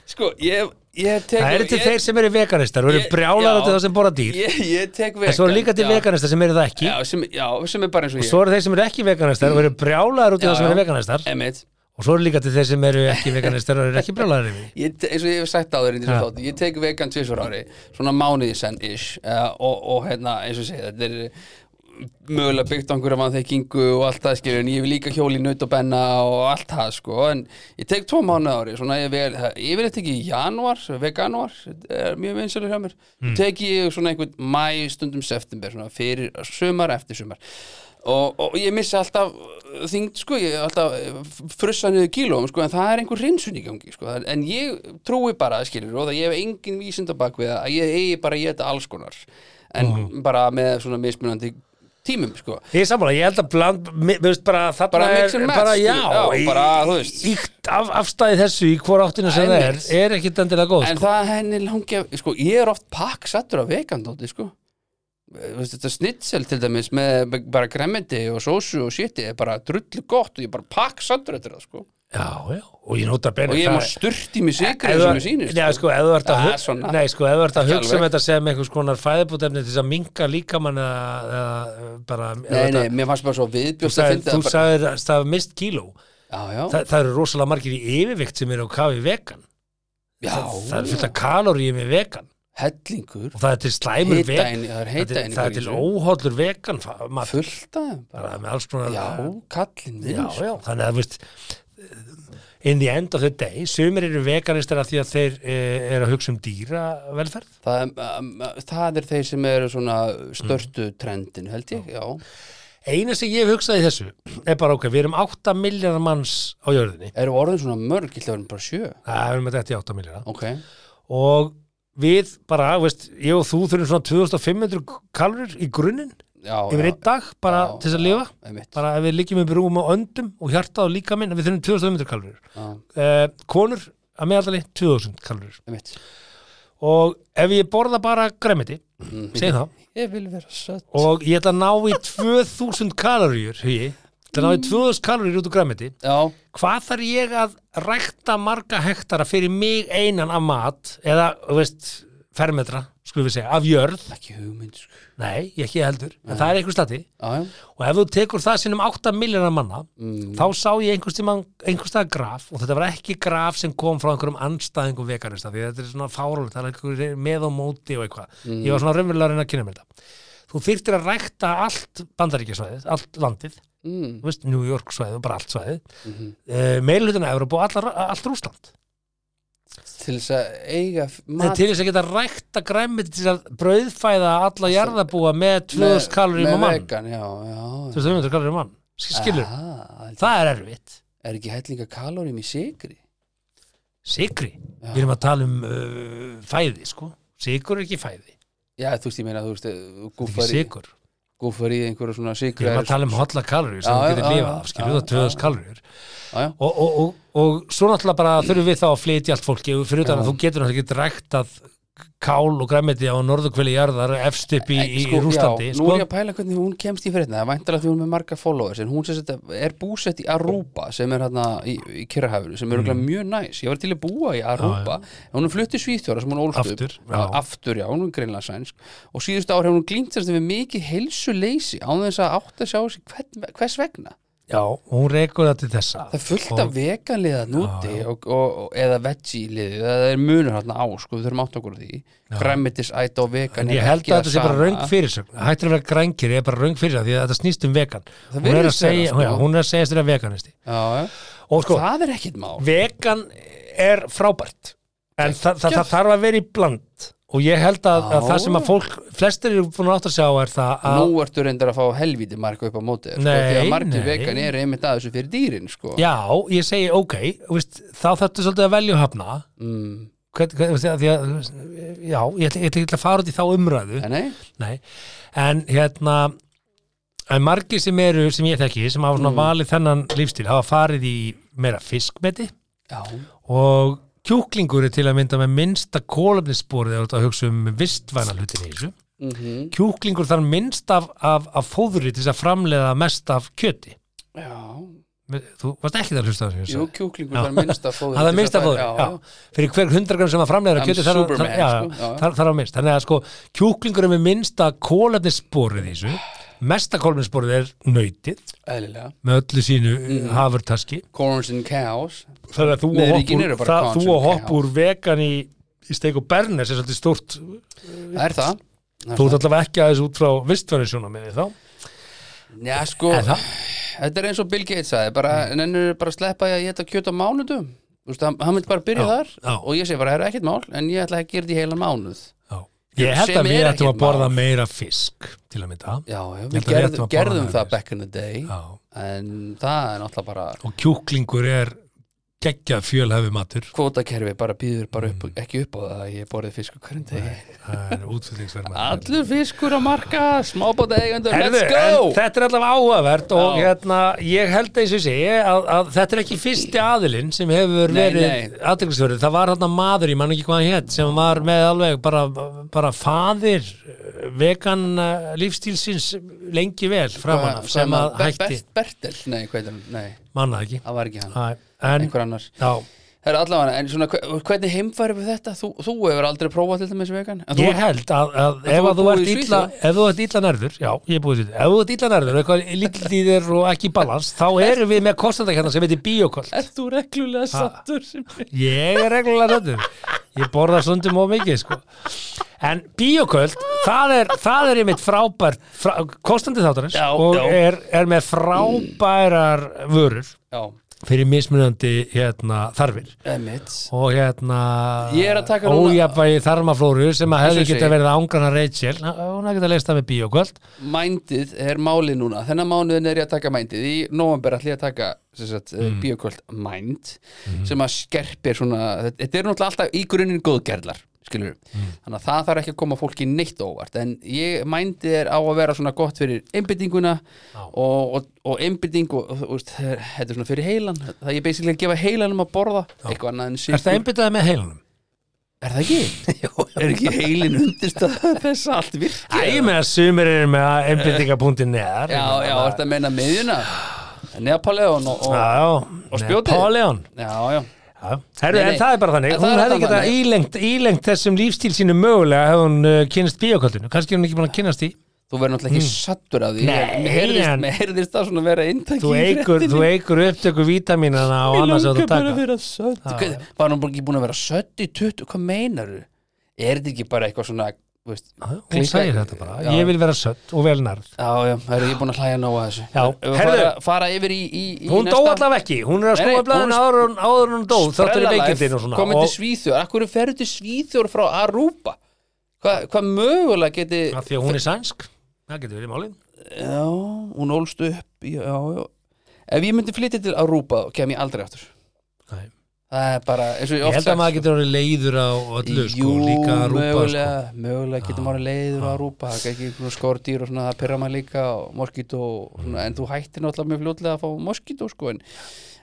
[SPEAKER 2] sko, ég, ég tek
[SPEAKER 1] Það eru til
[SPEAKER 2] ég,
[SPEAKER 1] þeir sem eru veganistar og eru
[SPEAKER 2] ég-
[SPEAKER 1] brjálar
[SPEAKER 2] já.
[SPEAKER 1] út af það sem borða dýr
[SPEAKER 2] Ég, ég tek vegan
[SPEAKER 1] En svo eru líka til
[SPEAKER 2] já.
[SPEAKER 1] veganistar sem eru það ekki
[SPEAKER 2] Já sem, já, sem er bara eins og ég
[SPEAKER 1] Svo eru þeir sem eru ekki veganistar og eru brjálar út af
[SPEAKER 2] Já,
[SPEAKER 1] það sem eru
[SPEAKER 2] já.
[SPEAKER 1] veganistar
[SPEAKER 2] Emmett
[SPEAKER 1] Og svo eru líka til þeir sem eru ekki veganistar og eru ekki brjálar yfir því.
[SPEAKER 2] Ég, te- eins og ég hef sagt áður í þessum
[SPEAKER 1] Ja.
[SPEAKER 2] þáttu, ég tek vegan tvisvar ári, svona mánuði senn ish uh, og, og hérna, eins og ég segi, þetta er mögulega byggt á einhverja mannþekkingu og allt það skilur, en ég hef líka hjóli naut og benna og allt það sko, en ég tek tvo mánuði ári, svona ég vel, ég vil þetta ekki í janúar, veganuar, er mjög vinsælur hjá mér, mm. tek ég svona einhvern mæ stundum september, svona fyrir sumar, eftir sumar og, og ég missa alltaf þingd sko, ég alltaf frussa niður kílóum sko, en það er einhver rinsun í gangi sko, Það- en ég trúi bara, skilur og það ég hef engin vísindabak við að ég eigi bara að geta alls konar en bara með svona mismunandi tímum sko,
[SPEAKER 1] Ég er sammála, ég held að bland, mi- þú veist bara þarna
[SPEAKER 2] Bara
[SPEAKER 1] er,
[SPEAKER 2] mix and match,
[SPEAKER 1] bara, já,
[SPEAKER 2] skilur, já,
[SPEAKER 1] í-
[SPEAKER 2] bara, þú veist.
[SPEAKER 1] Íkt af, afstæði þessu í hvora áttinu sem það er,
[SPEAKER 2] Einmitt.
[SPEAKER 1] er ekkit endilega góð
[SPEAKER 2] en
[SPEAKER 1] sko.
[SPEAKER 2] það henni langi að, sko, ég er oft pakk sattur af vegandóti, sko Þú veist, þetta snitsel til dæmis með bara gremmiti og sósu og shiti er bara drullu gott og ég er bara pakk sattur eftir það, sko
[SPEAKER 1] Já, já, og ég nota benni
[SPEAKER 2] og ég má sturt í mig sikri sem ég sýnist
[SPEAKER 1] Nei, sko, ef þú ert að,
[SPEAKER 2] Það er
[SPEAKER 1] hug,
[SPEAKER 2] svona.
[SPEAKER 1] nei, sko, ef þú ert að
[SPEAKER 2] Ekki
[SPEAKER 1] hugsa um
[SPEAKER 2] alveg.
[SPEAKER 1] þetta sem einhvers konar fæðibútefni til þess að minka líkamann eða, eða bara ef
[SPEAKER 2] Nei,
[SPEAKER 1] þetta-
[SPEAKER 2] nei, mér fannst bara svo viðbjóst að
[SPEAKER 1] sagði,
[SPEAKER 2] finna
[SPEAKER 1] þú sagðir að það er mist kíló
[SPEAKER 2] Já, já,
[SPEAKER 1] Þa, það eru rosalega margir í yfirvikt sem eru á kafi vegan það er
[SPEAKER 2] já,
[SPEAKER 1] fullt af kaloríum í vegan
[SPEAKER 2] hellingur
[SPEAKER 1] og það er til slæmur vegan
[SPEAKER 2] Heitaðin, það er
[SPEAKER 1] það er,
[SPEAKER 2] heitaðin
[SPEAKER 1] það er til óhóllur vegan fa- matur
[SPEAKER 2] Fullt af þeim bara.
[SPEAKER 1] bara með alls konar
[SPEAKER 2] Já, kallinn minn
[SPEAKER 1] já,
[SPEAKER 2] sko.
[SPEAKER 1] já, þannig að þú veist eh, in the end of the day sumir eru veganistar af því að þeir e, eru að hugsa um dýravelferð
[SPEAKER 2] það, er- um, það er þeir sem eru svona
[SPEAKER 1] Mm.
[SPEAKER 2] störtu trendin, held ég Já,
[SPEAKER 1] eina sem ég hef hugsað í þessu er bara ok, við erum 8 miljardar manns á jörðinni
[SPEAKER 2] eru orðin svona mörg, ég hlæður bara sjö
[SPEAKER 1] það erum við þetta í 8 miljardar
[SPEAKER 2] Ok,
[SPEAKER 1] og við bara, þú veist, ég og þú þurfum svona 2500 kalorir í grunninn
[SPEAKER 2] já,
[SPEAKER 1] yfir einn dag bara
[SPEAKER 2] Já,
[SPEAKER 1] til þess að lifa
[SPEAKER 2] einmitt
[SPEAKER 1] bara ef við liggjum upp í rúm og öndum og hjarta og líka minn, við þurfum 2500 kalorir
[SPEAKER 2] Já,
[SPEAKER 1] eh, konur að meðallali 2000 kalorir
[SPEAKER 2] einmitt
[SPEAKER 1] og ef ég borða bara græmiti, segjum það
[SPEAKER 2] Ég vil vera sött
[SPEAKER 1] og ég ætla að ná í 2000 kaloríur hugi, ég ætla að ná í 2000 kaloríur út úr græmiti
[SPEAKER 2] Já,
[SPEAKER 1] hvað þarf ég að rækta marga hektara fyrir mig einan af mat eða, þú veist, fermetra skulum við segja, af jörð
[SPEAKER 2] ekki hugmynd sko.
[SPEAKER 1] nei, ég ekki heldur, en það er einhver stati
[SPEAKER 2] Já, já,
[SPEAKER 1] og ef þú tekur það sinnum 8 miljonar manna
[SPEAKER 2] Mm.
[SPEAKER 1] þá sá ég einhvers tíma einhvers staðar graf og þetta var ekki graf sem kom frá einhverjum anstæðingum veganista því þetta er svona fárúlega, það er einhver með og móti og eitthvað,
[SPEAKER 2] Mm.
[SPEAKER 1] ég var svona raunverulega að reyna að kynna mér þetta þú þyrftir að rækta allt bandaríkjasvæðið, allt landið
[SPEAKER 2] mm.
[SPEAKER 1] þú veist, New York svæðið og bara allt svæðið mm
[SPEAKER 2] Mhm.
[SPEAKER 1] -hmm. uh, meilhutuna Evropa og allar, allt Rúsland
[SPEAKER 2] til þess að eiga f-
[SPEAKER 1] Mat.
[SPEAKER 2] mat
[SPEAKER 1] til þess að geta rækta græmið til þess að brauðfæða alla jarðabúa með 2000 kaloríum á
[SPEAKER 2] með
[SPEAKER 1] mann
[SPEAKER 2] vegan, já, já,
[SPEAKER 1] 2500 kaloríum á mann, Sk- skilur
[SPEAKER 2] Aha,
[SPEAKER 1] það er erfitt
[SPEAKER 2] er ekki hellinga kalórium í sigri
[SPEAKER 1] Sigri, við erum að tala um uh, fæði sko, sigur er ekki fæði
[SPEAKER 2] já þú veist ég meina þú veist eh, þú
[SPEAKER 1] ekki
[SPEAKER 2] gúffar í,
[SPEAKER 1] sigur,
[SPEAKER 2] gúffar í einhverja svona
[SPEAKER 1] við
[SPEAKER 2] sigri
[SPEAKER 1] erum að tala um hotla kaloríur sem þú
[SPEAKER 2] Já, já,
[SPEAKER 1] getur
[SPEAKER 2] já,
[SPEAKER 1] lifað af, skilur
[SPEAKER 2] já,
[SPEAKER 1] það 2000 kaloríur
[SPEAKER 2] já.
[SPEAKER 1] og, og, og, og svo náttúrulega bara þurfum við þá að flytja allt fólki fyrir utan að þú getur náttúrulega ekki ræktað kál og græmiti á norðurkvili jarðar efst upp í, í
[SPEAKER 2] Sko,
[SPEAKER 1] Rúslandi
[SPEAKER 2] já, nú
[SPEAKER 1] sko.
[SPEAKER 2] er ég að pæla hvernig hún kemst í fréttina það er væntalega því hún er með marga followers en hún sem þetta er búsett í Aruba sem er hérna í, í Kyrrahafinu sem er mm. mjög næs, ég var til að búa í Aruba en hún er flutt í Svíþjóra sem hún ólst upp
[SPEAKER 1] Aftur, já.
[SPEAKER 2] já. aftur, já, hún er greinlega sænsk og síðustu ár hefur hún glýmt þess að við mikið heilsuleysi án þess að átt að sjá sig hvern, hvers vegna
[SPEAKER 1] já, hún rekur það til þessa
[SPEAKER 2] Það er fullt af veganliða núti og, og, og, eða veggie-liði það er munur hérna á, sko, við þurfum átt okkur á því græmitis, æta og vegan
[SPEAKER 1] ég
[SPEAKER 2] er
[SPEAKER 1] held
[SPEAKER 2] ekki
[SPEAKER 1] að
[SPEAKER 2] það
[SPEAKER 1] þetta sé bara
[SPEAKER 2] sama.
[SPEAKER 1] raung fyrirsögn hættir að vera grængir, ég er bara raung fyrirsögn því að þetta snýst um vegan hún er, að
[SPEAKER 2] virðist vera,
[SPEAKER 1] segja,
[SPEAKER 2] sko.
[SPEAKER 1] já, hún er að segja styrir veganisti
[SPEAKER 2] Já, já.
[SPEAKER 1] og sko,
[SPEAKER 2] það er ekkit mál
[SPEAKER 1] vegan er frábært en það, það, það þarf að vera í bland og ég held að, að
[SPEAKER 2] Já.
[SPEAKER 1] það sem að fólk flestir eru búin að átt að sjá er það að
[SPEAKER 2] nú ertu reyndar að fá helvíti marga upp á móti þér, sko,
[SPEAKER 1] Nei,
[SPEAKER 2] því að margir
[SPEAKER 1] nei.
[SPEAKER 2] vegan er einmitt að þessu fyrir dýrin sko.
[SPEAKER 1] já, ég segi ok þú veist, þá þarftu svolítið að velja og hafna
[SPEAKER 2] mm.
[SPEAKER 1] hvern, hvern, veist, að því að, þú veist, já, ég ætla ég ætla ekki að fara út í þá umræðu
[SPEAKER 2] en nei,
[SPEAKER 1] Nei, en hérna en margir sem eru, sem ég þekki sem hafa svona
[SPEAKER 2] Mm.
[SPEAKER 1] valið þennan lífstíl hafa farið í meira fiskmeti
[SPEAKER 2] já,
[SPEAKER 1] og kjúklingur er til að mynda með minnsta kólefnissporið þegar þú ert að hugsa um vistvæna hlutin í þessu
[SPEAKER 2] mm
[SPEAKER 1] kjúklingur þarf minnst af, af, af fóðri til þess að framleiða mest af kjöti
[SPEAKER 2] já
[SPEAKER 1] Þú varst ekki það að hlusta á þessu ég
[SPEAKER 2] Jú,
[SPEAKER 1] sagði.
[SPEAKER 2] kjúklingur
[SPEAKER 1] Já.
[SPEAKER 2] þarf minnst að fóður
[SPEAKER 1] að það minnst að fóður,
[SPEAKER 2] já, já.
[SPEAKER 1] já, fyrir hver hundragram sem að framlega
[SPEAKER 2] I'm
[SPEAKER 1] kjöti þarf
[SPEAKER 2] Superman,
[SPEAKER 1] þarf- já,
[SPEAKER 2] sko, já.
[SPEAKER 1] þarf- þarf að minnst þannig að sko, kjúklingurum er minnsta kólefnissporið í þessu, mesta kólefnissporið er nautið
[SPEAKER 2] Eðlilega
[SPEAKER 1] með öllu sínu mm.
[SPEAKER 2] Mhm.
[SPEAKER 1] hafurtaski
[SPEAKER 2] Corns and cows
[SPEAKER 1] þannig að þú
[SPEAKER 2] Nei,
[SPEAKER 1] og
[SPEAKER 2] ríkin
[SPEAKER 1] hoppur,
[SPEAKER 2] eru bara
[SPEAKER 1] það,
[SPEAKER 2] constant
[SPEAKER 1] þú og hoppur
[SPEAKER 2] chaos.
[SPEAKER 1] vegan í, í steik og bernes er svolítið stórt
[SPEAKER 2] Það er það Það er
[SPEAKER 1] þú
[SPEAKER 2] það.
[SPEAKER 1] ert allavega ekki aðeins út frá vistverðisjóna með því þá
[SPEAKER 2] Já, sko,
[SPEAKER 1] Er það? Mm.
[SPEAKER 2] þetta er eins og Bill Gates sagði bara, nennir bara að sleppa ég að geta kjöt á mánudum Þú veist, hann, hann vil bara byrja
[SPEAKER 1] Já,
[SPEAKER 2] þar
[SPEAKER 1] já.
[SPEAKER 2] og ég segi bara, það er ekkert mál en ég ætla að gera þetta í heilan mánuð
[SPEAKER 1] já. ég held
[SPEAKER 2] Sem
[SPEAKER 1] að við
[SPEAKER 2] er
[SPEAKER 1] ættum
[SPEAKER 2] ekkert
[SPEAKER 1] að borða
[SPEAKER 2] mál.
[SPEAKER 1] meira fisk til að mynda
[SPEAKER 2] Já, já,
[SPEAKER 1] Ég held að
[SPEAKER 2] við
[SPEAKER 1] við ættum
[SPEAKER 2] gerðum,
[SPEAKER 1] að borða
[SPEAKER 2] gerðum
[SPEAKER 1] það
[SPEAKER 2] það
[SPEAKER 1] fyrst.
[SPEAKER 2] back in the day
[SPEAKER 1] Já.
[SPEAKER 2] en það er náttúrulega bara
[SPEAKER 1] og kjúklingur er geggjað fjölhefi matur
[SPEAKER 2] kvótakerfi bara býður bara upp,
[SPEAKER 1] Mm.
[SPEAKER 2] ekki upp á það að ég borðið fiskur hverjum degi
[SPEAKER 1] það er útfyllingsverð
[SPEAKER 2] Allur fiskur á marka, smábóta eigundur,
[SPEAKER 1] Herðu,
[SPEAKER 2] let's
[SPEAKER 1] en
[SPEAKER 2] go
[SPEAKER 1] þetta er allavega áhugavert og
[SPEAKER 2] Já.
[SPEAKER 1] hérna, ég held eins og sé að, að þetta er ekki fyrsti aðilinn sem hefur
[SPEAKER 2] Nei,
[SPEAKER 1] verið
[SPEAKER 2] nei.
[SPEAKER 1] aðdeglisverður það var hérna maður, ég man ekki hvað hann hétt sem var með alveg bara, bara faðir eh, vegan eh, lífstílsins lengi vel framan af sem að
[SPEAKER 2] Ber-
[SPEAKER 1] hætti
[SPEAKER 2] Bert- Bertel, nei, hvað heitir hann, nei,
[SPEAKER 1] manna ekki
[SPEAKER 2] það var ekki hann
[SPEAKER 1] Æ, en,
[SPEAKER 2] einhver annar
[SPEAKER 1] já,
[SPEAKER 2] Það er allavega, en svona, hve- hvernig heimfæri við þetta? Þú, þú hefur aldrei prófað til dæmis vegan En þú
[SPEAKER 1] ég held að, að
[SPEAKER 2] þú
[SPEAKER 1] ef
[SPEAKER 2] ert
[SPEAKER 1] að þú
[SPEAKER 2] búið
[SPEAKER 1] ert
[SPEAKER 2] í
[SPEAKER 1] illa
[SPEAKER 2] Svíþjóð.
[SPEAKER 1] ef þú ert illa nærður, já, ég er búið til ef þú ert illa nærður, eitthvað lítið í þér og ekki í balans, þá erum við með kostandakjarnar sem heitir bíokolt
[SPEAKER 2] er þú reglulega sattur sem
[SPEAKER 1] Ég er reglulega þetta Ég borða stundum og mikið sko En bíoköld, það er, það er einmitt frábært, frá, kostandi þáttarins
[SPEAKER 2] Já,
[SPEAKER 1] og
[SPEAKER 2] já.
[SPEAKER 1] Er, er með frábærar vörur
[SPEAKER 2] Já,
[SPEAKER 1] fyrir mismunandi hérna, þarfir
[SPEAKER 2] emitt
[SPEAKER 1] og hérna
[SPEAKER 2] Ég er að taka núna-
[SPEAKER 1] ójafnvægi þarmaflóru sem að
[SPEAKER 2] Þessu
[SPEAKER 1] hefði
[SPEAKER 2] segi.
[SPEAKER 1] geta verið ángrana Rachel hún hefði geta leist það með bíoköld
[SPEAKER 2] Mindið er máli núna Þennan mánuðin er ég að taka mindið Í november ætlum ég að taka sem sagt, mm. bioköld mind sem að skerpir svona Þetta er náttúrulega alltaf í grunninn góðgerðlar skilur þannig að það þarf ekki að koma fólki neitt á óvart en ég mændi er á að vera svona gott fyrir einbyttinguna og, og, og einbytting og, og, og þetta er svona fyrir heilan það er basically að gefa heilanum að borða eitthvað annað en
[SPEAKER 1] Er það einbyttaði með heilanum?
[SPEAKER 2] Er það ekki? Jó, er ekki heilin undirstaða þess að allt virkið?
[SPEAKER 1] Æ, ég með að sumir eru með einbyttingapunktin neðar
[SPEAKER 2] Já, já, ertu að meina miðjuna? Neapoleon og, og
[SPEAKER 1] Já,
[SPEAKER 2] Og spjótið.
[SPEAKER 1] Napoleon
[SPEAKER 2] Já, já
[SPEAKER 1] Já. Herru,
[SPEAKER 2] Nei, nei.
[SPEAKER 1] en það er bara þannig,
[SPEAKER 2] En það
[SPEAKER 1] hún
[SPEAKER 2] er
[SPEAKER 1] hefði
[SPEAKER 2] alltaf
[SPEAKER 1] geta
[SPEAKER 2] þannig.
[SPEAKER 1] ílengt, ílengt þessum lífstíl sínu mögulega hefði hún uh, kynst bíoköldinu, kannski er hún ekki búin að kynast því
[SPEAKER 2] Þú verður náttúrulega ekki sattur af því
[SPEAKER 1] Hmm. Nei,
[SPEAKER 2] Mér heyrðist,
[SPEAKER 1] en-
[SPEAKER 2] mér heyrðist það svona að vera inntaki
[SPEAKER 1] þú eigur, þú eigur upptöku vítaminana og annars að þú taka
[SPEAKER 2] vera sött Hvað, Var hún bara ekki búin að vera sött í 20? Hvað meinaru? Er þetta ekki bara eitthvað svona þú veist,
[SPEAKER 1] hún
[SPEAKER 2] klikka-
[SPEAKER 1] segir þetta bara,
[SPEAKER 2] Já.
[SPEAKER 1] ég vil vera sött og vel nærð
[SPEAKER 2] Já, já, það er ég búin að hlæja nóg að þessu
[SPEAKER 1] Já,
[SPEAKER 2] Ef við
[SPEAKER 1] herðu.
[SPEAKER 2] fara, fara yfir í, í, í
[SPEAKER 1] hún dó
[SPEAKER 2] næsta-
[SPEAKER 1] allavega ekki, hún er að
[SPEAKER 2] Nei, nei,
[SPEAKER 1] skoða blæðin
[SPEAKER 2] hún-
[SPEAKER 1] áður en áður en hún dó, þáttur í
[SPEAKER 2] Sprella Life,
[SPEAKER 1] veikindin og svona
[SPEAKER 2] komið til
[SPEAKER 1] og
[SPEAKER 2] Svíþjóð, akkur ferðu til Svíþjóð frá Arúpa hvað hva mögulega geti
[SPEAKER 1] af því að hún er sænsk það getur verið málið
[SPEAKER 2] já, hún ólst upp já, já. ef ég myndi flytja til Arúpa kem ég aldrei aftur
[SPEAKER 1] Nei.
[SPEAKER 2] það er bara, eins og
[SPEAKER 1] ég
[SPEAKER 2] ég
[SPEAKER 1] held að maður getur orðið leiður á öllu sko, líka að rúpa sko.
[SPEAKER 2] sko. mögulega, mögulega getur maður leiður á Arúpa það er ekki einhvern skordýr og svona það pyrra maður líka og moskító, og svona, en þú hættir náttúrulega mjög fljótlega að fá moskító sko, en,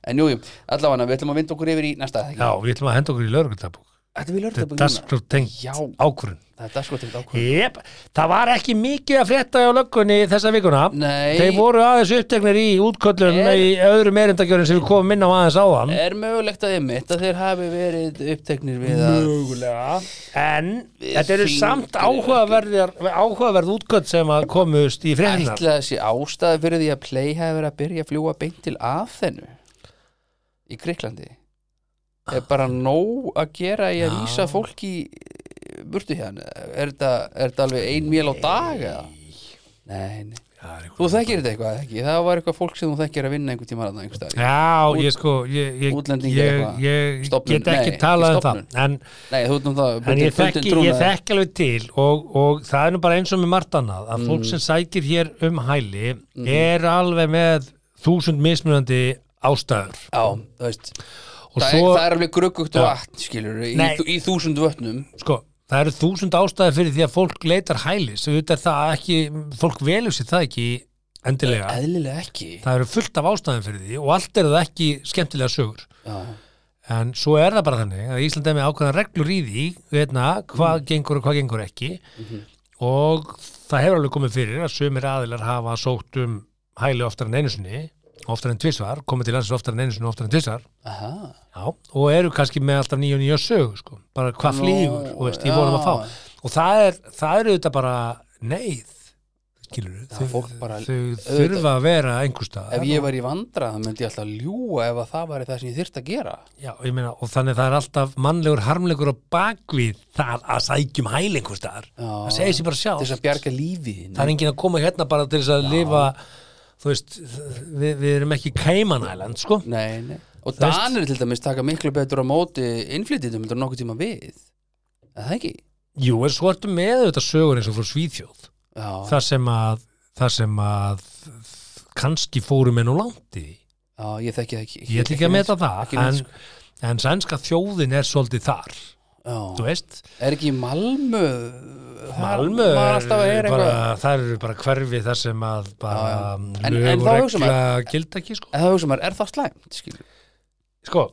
[SPEAKER 2] en jú, jú, allavega við ætlum að vinda okkur yfir í næsta
[SPEAKER 1] já, við ætlum að henda okkur í lögreglutabúk
[SPEAKER 2] þetta við lörðum
[SPEAKER 1] þetta er sko tengt
[SPEAKER 2] Já.
[SPEAKER 1] ákvörðun
[SPEAKER 2] þetta er sko til ákvörð
[SPEAKER 1] Jep, það var ekki mikið að frétta á löggunni þessa vikuna
[SPEAKER 2] Nei.
[SPEAKER 1] Þeir voru aðeins uppteknir í útköllum
[SPEAKER 2] Er-
[SPEAKER 1] í öðrum erindagjörnum sem við komum inn á aðeins áðan
[SPEAKER 2] Er mögulegt að einmitt að þeir hafi verið uppteknir við að
[SPEAKER 1] Mögulega En þetta eru
[SPEAKER 2] Þyngri
[SPEAKER 1] samt áhugaverð, áhugaverð útköll sem að komust í fréttinar
[SPEAKER 2] ætla þessi ástæði fyrir því að Play hafi verið að byrja að fljúa beint til Aþenu í Greiklandi
[SPEAKER 1] Ah.
[SPEAKER 2] Er bara nóg að gera í að vísa fólki í burtu hérna Er þetta, er þetta alveg ein mél á dag eða? Nei, nei Þú þekkir þetta eitthvað ekki? Það var eitthvað fólk sem þú þekkir að vinna einhver tíma að einhver stað
[SPEAKER 1] Já, ég sko ég, ég,
[SPEAKER 2] Útlendingar
[SPEAKER 1] ég,
[SPEAKER 2] eitthvað.
[SPEAKER 1] ég
[SPEAKER 2] Stofnun,
[SPEAKER 1] get ekki
[SPEAKER 2] nei,
[SPEAKER 1] talað um
[SPEAKER 2] ekki
[SPEAKER 1] það En,
[SPEAKER 2] Nei, þú veitum það
[SPEAKER 1] en ég,
[SPEAKER 2] bundin- bundin
[SPEAKER 1] þekki, ég
[SPEAKER 2] trúnaði.
[SPEAKER 1] þekki alveg til og, og það er nú bara eins og með margt annað að fólk sem sækir hér um hæli er alveg með þúsund mismunandi ástæður
[SPEAKER 2] Já, þú veist
[SPEAKER 1] og
[SPEAKER 2] það,
[SPEAKER 1] svo,
[SPEAKER 2] er, það er alveg gruggugt
[SPEAKER 1] Já.
[SPEAKER 2] vatn, skilur í,
[SPEAKER 1] Nei.
[SPEAKER 2] í þúsund vötnum
[SPEAKER 1] sko, það eru þúsund ástæður fyrir því að fólk leitar hæli svo þetta er það ekki, fólk velur sér það ekki
[SPEAKER 2] Eh,
[SPEAKER 1] endilega
[SPEAKER 2] Eðlilega ekki
[SPEAKER 1] það eru fullt af ástæðum fyrir því og allt eru það ekki skemmtilega sögur
[SPEAKER 2] Já.
[SPEAKER 1] en svo er það bara þannig að Ísland er með ákveðan reglur í því veitna, hvað
[SPEAKER 2] Mm.
[SPEAKER 1] gengur og hvað gengur ekki
[SPEAKER 2] Mhm.
[SPEAKER 1] og það hefur alveg komið fyrir að sömur aðilar hafa sótt um hæli oftar en einu sinni oftar en tvisvar, komið til landsins oftar en einu sinni oftar en tvisvar
[SPEAKER 2] Aha.
[SPEAKER 1] Já, og eru kannski með alltaf nýja og nýja sögu sko. bara hvað flýgur og veist, ég vonum að fá og það er, það er auðvitað bara neyð skilur
[SPEAKER 2] fólk bara-
[SPEAKER 1] þau þurfa að vera einhverstað
[SPEAKER 2] Ef ég var í vandra, það myndi ég alltaf ljúa ef að það væri það sem ég þyrfti að gera.
[SPEAKER 1] Já, ég meina, og þannig það er alltaf mannlegur harmlegur á bakvið það að sækjum hæl einhverstaðar það segir sér bara
[SPEAKER 2] Til þess
[SPEAKER 1] sjálf
[SPEAKER 2] að bjarga lífi.
[SPEAKER 1] það er enginn að koma hérna bara til þess að lifa þú veist, við, við erum ekki Cayman Island, sko
[SPEAKER 2] Nei, nei. Og
[SPEAKER 1] veist-
[SPEAKER 2] Danir til dæmis taka miklu betur á móti innflytjum heldur en nokkuð tíma við. Er það ekki?
[SPEAKER 1] Jú, en svo ertu með auðvitað sögur eins og frá Svíþjóð
[SPEAKER 2] Já,
[SPEAKER 1] þar sem að, þar sem að kannski fórum enn og langt í því.
[SPEAKER 2] já ég þekki það ekki.
[SPEAKER 1] ég ætla ekki að meta það
[SPEAKER 2] ekki sko. neitt,
[SPEAKER 1] en, en sænska þjóðin er svolítið þar
[SPEAKER 2] Já.
[SPEAKER 1] þú veist,
[SPEAKER 2] Er ekki í Malmö?
[SPEAKER 1] Malmö
[SPEAKER 2] Það var
[SPEAKER 1] er
[SPEAKER 2] alltaf að er
[SPEAKER 1] bara,
[SPEAKER 2] eitthvað.
[SPEAKER 1] það eru bara hverfi þar sem að bara
[SPEAKER 2] já. En- en
[SPEAKER 1] lög
[SPEAKER 2] þá
[SPEAKER 1] og
[SPEAKER 2] hugsa
[SPEAKER 1] regla gilda ekki sko,
[SPEAKER 2] En það hugsa maður, er það slæmt? Skilur?
[SPEAKER 1] sko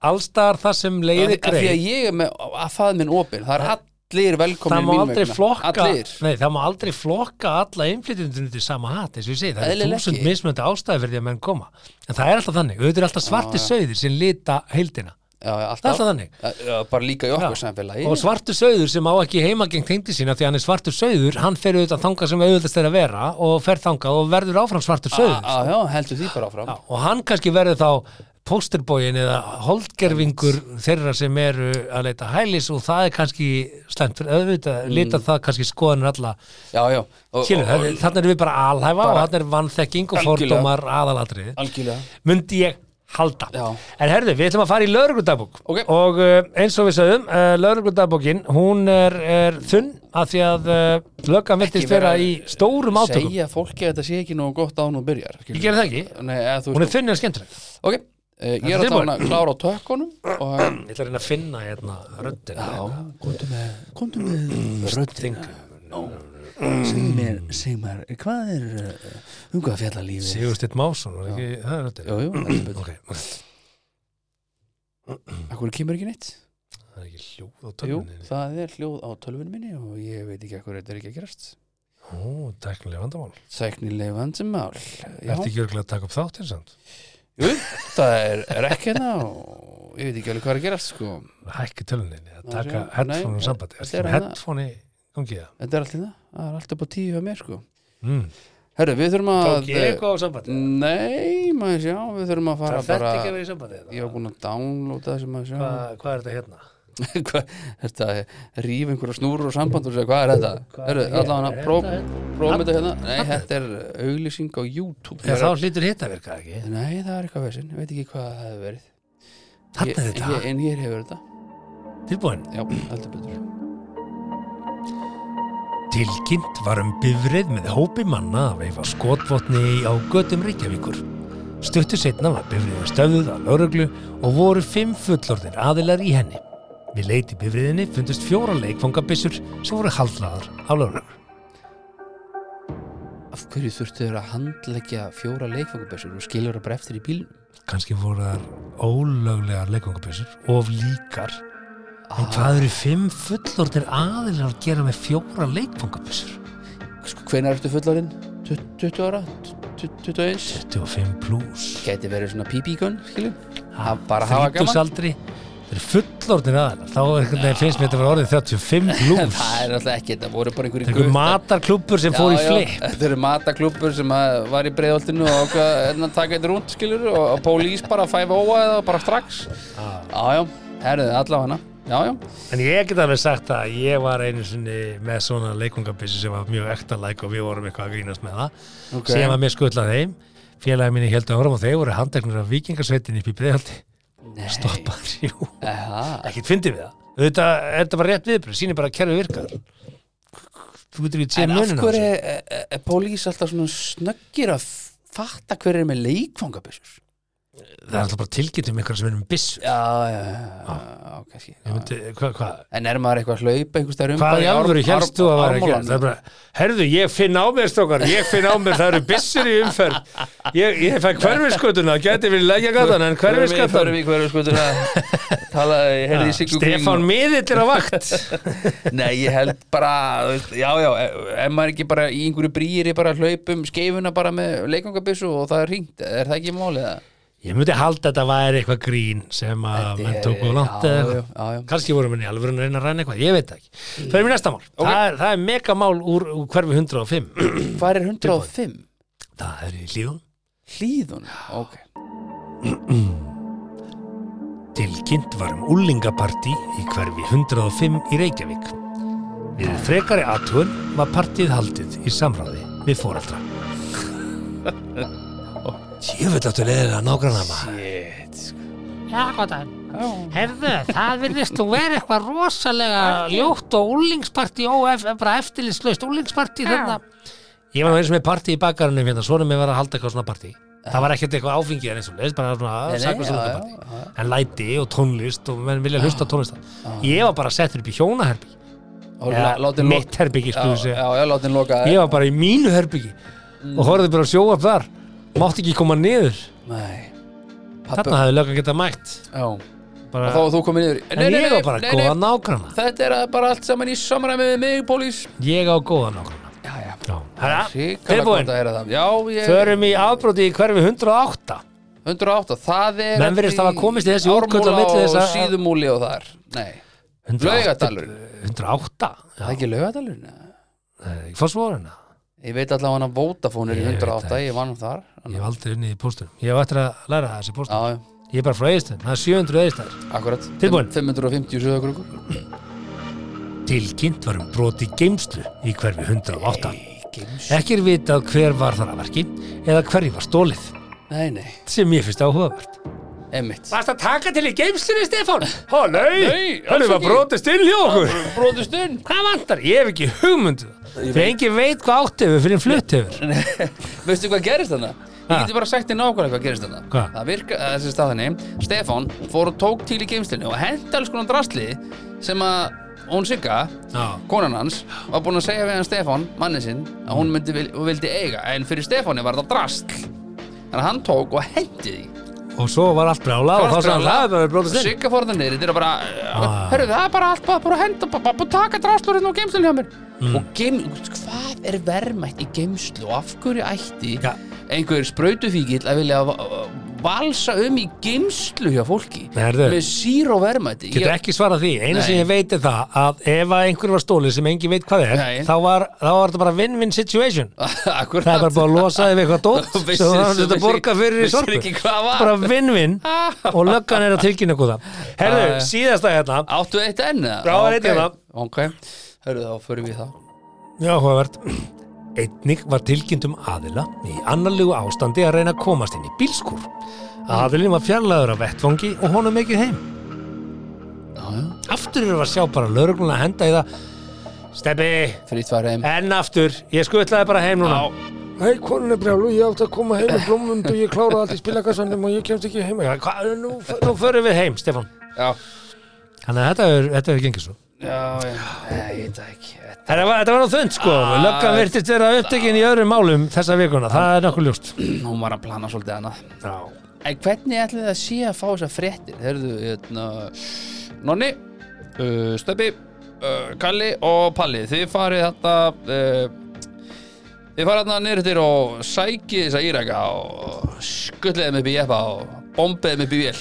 [SPEAKER 1] allstar þar sem
[SPEAKER 2] Af
[SPEAKER 1] leiði
[SPEAKER 2] af því að
[SPEAKER 1] greið
[SPEAKER 2] ég er með að faða minn opinn. Það er allir velkomin
[SPEAKER 1] það má
[SPEAKER 2] mín
[SPEAKER 1] aldrei
[SPEAKER 2] vegna.
[SPEAKER 1] flokka
[SPEAKER 2] Allir.
[SPEAKER 1] nei, það má aldrei flokka alla innflytjundunum til sama hatt, eins og ég segi, það er
[SPEAKER 2] Eðlilega
[SPEAKER 1] þúsund
[SPEAKER 2] ekki.
[SPEAKER 1] mismöndi ástæði fyrir því að menn koma en það er alltaf þannig, auðvitað er alltaf svarti sauðir sem lita heildina,
[SPEAKER 2] Já, já, alltaf.
[SPEAKER 1] það er alltaf þannig
[SPEAKER 2] Já, bara líka í okkur
[SPEAKER 1] Já.
[SPEAKER 2] samfélagi
[SPEAKER 1] og svartur söður sem á ekki heimagengt heimdi sína því hann er svartur söður, hann fer auðvitað þangað sem auðvitað stær að vera og fer þangað og verður áfram svartur söður
[SPEAKER 2] Já, Ah, já, heldur því bara áfram
[SPEAKER 1] Já, og hann kannski verður þá posterbóin eða holdgerfingur þeirra sem eru að leita hælis og það er kannski slæmt fyrir auðvitað, litar það kannski skoðanur alla
[SPEAKER 2] Já, já, og,
[SPEAKER 1] Kynur, þannig erum við bara alhæfa og þannig er vannþekking og
[SPEAKER 2] Algjörlega.
[SPEAKER 1] fordómar aðalatrið
[SPEAKER 2] algjörlega
[SPEAKER 1] myndi ég halda
[SPEAKER 2] Já.
[SPEAKER 1] en herðu, við ætlum að fara í lauruglundagbók
[SPEAKER 2] Ok.
[SPEAKER 1] og uh, eins og við sagðum uh, lauruglundagbókin, hún er, er þunn af því að uh, löggan viltist
[SPEAKER 2] vera
[SPEAKER 1] vera í stórum átökum
[SPEAKER 2] Segja fólki að þetta sé ekki nógu gott án og byrjar
[SPEAKER 1] Ég
[SPEAKER 2] skilur.
[SPEAKER 1] gerði það ekki.
[SPEAKER 2] Nei, eða, þú
[SPEAKER 1] hún
[SPEAKER 2] veist
[SPEAKER 1] er þunn en skemmtileg
[SPEAKER 2] Ok, eh, ég
[SPEAKER 1] Þetta
[SPEAKER 2] er
[SPEAKER 1] er
[SPEAKER 2] alltaf að klára á tökkunum og
[SPEAKER 1] ég ætla að reyna að finna hérna röddina
[SPEAKER 2] Komdu með, komdu með röddingu Segð mér, segð mér, hvað er eh, um hvað fjalla lífið?
[SPEAKER 1] Sigursteinn Másson, var ekki, það er röddina
[SPEAKER 2] Jú, jú, heldur betur.
[SPEAKER 1] ok,
[SPEAKER 2] Akkur kemur ekki neitt?
[SPEAKER 1] það er ekki hljóð á
[SPEAKER 2] Jú,
[SPEAKER 1] tölvunni
[SPEAKER 2] það er hljóð á tölvunni minni og ég veit ekki akkur þetta er ekki að gerast
[SPEAKER 1] ó, teknilega vandamál
[SPEAKER 2] Sæknileg vandamál
[SPEAKER 1] er þetta ekki örgulega að taka upp þáttir samt
[SPEAKER 2] Jú, það er er ekki hérna og ég veit ekki alveg hvað er að gera sko.
[SPEAKER 1] hækki tölvunni, að
[SPEAKER 2] Má
[SPEAKER 1] taka
[SPEAKER 2] sjá.
[SPEAKER 1] headphone
[SPEAKER 2] Nei,
[SPEAKER 1] og sambandi, er
[SPEAKER 2] þetta er
[SPEAKER 1] þetta
[SPEAKER 2] hérna.
[SPEAKER 1] headphone í gangi það
[SPEAKER 2] Þetta er allt í það, það er allt upp á tíu hjá mér sko.
[SPEAKER 1] mm.
[SPEAKER 2] Herru, við þurfum að
[SPEAKER 1] tók ég eitthvað á sambandi
[SPEAKER 2] Nei, maður sjá, við þurfum að fara
[SPEAKER 1] Það þetta
[SPEAKER 2] bara
[SPEAKER 1] ekki að vera í sambandi
[SPEAKER 2] Ég var búin að downloada þessi maður sjá
[SPEAKER 1] Hvað hvað er þetta hérna?
[SPEAKER 2] Hva, Þetta rýf einhverja snúru og samband og segja, hvað er þetta? Herru, allan að prófum þetta hérna Nei, þetta er auglýsing á YouTube
[SPEAKER 1] Já, þá hlýtur hitt að virka ekki
[SPEAKER 2] Nei, það er eitthvað vesinn, ég veit ekki hvað það hefur verið
[SPEAKER 1] Þarna er
[SPEAKER 2] Ég-
[SPEAKER 1] þetta.
[SPEAKER 2] ég- En hér hefur þetta
[SPEAKER 1] Tilbúin
[SPEAKER 2] Já, heldur betur
[SPEAKER 1] Tilkynnt var um bifrið með hópi manna að veifa skotvotni á götum Reykjavíkur Stuttu setna var bifriðin stöðuð af lauruglu og voru fimm fullorðir aðilar í henni Við leiti bifriðinni fundust fjóra leikfangabissur sem voru haldlaðar af lauruglu
[SPEAKER 2] Af hverju þurftu þeir að handleggja fjóra leikfangubessur og skilur það bara eftir í bílnum?
[SPEAKER 1] Kanski voru þar ólöglegar leikfangabissur of líkar En hvað eru fimm fullorðir aðilar að gera með fjóra leikfangabissur?
[SPEAKER 2] Sko, hvenær ertu fullarinn? 20 ára? Tu- 21?
[SPEAKER 1] 25 pluss
[SPEAKER 2] Gæti verið svona pípíkun, skilur? Ha, bara hafa gaman?
[SPEAKER 1] þrítusaldri þeir eru fullorðin aðeins þá er, ja. finnst mér þetta að vera orðið 35
[SPEAKER 2] En
[SPEAKER 1] blús
[SPEAKER 2] það er alltaf ekki, þetta voru bara einhverju
[SPEAKER 1] þeir eru matarklúpur sem fór í flip
[SPEAKER 2] Þetta eru mataklúpur sem að var í breiðoltinu og ákvað hérna, að taka eitthvað rúnt, skilur og, og pólís bara að fæfa óa eða bara strax
[SPEAKER 1] Ah.
[SPEAKER 2] Jájá, herðu, allavega hana Jájá,
[SPEAKER 1] en ég get alveg sagt að ég var einu sinni með svona leikungabissi sem var mjög ektalæk og við vorum eitthvað að grínast með það
[SPEAKER 2] ok
[SPEAKER 1] sem að mér skutlað þeim félagi minni heldur áram og þeir voru handeknur af vikingasveitinni upp í breiðaldi stoppaður, jú,
[SPEAKER 2] Eha,
[SPEAKER 1] ekkert fyndið við það auðvitað er þetta bara rétt viðbröð, sýnir bara að kerfi virkar þú getur ekki séð
[SPEAKER 2] En af
[SPEAKER 1] munina
[SPEAKER 2] hverju er, er, er pólís alltaf svona snöggir að fatta hver er með leikfangabissur?
[SPEAKER 1] það er alltaf bara tilgjitt um eitthvað sem er með byssu
[SPEAKER 2] já, já, já, já, kannski
[SPEAKER 1] Ég myndi, hvað, hvað,
[SPEAKER 2] En er maður eitthvað að hlaupa einhvers þar um
[SPEAKER 1] hvað
[SPEAKER 2] bara
[SPEAKER 1] í alvöru
[SPEAKER 2] árm-
[SPEAKER 1] helst þú
[SPEAKER 2] árm-
[SPEAKER 1] að vera að gera
[SPEAKER 2] ármólanum?
[SPEAKER 1] það er bara, herðu, ég finn á mér strókar ég finn á mér, það eru byssur í umferð ég, ég fæ hverfiskutuna gæti verið leggja gatan, en
[SPEAKER 2] Förum við-
[SPEAKER 1] hverfiskatan
[SPEAKER 2] förum við hverfiskutuna talaði, heyrði í Siggu
[SPEAKER 1] Stefán
[SPEAKER 2] Kling
[SPEAKER 1] Miðill er á vakt
[SPEAKER 2] og- Nei, ég held bara, þú veist, já, já e- ef maður ekki bara í einhverju brýri bara hlaupum skeifuna bara með leikangabissu og það er hringt, er það ekki málið það?
[SPEAKER 1] ég myndi halda að þetta væri eitthvað grín sem að
[SPEAKER 2] Þetta
[SPEAKER 1] menn
[SPEAKER 2] er-
[SPEAKER 1] tóku langt eða
[SPEAKER 2] já, já,
[SPEAKER 1] eitthvað.
[SPEAKER 2] já, já.
[SPEAKER 1] kannski voru menni alveg að reyna að ræna eitthvað, ég veit það ekki fyrir mér næsta mál,
[SPEAKER 2] Ok.
[SPEAKER 1] það, er, það er megamál úr, úr hverfi 105
[SPEAKER 2] Hvað er 105?
[SPEAKER 1] það er í hlýðum
[SPEAKER 2] Hlýðun, ok
[SPEAKER 1] Tilkynnt var um úlingapartí í hverfi 105 í Reykjavík. Við frekari aðtun var partíð haldið í samráði við fóraldra. Jöfell áttu leðilega nágranna maður.
[SPEAKER 2] Shit, sko.
[SPEAKER 5] Já, góðan. Herðu, það virðist þú vera eitthvað rosalega ljótt og úlingsparti, ó, ef, bara eftirlitslaust úlingsparti þarna.
[SPEAKER 1] Ég var nú eins og með partí í bakarunum hérna, svona með var að halda eitthvað svona partí. Það var ekkert eitthvað áfengið en eins og leðist, bara
[SPEAKER 2] Nei,
[SPEAKER 1] svona
[SPEAKER 2] nei,
[SPEAKER 1] sakla
[SPEAKER 2] já,
[SPEAKER 1] svona
[SPEAKER 2] já,
[SPEAKER 1] partí. En læti og tónlist og menn vilja hlusta á tónlistar. Ég var bara settur upp í hjónaherbyggi.
[SPEAKER 2] Og
[SPEAKER 1] Eða
[SPEAKER 2] la- látin loka-
[SPEAKER 1] mitt herbyggi,
[SPEAKER 2] Já,
[SPEAKER 1] skulum við segja.
[SPEAKER 2] já, Mm. já, látin loka
[SPEAKER 1] ég var bara í mínu herbyggi og horfði bara að sjóa þar mátti ekki koma niður
[SPEAKER 2] Nei
[SPEAKER 1] þarna
[SPEAKER 2] Pappa,
[SPEAKER 1] hefði löggan geta mætt
[SPEAKER 2] já Og þá
[SPEAKER 1] bara,
[SPEAKER 2] var þú komin yfir
[SPEAKER 1] en ég var bara góða nágrana
[SPEAKER 2] Þetta er bara allt saman í samræmi við mig, Pólís
[SPEAKER 1] ég á góða nágrana
[SPEAKER 2] Já, já
[SPEAKER 1] Já. Herra,
[SPEAKER 2] Ríkala gott
[SPEAKER 1] tilbúin,
[SPEAKER 2] að heyra það Já, ég
[SPEAKER 1] förum í afbróti í hverfi 108
[SPEAKER 2] 108, það er
[SPEAKER 1] Menn virðist
[SPEAKER 2] eftir
[SPEAKER 1] hafa komist í þessi úrköll á
[SPEAKER 2] Ármúla
[SPEAKER 1] milli þess
[SPEAKER 2] og
[SPEAKER 1] að-
[SPEAKER 2] síðumúli og þar Nei,
[SPEAKER 1] 108.
[SPEAKER 2] Laugardalur.
[SPEAKER 1] 108
[SPEAKER 2] það er
[SPEAKER 1] já,
[SPEAKER 2] ekki laugadalur Nei
[SPEAKER 1] ég fór svoruna
[SPEAKER 2] Ég veit allavega hann að Vodafone er í
[SPEAKER 1] Ég veit
[SPEAKER 2] 108,
[SPEAKER 1] það.
[SPEAKER 2] ég vann þar
[SPEAKER 1] ég
[SPEAKER 2] Þannig-
[SPEAKER 1] hef aldrei unnið í póstunum ég hef eftir að læra þessi
[SPEAKER 2] Já,
[SPEAKER 1] póstunum
[SPEAKER 2] já,
[SPEAKER 1] ég er bara frá eðistöðum, það er 700 eðistöðar
[SPEAKER 2] akkurat
[SPEAKER 1] Tilbúin.
[SPEAKER 2] 557 krókur
[SPEAKER 1] Tilkynnt var um broti geimslu í hverfi 108 Ekki er vitað hver var þar að verki eða hverju var stólið
[SPEAKER 2] Nei, nei,
[SPEAKER 1] sem ég finnst áhugavert
[SPEAKER 2] emmitt
[SPEAKER 1] Varst að taka til í geimslunni, Stefán? Ó, nei,
[SPEAKER 2] Nei,
[SPEAKER 1] það
[SPEAKER 2] alls
[SPEAKER 1] var
[SPEAKER 2] ekki.
[SPEAKER 1] brotist inn hjá okkur
[SPEAKER 2] Bróðust inn
[SPEAKER 1] Hvað vantar? Ég hef ekki um hugmyndu Þegar engin veit hvað átt hefur fyrir en flutt hefur
[SPEAKER 2] Veistu hvað gerist þarna? Ég
[SPEAKER 1] Ha?
[SPEAKER 2] geti bara sagt þér nákvæmlega hvað gerist þarna
[SPEAKER 1] Hvað?
[SPEAKER 2] Það virka, eh, þessi staðinni Stefán fór og tók til í geimslinni og hent alls konar drastli sem að hún Sigga,
[SPEAKER 1] Já.
[SPEAKER 2] konan hans var búin að segja við hann Stefán, manni sinn að hún myndi vil, og vildi eiga en fyrir Stefáni var það drastl þannig að hann tók og hendi því
[SPEAKER 1] Og svo var allt brjála og þá sagði hann það var brotist inn
[SPEAKER 2] Sigga fór það niður, þetta er bara
[SPEAKER 1] Ah.
[SPEAKER 2] Hörru, það er bara allt bara, bara að henda bara, bara að taka drastlurinn og geimslinn hjá mér
[SPEAKER 1] Mm.
[SPEAKER 2] Og geim, hvað er verðmætt í geimslu og af hverju ætti
[SPEAKER 1] Ja.
[SPEAKER 2] einhver sprautufíkil að vilja va- valsa um í geimslu hjá fólki
[SPEAKER 1] Nei, heyrðu.
[SPEAKER 2] með sír og verðmætti
[SPEAKER 1] Getur ekki svarað því, eina sem
[SPEAKER 2] Nei.
[SPEAKER 1] ég veit er það að ef að einhver var stólið sem engin veit hvað er
[SPEAKER 2] Nei.
[SPEAKER 1] þá var, þá var þetta bara win-win situation
[SPEAKER 2] Akkurat
[SPEAKER 1] Það er bara búið að losa þig við eitthvað dótt
[SPEAKER 2] Og vissir-
[SPEAKER 1] sem það er að
[SPEAKER 2] vissir-
[SPEAKER 1] borga fyrir í
[SPEAKER 2] vissir
[SPEAKER 1] sorpu
[SPEAKER 2] ekki hvað var.
[SPEAKER 1] bara vinn-vinn og löggan er að tilkynna okkur það Herðu,
[SPEAKER 2] Ah, ja.
[SPEAKER 1] síðasta hérna
[SPEAKER 2] Áttu eitt enn? eða?
[SPEAKER 1] Já, það er eitt
[SPEAKER 2] Ok,
[SPEAKER 1] hérna.
[SPEAKER 2] Ok, hörru þá, förum við það
[SPEAKER 1] Já, hóðavert Einnig var tilkynnt um aðila í annarlegu ástandi að reyna að komast inn í bílskur Aðilin var fjarlæður af vettvangi og honum ekki heim
[SPEAKER 2] Já, já,
[SPEAKER 1] Aftur erum við að sjá bara lögregluna að henda í það Steppi,
[SPEAKER 2] frýtt var heim
[SPEAKER 1] enn aftur Ég skutlaði bara heim núna Hei, konan er brjálu, ég átti að koma heim með blómund og ég kláraði allt í spilakassanum og ég kemst ekki heim Já, Hva, nú, nú förum við heim, Stefán
[SPEAKER 2] Já,
[SPEAKER 1] Þannig að þetta er, þetta er gengið svo
[SPEAKER 2] já, já, Nei, ég veit það ekki Þetta-
[SPEAKER 1] Þetta var, þetta var nú þönd sko,
[SPEAKER 2] Ah,
[SPEAKER 1] löggan virtist vera upptekinn í öðrum málum þessa vikuna, það er nokkuð ljóst
[SPEAKER 2] Hún var að plana svolítið annað
[SPEAKER 1] Já
[SPEAKER 2] En hvernig ætlið það sé að fá þessar fréttir? Herðu, hérna Nonni, uh, Stöpi uh, Kalli og Palli Þið farið þetta uh, Þið farið þarna niður til og sækið þessa íraka og skulliðið með bíjeppa og bombiðið með bíjél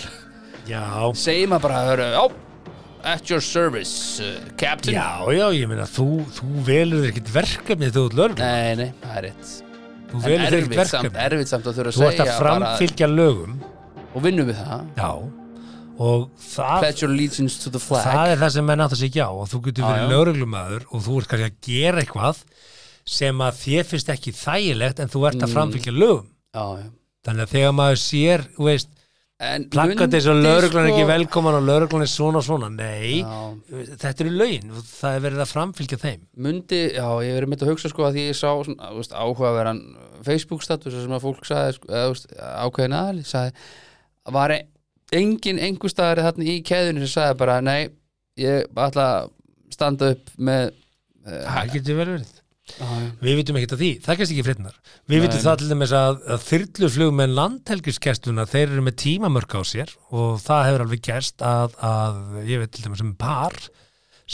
[SPEAKER 1] Já,
[SPEAKER 2] Segir maður bara, hörru, já At your service, uh, captain
[SPEAKER 1] já, já, ég meina þú, þú velur þér ekkert verkefni þegar þú ert lögreglu
[SPEAKER 2] Nei, nei, það er rétt
[SPEAKER 1] Þú
[SPEAKER 2] En
[SPEAKER 1] velur þér ekkert
[SPEAKER 2] erfitt samt,
[SPEAKER 1] verkefni
[SPEAKER 2] erfitt samt að þurfa að
[SPEAKER 1] Þú ert að
[SPEAKER 2] segja
[SPEAKER 1] framfylgja lögum
[SPEAKER 2] bara, Og vinnum við það
[SPEAKER 1] Já, og það,
[SPEAKER 2] Pledge your allegiance to the flag
[SPEAKER 1] það er það sem menn átt að segja á og þú getur
[SPEAKER 2] Já,
[SPEAKER 1] verið
[SPEAKER 2] já.
[SPEAKER 1] lögreglumæður og þú ert kannski að gera eitthvað sem að þér finnst ekki þægilegt en þú ert
[SPEAKER 2] Mm.
[SPEAKER 1] að framfylgja lögum
[SPEAKER 2] Já, já
[SPEAKER 1] Þannig að þegar maður sér, þú veist,
[SPEAKER 2] En
[SPEAKER 1] plakkat
[SPEAKER 2] myndi
[SPEAKER 1] þess að lögreglan er
[SPEAKER 2] sko-
[SPEAKER 1] ekki velkoman og lögreglan er svona og svona, nei,
[SPEAKER 2] Já.
[SPEAKER 1] þetta eru lögin, og það er verið að framfylgja þeim.
[SPEAKER 2] Myndi, já, ég verið mitt að hugsa sko að því ég sá svona, þú veist, áhugaverðan Facebook status þar sem að fólk sagði, sko, eða, þú veist, ákveðin aðli sagði var e- engin einhver staðar þarna í keðinu sem sagði bara nei, ég ætla að standa upp með Eh,
[SPEAKER 1] Það getur vel verið Við vitum ekkert að því, það er kannski ekki fréttinar Við vitum það til dæmis að, að þyrluflug með landhelgiskestluna, þeir eru með tímamörk á sér og það hefur alveg gerst að, að ég veit til dæmis um par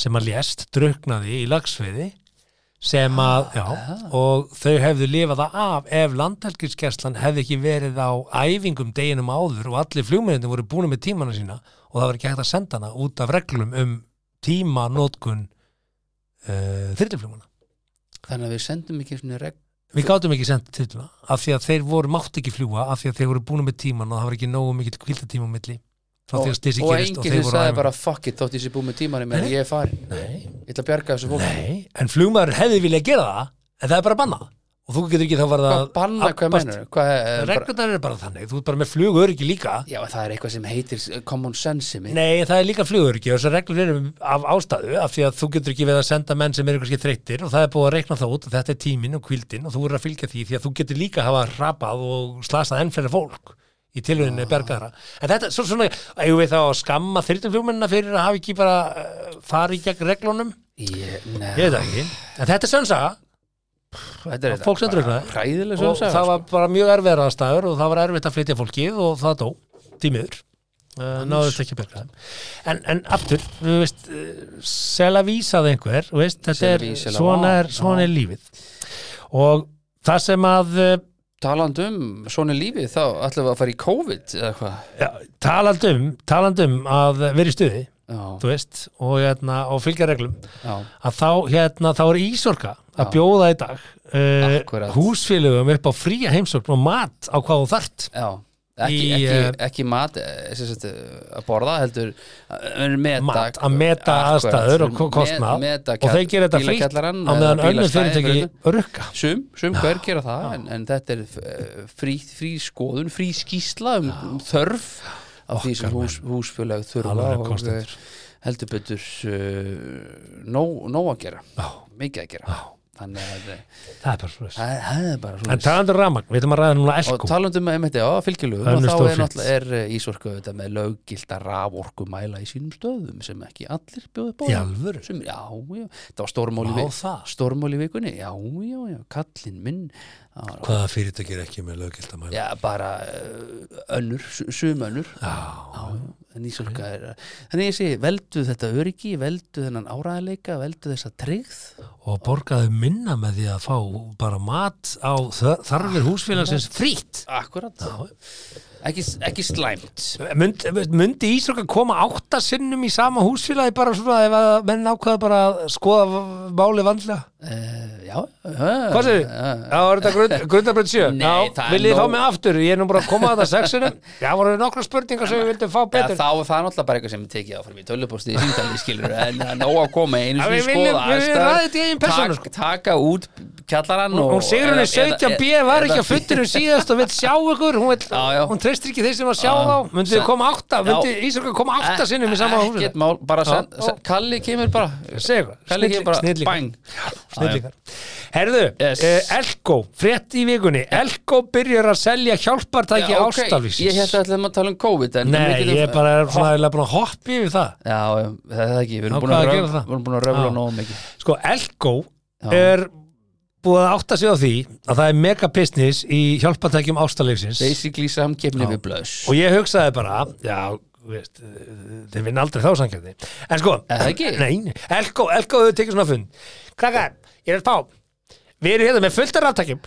[SPEAKER 1] sem að lést druknaði í lagsveiði sem að, já, og þau hefðu lifað það af ef landhelgiskeslan hefði ekki verið á æfingum deginum áður og allir flugmennir voru búin með tímana sína og það var ekki hægt að senda hana út af reglum um tímanótkun uh, þyrluflugmana
[SPEAKER 2] þannig að við sendum ekki svona regn
[SPEAKER 1] Við gátum ekki sendt titla af því að þeir voru mátt ekki fljúa af því að þeir voru búin með tíman og það var ekki nógu mikill kvildatíma á milli frá því að styrsi
[SPEAKER 2] og
[SPEAKER 1] gerist og
[SPEAKER 2] enginn
[SPEAKER 1] þeir
[SPEAKER 2] sem
[SPEAKER 1] voru
[SPEAKER 2] sagði
[SPEAKER 1] æfum.
[SPEAKER 2] bara fuck it þótt ég sé búið með tímanum en
[SPEAKER 1] Nei.
[SPEAKER 2] ég er farin,
[SPEAKER 1] Nei,
[SPEAKER 2] ég ætla að bjarga þessu fólk
[SPEAKER 1] nei, en fljúmaður hefði viljað gera það en það er bara bannað og þú getur ekki þá farið
[SPEAKER 2] hvað
[SPEAKER 1] að
[SPEAKER 2] banna, hvað
[SPEAKER 1] abbast.
[SPEAKER 2] mennur hvað, eh, bara,
[SPEAKER 1] Reglurnar eru bara þannig, þú ert bara með fluguröryggi líka
[SPEAKER 2] já það er eitthvað sem heitir eh, common sense í mig
[SPEAKER 1] Nei, en það er líka fluguröryggi og þessar reglur eru af ástæðu af því að þú getur ekki við að senda menn sem eru kannski þreyttir og það er búið að reikna það út og þetta er tíminn og kvildin og þú eru að fylgja því því að þú getur líka hafa rapað og slasað enn fleira fólk í tilhauðinni bergaðara en þetta, svo, svona, eigum við þá að skamma þyrtumflugmennina fyrir að hafa ekki bara uh, farið gegn reglunum,
[SPEAKER 2] ég,
[SPEAKER 1] ég
[SPEAKER 2] neð,
[SPEAKER 1] veit það ekki en þetta er sönnsaga
[SPEAKER 2] þetta er
[SPEAKER 1] fólk sem drukknaði.
[SPEAKER 2] hræðileg
[SPEAKER 1] og
[SPEAKER 2] sögum
[SPEAKER 1] það var bara mjög erfiðar aðstæður og það var erfitt að flytja fólkið og það dó, tímiður uh, náðust ekki að bjarga þeim en, en aftur, þú veist uh, selavísað einhver, þú veist þetta
[SPEAKER 2] C'est la
[SPEAKER 1] er,
[SPEAKER 2] vie, c'est la
[SPEAKER 1] svona
[SPEAKER 2] vie.
[SPEAKER 1] er, svona er lífið og það sem að uh,
[SPEAKER 2] taland um svona lífi þá ætlum við að fara í COVID eða hvað
[SPEAKER 1] já, talandum, talandum um, að vera í stuði,
[SPEAKER 2] já,
[SPEAKER 1] þú veist og, hérna, og fylgja reglum
[SPEAKER 2] já,
[SPEAKER 1] að þá, hérna, þá er Ísorka að
[SPEAKER 2] Já.
[SPEAKER 1] bjóða í dag uh,
[SPEAKER 2] Akkúrat.
[SPEAKER 1] húsfélögum upp á fría heimsókn og mat á hvað þú þart
[SPEAKER 2] já ekki,
[SPEAKER 1] Í,
[SPEAKER 2] ekki,
[SPEAKER 1] eh,
[SPEAKER 2] ekki mat eh, sem sagt, eh, að borða heldur að meta,
[SPEAKER 1] mat að meta
[SPEAKER 2] Akkurat.
[SPEAKER 1] aðstæður og ko- kostnað
[SPEAKER 2] Met- meta
[SPEAKER 1] og þeir gera þetta frýtt á
[SPEAKER 2] bílakjallarann eða
[SPEAKER 1] meðan önnur
[SPEAKER 2] bílastæði,
[SPEAKER 1] fyrirtæki rukka
[SPEAKER 2] Sum, sum hver gera það en, en þetta er eh, frí, frí skoðun, frí skýsla um um þörf af því sem hús, húsfélag þurfa
[SPEAKER 1] Alveg
[SPEAKER 2] og
[SPEAKER 1] kostið.
[SPEAKER 2] eh, heldur betur uh, nóg, nóg að gera
[SPEAKER 1] Já.
[SPEAKER 2] mikið að gera þannig að eh,
[SPEAKER 1] það er bara svona
[SPEAKER 2] það það er bara
[SPEAKER 1] en
[SPEAKER 2] svona
[SPEAKER 1] talandur ramagn, við ætlum að ræða núna
[SPEAKER 2] og
[SPEAKER 1] Elko
[SPEAKER 2] talandum um þetta, já, fylgjulögum og
[SPEAKER 1] Önnur
[SPEAKER 2] þá er
[SPEAKER 1] stórfrétt.
[SPEAKER 2] náttúrulega er eh, Ísorka auðvitað með löggilda raforkumæla í sínum stöðum sem ekki allir bjóðu bóð
[SPEAKER 1] Í alvöru?
[SPEAKER 2] Sem, já, já, það var stórmóli
[SPEAKER 1] Vá, það.
[SPEAKER 2] stórmóli vikunni, já, já, já kallinn minn það var-
[SPEAKER 1] hvaða fyrirtæki er ekki með löggilt að mæla
[SPEAKER 2] já, bara eh, önnur, su- sum önnur já, já, en Ísorka er þannig ég segi, veldu þetta öryggi veldu þennan áraðleika, veldu þessa tryggð
[SPEAKER 1] og borgaðu minna með því að fá bara mat á þ- þarfir húsfélagsins frýtt
[SPEAKER 2] akkurat ekki, ekki slæmt
[SPEAKER 1] Mynd, myndi Ísroka koma átta sinnum í sama húsfélagi bara svona ef að menn ákvaða bara að skoða v- málið vandlega
[SPEAKER 2] uh, já, uh,
[SPEAKER 1] Hvað segir
[SPEAKER 2] já,
[SPEAKER 1] þið? Það var þetta grundabrönd 7
[SPEAKER 2] ah. Nei,
[SPEAKER 1] Já,
[SPEAKER 2] það er
[SPEAKER 1] viljið þið
[SPEAKER 2] nóg.
[SPEAKER 1] fá mig aftur? Ég er nú bara að koma að það sexinum Já, voru nokkra spurningar sem við vildum fá
[SPEAKER 2] Já,
[SPEAKER 1] betur
[SPEAKER 2] þá, það er náttúrulega bara eitthvað sem ég tekið áfram í tölupósti í síndalni skilur en það er nóg að koma einu
[SPEAKER 1] Já,
[SPEAKER 2] sinni
[SPEAKER 1] við viljum-
[SPEAKER 2] skoða
[SPEAKER 1] við viljum
[SPEAKER 2] aðstæður,
[SPEAKER 1] ræða þetta í eigin persónu, sko.
[SPEAKER 2] tak- taka út kjallarann
[SPEAKER 1] Hún Sigrunni 17B var ekki að fundurum síðast og vill sjá ykkur hún, vill,
[SPEAKER 2] Já, já.
[SPEAKER 1] hún treystir ekki þeir sem að sjá
[SPEAKER 2] Já.
[SPEAKER 1] þá Myndið þið koma átta,
[SPEAKER 2] Já. E-
[SPEAKER 1] myndið Ísaka koma átta sinnum í sama húsi
[SPEAKER 2] ekkert mál, bara sen,
[SPEAKER 1] Já.
[SPEAKER 2] sen, Kalli kemur bara
[SPEAKER 1] Segðu
[SPEAKER 2] Kalli kemur
[SPEAKER 1] eitthvað,
[SPEAKER 2] bara,
[SPEAKER 1] snillingar.
[SPEAKER 2] bang
[SPEAKER 1] Snillingar. Herðu,
[SPEAKER 2] Yes.
[SPEAKER 1] yes. uh, Elko, frétt í vikunni Elko byrjar að selja hjálpartæki
[SPEAKER 2] Já,
[SPEAKER 1] ja,
[SPEAKER 2] ok, Ég held að ætlaðum að tala um COVID en við
[SPEAKER 1] Nei,
[SPEAKER 2] getum-
[SPEAKER 1] ég er bara er svona eiginlega búin að hoppa yfir það
[SPEAKER 2] Já, já, það er ekki, við
[SPEAKER 1] Já,
[SPEAKER 2] erum búin
[SPEAKER 1] hvað
[SPEAKER 2] að
[SPEAKER 1] að
[SPEAKER 2] röf-
[SPEAKER 1] gera það?
[SPEAKER 2] við erum búin að röfla
[SPEAKER 1] Já.
[SPEAKER 2] nóg mikið
[SPEAKER 1] Sko, Elko
[SPEAKER 2] Já.
[SPEAKER 1] er búið að átta sig á því að það er mega business í hjálpatækjum ástalífsins
[SPEAKER 2] Basically samkeppni við blöss
[SPEAKER 1] og ég hugsaði bara, já, þú veist, eh, þeir vinna aldrei þá samkjöfni. En sko,
[SPEAKER 2] Er það ekki?
[SPEAKER 1] Nei, Elko, Elko hefur tekið svona fund. Krakkar, ég er að spá. Við erum hérna með fullt af ráttækjum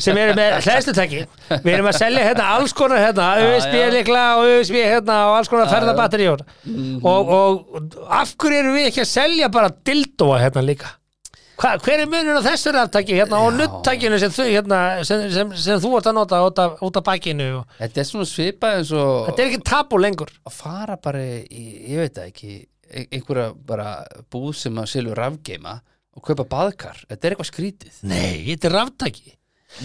[SPEAKER 1] sem eru með hlæðslutæki. Við erum að selja hérna alls konar hérna,
[SPEAKER 2] já.
[SPEAKER 1] USB-likla og USB hérna og alls konar ferðabatteríur.
[SPEAKER 2] Mhm.
[SPEAKER 1] Og, og af hverju erum við ekki að selja bara dildóa hérna líka? Hva, hver er munur á þessu ráttæki hérna og nuttækinu sem, þú- hérna, sem, sem, sem þú ert að nota út af, út af bakinu? Og,
[SPEAKER 2] Þetta er svona svipað eins og
[SPEAKER 1] Þetta er ekki tabu lengur
[SPEAKER 2] að fara bara í, ég veit það ekki ein- einhverja bara búð sem að selja rafgeima og kaupa baðkar þetta er eitthvað skrítið
[SPEAKER 1] Nei, þetta er ráttæki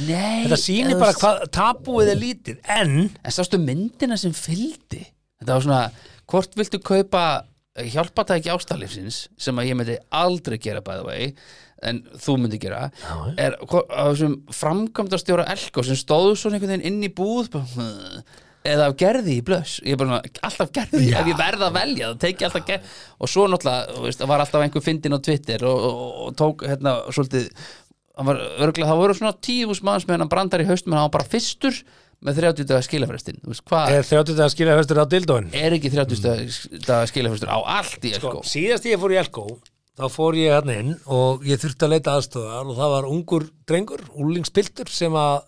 [SPEAKER 2] Nei,
[SPEAKER 1] Þetta sýnir bara hvað tabúið er lítið En
[SPEAKER 2] en sástu myndina sem fylgdi þetta var svona, hvort viltu kaupa hjálpatæki ástalífsins sem að ég myndi aldrei gera bæða vegi en þú myndi gera er hvo- á þessum framkvæmdastjóra Elko sem stóðu svona einhvern veginn inn í búð bara, "Hm, eða af gerði í blöss ég er bara svona, alltaf gerði, ef ég verð að velja það teki alltaf gerði, og svo náttúrulega þú veist, það var alltaf einhver fyndin á Twitter og, og, og tók hérna svolítið hann var örglega, það voru svona tíu hús manns meðan hann brandar í haustum, en hann var bara fyrstur með 30 dagar skilafrestin, þú veist hvað
[SPEAKER 1] Er 30 dagar skilja höstur á dildóin?
[SPEAKER 2] er ekki 30 mm. dagar skilafrestur á allt í
[SPEAKER 1] Sko,
[SPEAKER 2] Elko
[SPEAKER 1] síðast ég fór í Elko þá fór ég hann inn og ég þurfti að leita aðstöðar og það var ungur drengur, úlingspiltur sem að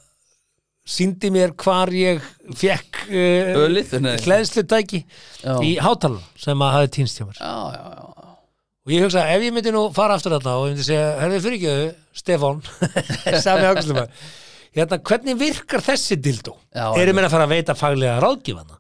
[SPEAKER 1] síndi mér hvar ég fekk uh,
[SPEAKER 2] Ölið, nei.
[SPEAKER 1] hlæðslutæki
[SPEAKER 2] Já.
[SPEAKER 1] í hátalun sem að hafi týnst hjá mér
[SPEAKER 2] já, já, já,
[SPEAKER 1] og ég hugsa ef ég myndi nú fara aftur þarna og ég myndi segja, herðu fyrir ekki þau Stefán, sami ákvæmstum hérna, hvernig virkar þessi dildó?
[SPEAKER 2] Já,
[SPEAKER 1] Eru mér að fara að veita faglega ráðgifana?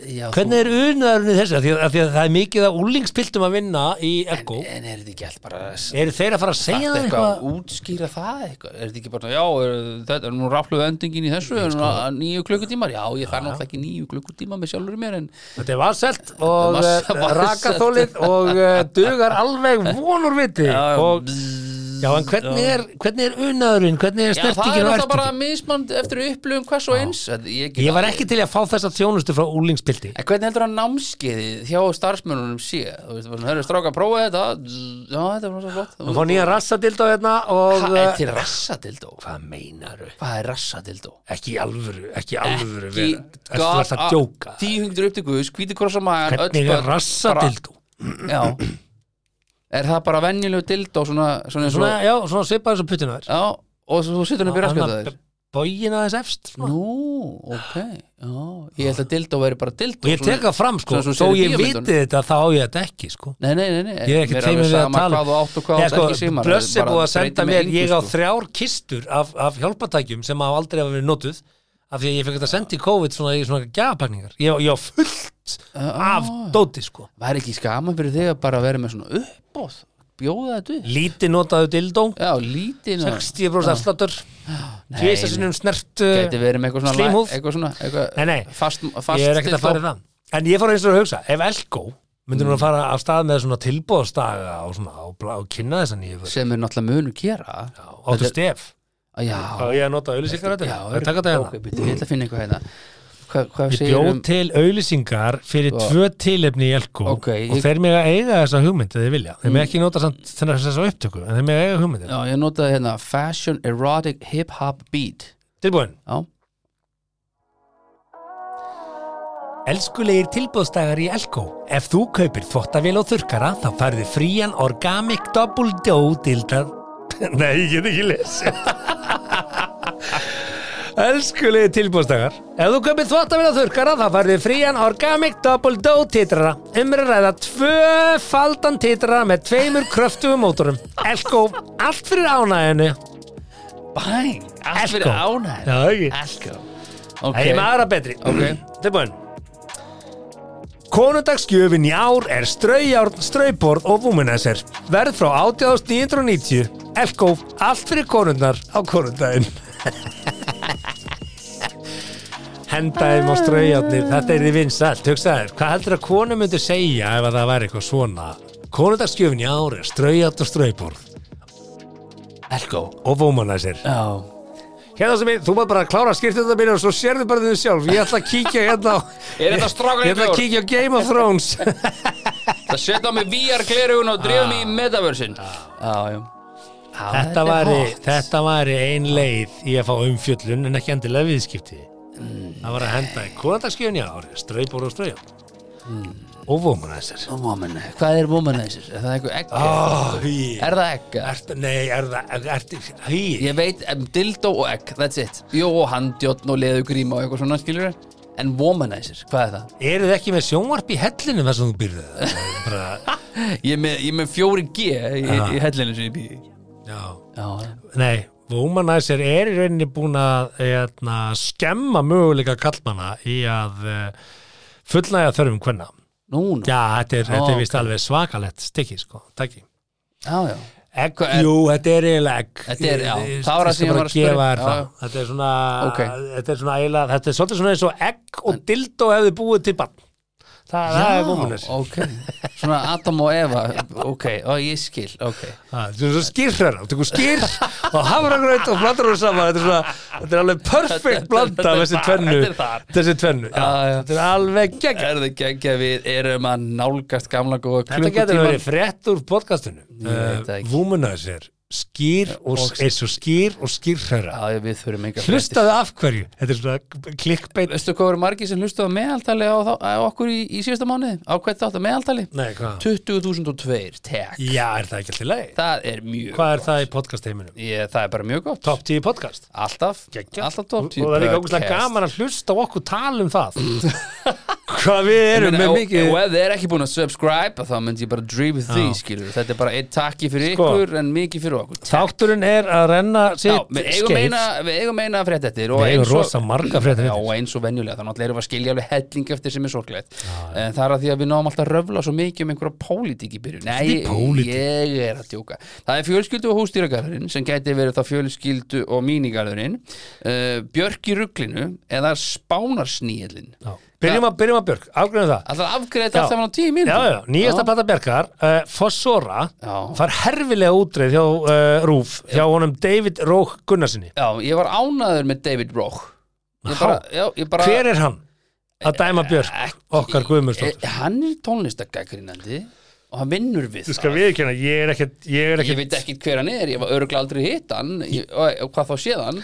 [SPEAKER 2] já
[SPEAKER 1] Hvernig er unaðurinn í þessu? Af Því að, af því að það er mikið að úlingspiltum að vinna í
[SPEAKER 2] þú,
[SPEAKER 1] Elko
[SPEAKER 2] en, en er þetta ekki allt bara s-
[SPEAKER 1] Eru þeir að fara að
[SPEAKER 2] Þarftu
[SPEAKER 1] segja það
[SPEAKER 2] eitthvað
[SPEAKER 1] eitthvað?
[SPEAKER 2] að útskýra það eitthvað er þetta ekki bara, já, er, þetta er nú rafluð endingin í þessu, er nú
[SPEAKER 1] Sko-
[SPEAKER 2] að- níu klukkutímar já, ég þarf náttúrulega ekki níu klukkutíma með sjálfur mér en
[SPEAKER 1] Þetta er valselt og
[SPEAKER 2] Þetta er
[SPEAKER 1] eh,
[SPEAKER 2] valselt.
[SPEAKER 1] rakaþólið og eh, dugar alveg vonur viti
[SPEAKER 2] Já,
[SPEAKER 1] og,
[SPEAKER 2] bzz,
[SPEAKER 1] já en hvernig er, hvernig er unaðurinn, hvernig er
[SPEAKER 2] já, það er
[SPEAKER 1] snertingin og
[SPEAKER 2] alltaf bara
[SPEAKER 1] ertingin?
[SPEAKER 2] mismand eftir upplugum hvers og eins Þetta- ég, get
[SPEAKER 1] Ég var
[SPEAKER 2] aldrei-
[SPEAKER 1] ekki til að fá þessa þjónustu frá úlingspilti
[SPEAKER 2] En hvernig heldur að námskeiði hjá starfsmönunum sé? Þú veist, bara, hörðu, stráka, prófa þetta Zzz, Já, þetta er svona flott
[SPEAKER 1] Hún fór nýja rassadildó hérna og
[SPEAKER 2] Hvað er
[SPEAKER 1] eh,
[SPEAKER 2] til rassadildó?
[SPEAKER 1] Hvað meinaru?
[SPEAKER 2] Hvað er rassadildó?
[SPEAKER 1] Ekki í alvöru, ekki í alvöru
[SPEAKER 2] Ekki
[SPEAKER 1] vera. Ertu að að djóka?
[SPEAKER 2] Tíhungdur upp til guðs, hvíti krossa maður
[SPEAKER 1] Hvernig er rassadildó?
[SPEAKER 2] Já Er það bara venjulegu dildó svona, svona,
[SPEAKER 1] Svona,
[SPEAKER 2] svona,
[SPEAKER 1] já, svona svipaði þessu puttinu þær
[SPEAKER 2] Já, og svo sittur hann upp í raskjöta þér
[SPEAKER 1] Bógin aðeins efst svona.
[SPEAKER 2] Nú, ok Já, ég held að dildó veri bara dildó
[SPEAKER 1] Og ég
[SPEAKER 2] svona-
[SPEAKER 1] tek það fram sko,
[SPEAKER 2] svona svo
[SPEAKER 1] þó
[SPEAKER 2] sér í
[SPEAKER 1] ég viti
[SPEAKER 2] bíómyndunum.
[SPEAKER 1] þetta þá á ég þetta ekki sko
[SPEAKER 2] Nei, nei, nei, nei
[SPEAKER 1] Ég er ekki
[SPEAKER 2] Mér
[SPEAKER 1] teimur
[SPEAKER 2] alveg
[SPEAKER 1] við að
[SPEAKER 2] sama
[SPEAKER 1] tala um-
[SPEAKER 2] Hvað þú átt og hvað þú átt ekki símar
[SPEAKER 1] Blöss er
[SPEAKER 2] bara
[SPEAKER 1] búið að
[SPEAKER 2] breyti
[SPEAKER 1] senda
[SPEAKER 2] mig
[SPEAKER 1] mér
[SPEAKER 2] engu,
[SPEAKER 1] Ég á
[SPEAKER 2] sko.
[SPEAKER 1] þrjár kistur af, af hjálpatækjum sem hafa aldrei hafa verið notuð af því að ég fekk þetta sendt í COVID svona í svona gjafapakningar Ég, ég á fullt
[SPEAKER 2] Ah.
[SPEAKER 1] af dóti sko
[SPEAKER 2] Væri ekki skaman fyrir þig að bara vera með svona uppbóð Bjóða þetta upp
[SPEAKER 1] Lítið notaðu dildó
[SPEAKER 2] Já, lítið
[SPEAKER 1] 60% afsláttur Tvísa sinnum snert
[SPEAKER 2] Gæti verið með eitthvað svona
[SPEAKER 1] Slímhúð.
[SPEAKER 2] Eitthvað svona eitthvað
[SPEAKER 1] Nei, nei,
[SPEAKER 2] Fast, fast
[SPEAKER 1] ég er ekkert að
[SPEAKER 2] dildó.
[SPEAKER 1] fara í það En ég fór eins og að hugsa, ef Elko myndi
[SPEAKER 2] Mm.
[SPEAKER 1] nú að fara af stað með svona tilbóðstaga og svona, og, bla- og kynna þess að nýju
[SPEAKER 2] Sem er náttúrulega munur gera
[SPEAKER 1] áttu stef
[SPEAKER 2] Já,
[SPEAKER 1] og ég að nota auðlýsingar
[SPEAKER 2] Já,
[SPEAKER 1] þetta taka þetta
[SPEAKER 2] ok,
[SPEAKER 1] hérna
[SPEAKER 2] býttu, ég ætla að finna eitthvað hérna Hva, Hvað
[SPEAKER 1] Ég
[SPEAKER 2] segir
[SPEAKER 1] bjóð
[SPEAKER 2] um
[SPEAKER 1] til auðlýsingar fyrir
[SPEAKER 2] Sko.
[SPEAKER 1] tvö tilefni í Elko
[SPEAKER 2] Ok, ég- Mm.
[SPEAKER 1] og þeir mig að eiga þessa hugmynd eða þeir vilja, þeir mig ekki nota samt þennar þessa upptöku, en þeir mig að eiga hugmynd
[SPEAKER 2] Já, ég notaði hérna Fashion Erotic Hip Hop Beat
[SPEAKER 1] Tilbúin,
[SPEAKER 2] Já,
[SPEAKER 1] elskulegir tilbóðstagar í Elko Ef þú kaupir þvottavél og þurkara þá færðu frían Organic Double Dough dildar Nei, ég get ekki lesa Elskulegi tilbúðstakar Ef þú kaupir þvottavél og þurrkara þá færðu frían Organic Double Dough titrara Umri ræða tvöfaldan titrara með tveimur kröftugum mótorum Elko, allt fyrir ánæðinu
[SPEAKER 2] bæn, allt fyrir
[SPEAKER 1] Elko.
[SPEAKER 2] ánæð
[SPEAKER 1] Já, ekki
[SPEAKER 2] Elko
[SPEAKER 1] Það
[SPEAKER 2] Ok,
[SPEAKER 1] er maður að betri
[SPEAKER 2] Ok.
[SPEAKER 1] Tilbúin Konundagsgjöfin í ár er straujárn, strauborð og womanizer Verð frá 18.990 Elko, allt fyrir konundar á konundaginn Hendaðum á straujárnir, þetta er því vinsælt Hugsaður, hvað heldur að konu myndi segja ef að það væri eitthvað svona Konundagsgjöfin í ár er straujárn og strauborð
[SPEAKER 2] Elko
[SPEAKER 1] og womanizer
[SPEAKER 2] Já,
[SPEAKER 1] Hérna sem ég, þú maður bara að klára skýrtið þetta og svo sérðu bara þið sjálf, ég ætla að kíkja hérna á
[SPEAKER 2] Er þetta strákur
[SPEAKER 1] Ég ætla að
[SPEAKER 2] einhver?
[SPEAKER 1] kíkja á Game of Thrones
[SPEAKER 2] það setja á mig VR glerugun og drefa mig í metaversin Já, já Já,
[SPEAKER 1] Þetta væri,
[SPEAKER 2] hot.
[SPEAKER 1] þetta væri ein leið í að fá umfjöllun en ekki endilega viðskipti Það var að henda í konandagsgjöfni ári straubor og strauja Hmm. og womanizer
[SPEAKER 2] Womanizer, hvað er womanizer? Er það eitthvað egg?
[SPEAKER 1] oh, er,
[SPEAKER 2] Ah. Er það egg?
[SPEAKER 1] er, Nei, er það er, er,
[SPEAKER 2] Ég veit, um, dildó og egg, that's it Jó, og handjotn og leðugríma og eitthvað svona, skilur En womanizer, hvað er það?
[SPEAKER 1] Eru þið ekki með sjónvarp í hellinu þar sem þú býrðu það bara,
[SPEAKER 2] Ég er með, ég er með 4G í, í hellinu sem ég býði
[SPEAKER 1] Já
[SPEAKER 2] Já,
[SPEAKER 1] Nei, Womanizer er í rauninni búin að eitna, skemma möguleika kallmanna í að uh, fullnæja þörfum hvenna.
[SPEAKER 2] nú, nú
[SPEAKER 1] Já, þetta er, þetta
[SPEAKER 2] Ó,
[SPEAKER 1] er vist alveg svakalett stikki, sko, takki.
[SPEAKER 2] já, já.
[SPEAKER 1] Egg,
[SPEAKER 2] Hvað er-
[SPEAKER 1] jú, þetta er eiginlega egg.
[SPEAKER 2] Þetta er, já,
[SPEAKER 1] Ég-
[SPEAKER 2] það var það
[SPEAKER 1] ég skal
[SPEAKER 2] sem ég
[SPEAKER 1] bara
[SPEAKER 2] var að spyrja.
[SPEAKER 1] gefa þér
[SPEAKER 2] Já,
[SPEAKER 1] það.
[SPEAKER 2] já.
[SPEAKER 1] Þetta er svona,
[SPEAKER 2] Ok.
[SPEAKER 1] þetta er svona eiginlega, þetta er svolítið svona eins og egg og dildó hefði búið til bann. það, það er múmunar
[SPEAKER 2] ok, svona Adam og Eva ok, og ég skil, ok
[SPEAKER 1] það er svo skýrhör, það tekur skýr og hafragraut og blandar hún saman þetta er, svona, þetta er alveg
[SPEAKER 2] Þetta-
[SPEAKER 1] perfect blanda af þessi
[SPEAKER 2] þetta er
[SPEAKER 1] tvennu
[SPEAKER 2] þar, þetta er þar.
[SPEAKER 1] þessi tvennu, já,
[SPEAKER 2] Já, já.
[SPEAKER 1] þetta er alveg gegn
[SPEAKER 2] er það ekki að við erum að nálgast gamla góða
[SPEAKER 1] þetta getur verið
[SPEAKER 2] klukkutíman
[SPEAKER 1] frétt úr podcastinu
[SPEAKER 2] veit það ekki.
[SPEAKER 1] múmunar er skýr og,
[SPEAKER 2] Og-
[SPEAKER 1] er svo skýr og skýrhöra
[SPEAKER 2] Já, já, við þurfum enga fréttir.
[SPEAKER 1] hlustaðu af hverju, þetta er svona klikkbeitt
[SPEAKER 2] veistu hvað voru margir sem hlustaðu meðaltali á, þá, á okkur í, í síðasta mánuði á hvert þátt að meðaltali
[SPEAKER 1] nei, hvað?
[SPEAKER 2] 20.002, tek
[SPEAKER 1] já, er það ekki alltaf leið?
[SPEAKER 2] það er mjög
[SPEAKER 1] hvað er það í podcast heiminum?
[SPEAKER 2] Ég, það er bara mjög gott
[SPEAKER 1] top 10 podcast
[SPEAKER 2] alltaf,
[SPEAKER 1] Geggjað.
[SPEAKER 2] alltaf top 10
[SPEAKER 1] og það er líka
[SPEAKER 2] podcast.
[SPEAKER 1] ógustlega gaman að hlusta á okkur tala um það hvað við
[SPEAKER 2] Ég
[SPEAKER 1] erum
[SPEAKER 2] meina,
[SPEAKER 1] með
[SPEAKER 2] og-
[SPEAKER 1] mikið
[SPEAKER 2] og ef þið er ekki búin að subscribe þá myndi ég bara dream því skilur þetta er bara einn takki fyrir
[SPEAKER 1] Sko.
[SPEAKER 2] ykkur en mikið fyrir okkur
[SPEAKER 1] þátturinn er að renna
[SPEAKER 2] Já,
[SPEAKER 1] sitt
[SPEAKER 2] við eigum
[SPEAKER 1] skeið
[SPEAKER 2] meina, við eigum meina frétt eftir og
[SPEAKER 1] við eigum
[SPEAKER 2] eins og-
[SPEAKER 1] rosa marga fréttir
[SPEAKER 2] Já,
[SPEAKER 1] eftir.
[SPEAKER 2] og eins og venjulega, þannig að erum við að skilja alveg helling eftir sem er sorglegt en það er að því að við náum alltaf að röfla svo mikið um einhverja pólitík í byrjun Nei,
[SPEAKER 1] Þetta er pólitík.
[SPEAKER 2] ég er að djóka Það er fjölskyldu og hústýragarðurinn sem gæti verið þá fjölskyldu og mínigarðurinn uh, Björk í ruglinu eða spánarsnýðlin
[SPEAKER 1] Já. byrjum að, byrjum að Björk, afgræðum það
[SPEAKER 2] Alltaf afgreðið
[SPEAKER 1] Já.
[SPEAKER 2] allt saman á tíu mínútur
[SPEAKER 1] já, já, nýjasta plata Bjarkar, uh, Fossora
[SPEAKER 2] Já.
[SPEAKER 1] far herfilega útreið hjá uh, Rúf hjá honum David Rók Gunnarsinni
[SPEAKER 2] Já, ég var ánaður með David Roch Ég bara, já, ég bara
[SPEAKER 1] hver er hann að dæma Björk, okkar Guðmundsdóttur
[SPEAKER 2] Eh, Hann er tónlistagagrínandi og hann vinnur við
[SPEAKER 1] þú skal við ekki hérna, ég er ekkert ég er
[SPEAKER 2] Ég veit
[SPEAKER 1] ekkert,
[SPEAKER 2] ekki hver hann er, ég var öruglega aldrei hitt hann ég, og, og hvað þá séð hann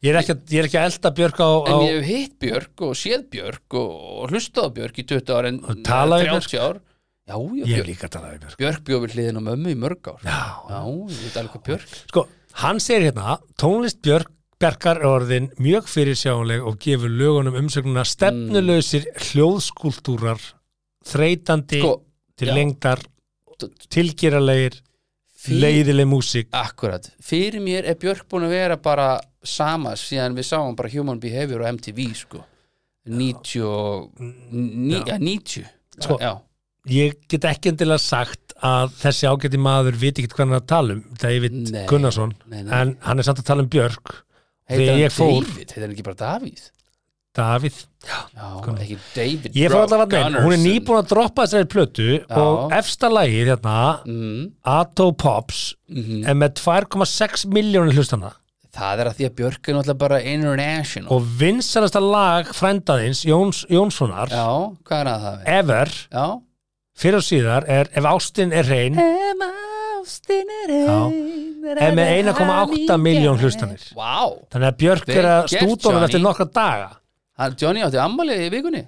[SPEAKER 1] ég er ekkert, ég er ekki að elda Björk á, á
[SPEAKER 2] en ég hef hitt Björk og séð Björk og, og hlustað á Björk í 20 ára en
[SPEAKER 1] Og talað við
[SPEAKER 2] 30 ár Já, já,
[SPEAKER 1] ég er
[SPEAKER 2] Björk,
[SPEAKER 1] líka að tala við Björk
[SPEAKER 2] Björk bjó við hliðin á mömmu í mörg ár Já, ég veit alveg hvað Björk
[SPEAKER 1] Sko, hann segir hérna tónlist Björk Bjarkar er orðin mjög fyrirsjáanleg og gefur lögunum umsögnuna stefnulausir hljóðskúltúrar þreytandi
[SPEAKER 2] Mm. Sko,
[SPEAKER 1] til
[SPEAKER 2] já.
[SPEAKER 1] lengdar tilgeralegir leiðileg músík
[SPEAKER 2] Akkurat, fyrir mér er Björk búin að vera bara sama síðan við sáum bara Human Behavior og MTV sko 90 og- ní- ja, 90
[SPEAKER 1] Mm, Sko,
[SPEAKER 2] já,
[SPEAKER 1] ég get ekki endilega sagt að þessi ágæti maður viti ekki hvað hann er að tala um David
[SPEAKER 2] Nei,
[SPEAKER 1] Gunnarsson
[SPEAKER 2] nei, nei.
[SPEAKER 1] en hann er samt að tala um Björk
[SPEAKER 2] heitir
[SPEAKER 1] þegar
[SPEAKER 2] hann
[SPEAKER 1] ég fór
[SPEAKER 2] David, heitir hann ekki bara David
[SPEAKER 1] David
[SPEAKER 2] Já, ekki David
[SPEAKER 1] Sko. ég fór allavega með, hún er
[SPEAKER 2] Gunnarsson.
[SPEAKER 1] nýbúin að droppa þessari plötu og efsta lagið hérna
[SPEAKER 2] mm,
[SPEAKER 1] Atto Pops
[SPEAKER 2] Mhm.
[SPEAKER 1] er með 2,6 miljónir hlustana
[SPEAKER 2] Það er að því að Björk er náttúrulega bara international
[SPEAKER 1] og vinsalasta lag frændaðins Jóns, Jónssonar
[SPEAKER 2] Já, hvað er að það við?
[SPEAKER 1] ever,
[SPEAKER 2] Já
[SPEAKER 1] fyrir og síðar er Ef ástin er reyn
[SPEAKER 2] Emma ástin er
[SPEAKER 1] er með 1,8 miljón hlustanir
[SPEAKER 2] Vá,
[SPEAKER 1] þannig að Björk
[SPEAKER 2] Vel
[SPEAKER 1] er að
[SPEAKER 2] gert,
[SPEAKER 1] stúdónum
[SPEAKER 2] Johnny.
[SPEAKER 1] eftir nokkra daga
[SPEAKER 2] hann, Johnny átti ammalið í vikunni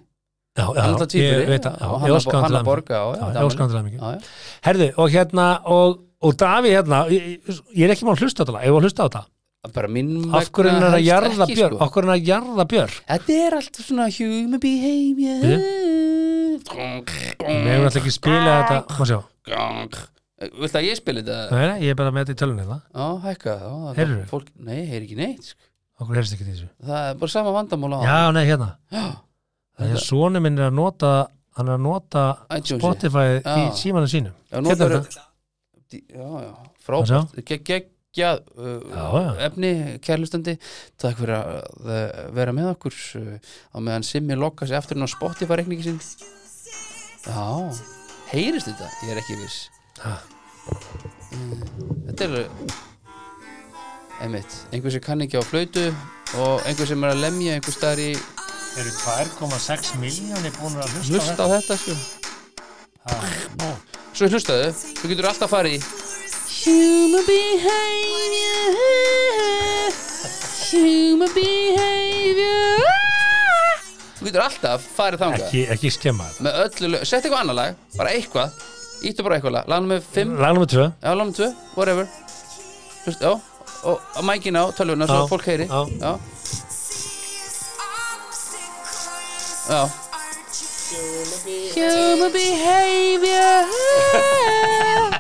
[SPEAKER 1] Já, já,
[SPEAKER 2] Hann er
[SPEAKER 1] ég
[SPEAKER 2] það tvíburi,
[SPEAKER 1] veit að,
[SPEAKER 2] já,
[SPEAKER 1] já,
[SPEAKER 2] og
[SPEAKER 1] ég
[SPEAKER 2] hann að-
[SPEAKER 1] óska hann
[SPEAKER 2] hann
[SPEAKER 1] til
[SPEAKER 2] að
[SPEAKER 1] hamingju.
[SPEAKER 2] borga,
[SPEAKER 1] Já,
[SPEAKER 2] já,
[SPEAKER 1] ég
[SPEAKER 2] þetta
[SPEAKER 1] óska
[SPEAKER 2] afmæli.
[SPEAKER 1] hann til hamingju.
[SPEAKER 2] Já, já.
[SPEAKER 1] Herðu, og hérna, og, og Davíð hérna, ég, ég er ekki mál að hlusta á þetta lag, ég var að hlusta á þetta.
[SPEAKER 2] Bara minn
[SPEAKER 1] Af hverju er hann
[SPEAKER 2] vegna
[SPEAKER 1] að
[SPEAKER 2] helst
[SPEAKER 1] jarða
[SPEAKER 2] ekki,
[SPEAKER 1] Björk?
[SPEAKER 2] sko.
[SPEAKER 1] Af hverju er hann að jarða Björk?
[SPEAKER 2] Þetta er allt svona human behavior
[SPEAKER 1] Bíddu. Við hefum
[SPEAKER 2] Megur
[SPEAKER 1] alltaf ekki spila
[SPEAKER 2] ah.
[SPEAKER 1] þetta, má sjá.
[SPEAKER 2] Viltu að ég spila þetta?
[SPEAKER 1] Nei, nei, ég er bara með þetta í tölunni það.
[SPEAKER 2] Já, hækka það var
[SPEAKER 1] Heyrðu?
[SPEAKER 2] fólk, Nei, heyri ekki neitt sko.
[SPEAKER 1] Okkur heyrst ekki í þessu.
[SPEAKER 2] Það er bara sama vandamál á
[SPEAKER 1] Já, nei, hérna.
[SPEAKER 2] Já.
[SPEAKER 1] Það er sonu minn er að nota, hann er að nota
[SPEAKER 2] iTunes-ið.
[SPEAKER 1] Spotify í
[SPEAKER 2] Já.
[SPEAKER 1] símanum sínum.
[SPEAKER 2] Já,
[SPEAKER 1] Hérna
[SPEAKER 2] notar,
[SPEAKER 1] er
[SPEAKER 2] já, já,
[SPEAKER 1] Hvað
[SPEAKER 2] frábært Ge- geggjað
[SPEAKER 1] Já,
[SPEAKER 2] uh,
[SPEAKER 1] já.
[SPEAKER 2] efni, kærlustandi takk fyrir að uh, vera með okkur uh, á meðan Simmi lokka sig aftur inn á Spotify reikningi sín Já, heyrist þetta? Ég er ekki viss Mm, Þetta er einmitt, einhver sem kann ekki á flautu og einhver sem er að lemja einhver staðar í
[SPEAKER 1] Eru 2,6 miljónir búin að
[SPEAKER 2] hlusta á þetta sko Svo hlustaðu, þú getur alltaf farið í Human behavior Human behavior Þú getur alltaf farið þangað
[SPEAKER 1] Ekki, ekki skemma þetta.
[SPEAKER 2] Með öllu lög, sett eitthvað annað lag Bara eitthvað, íttu bara eitthvað lag Lagnum með 5,
[SPEAKER 1] Lag nummer 2.
[SPEAKER 2] já lagnum 2, whatever Hlust, já Og og mækin á, tölvuna, svo
[SPEAKER 1] Já,
[SPEAKER 2] fólk heyri
[SPEAKER 1] já.
[SPEAKER 2] já, já. Human behavior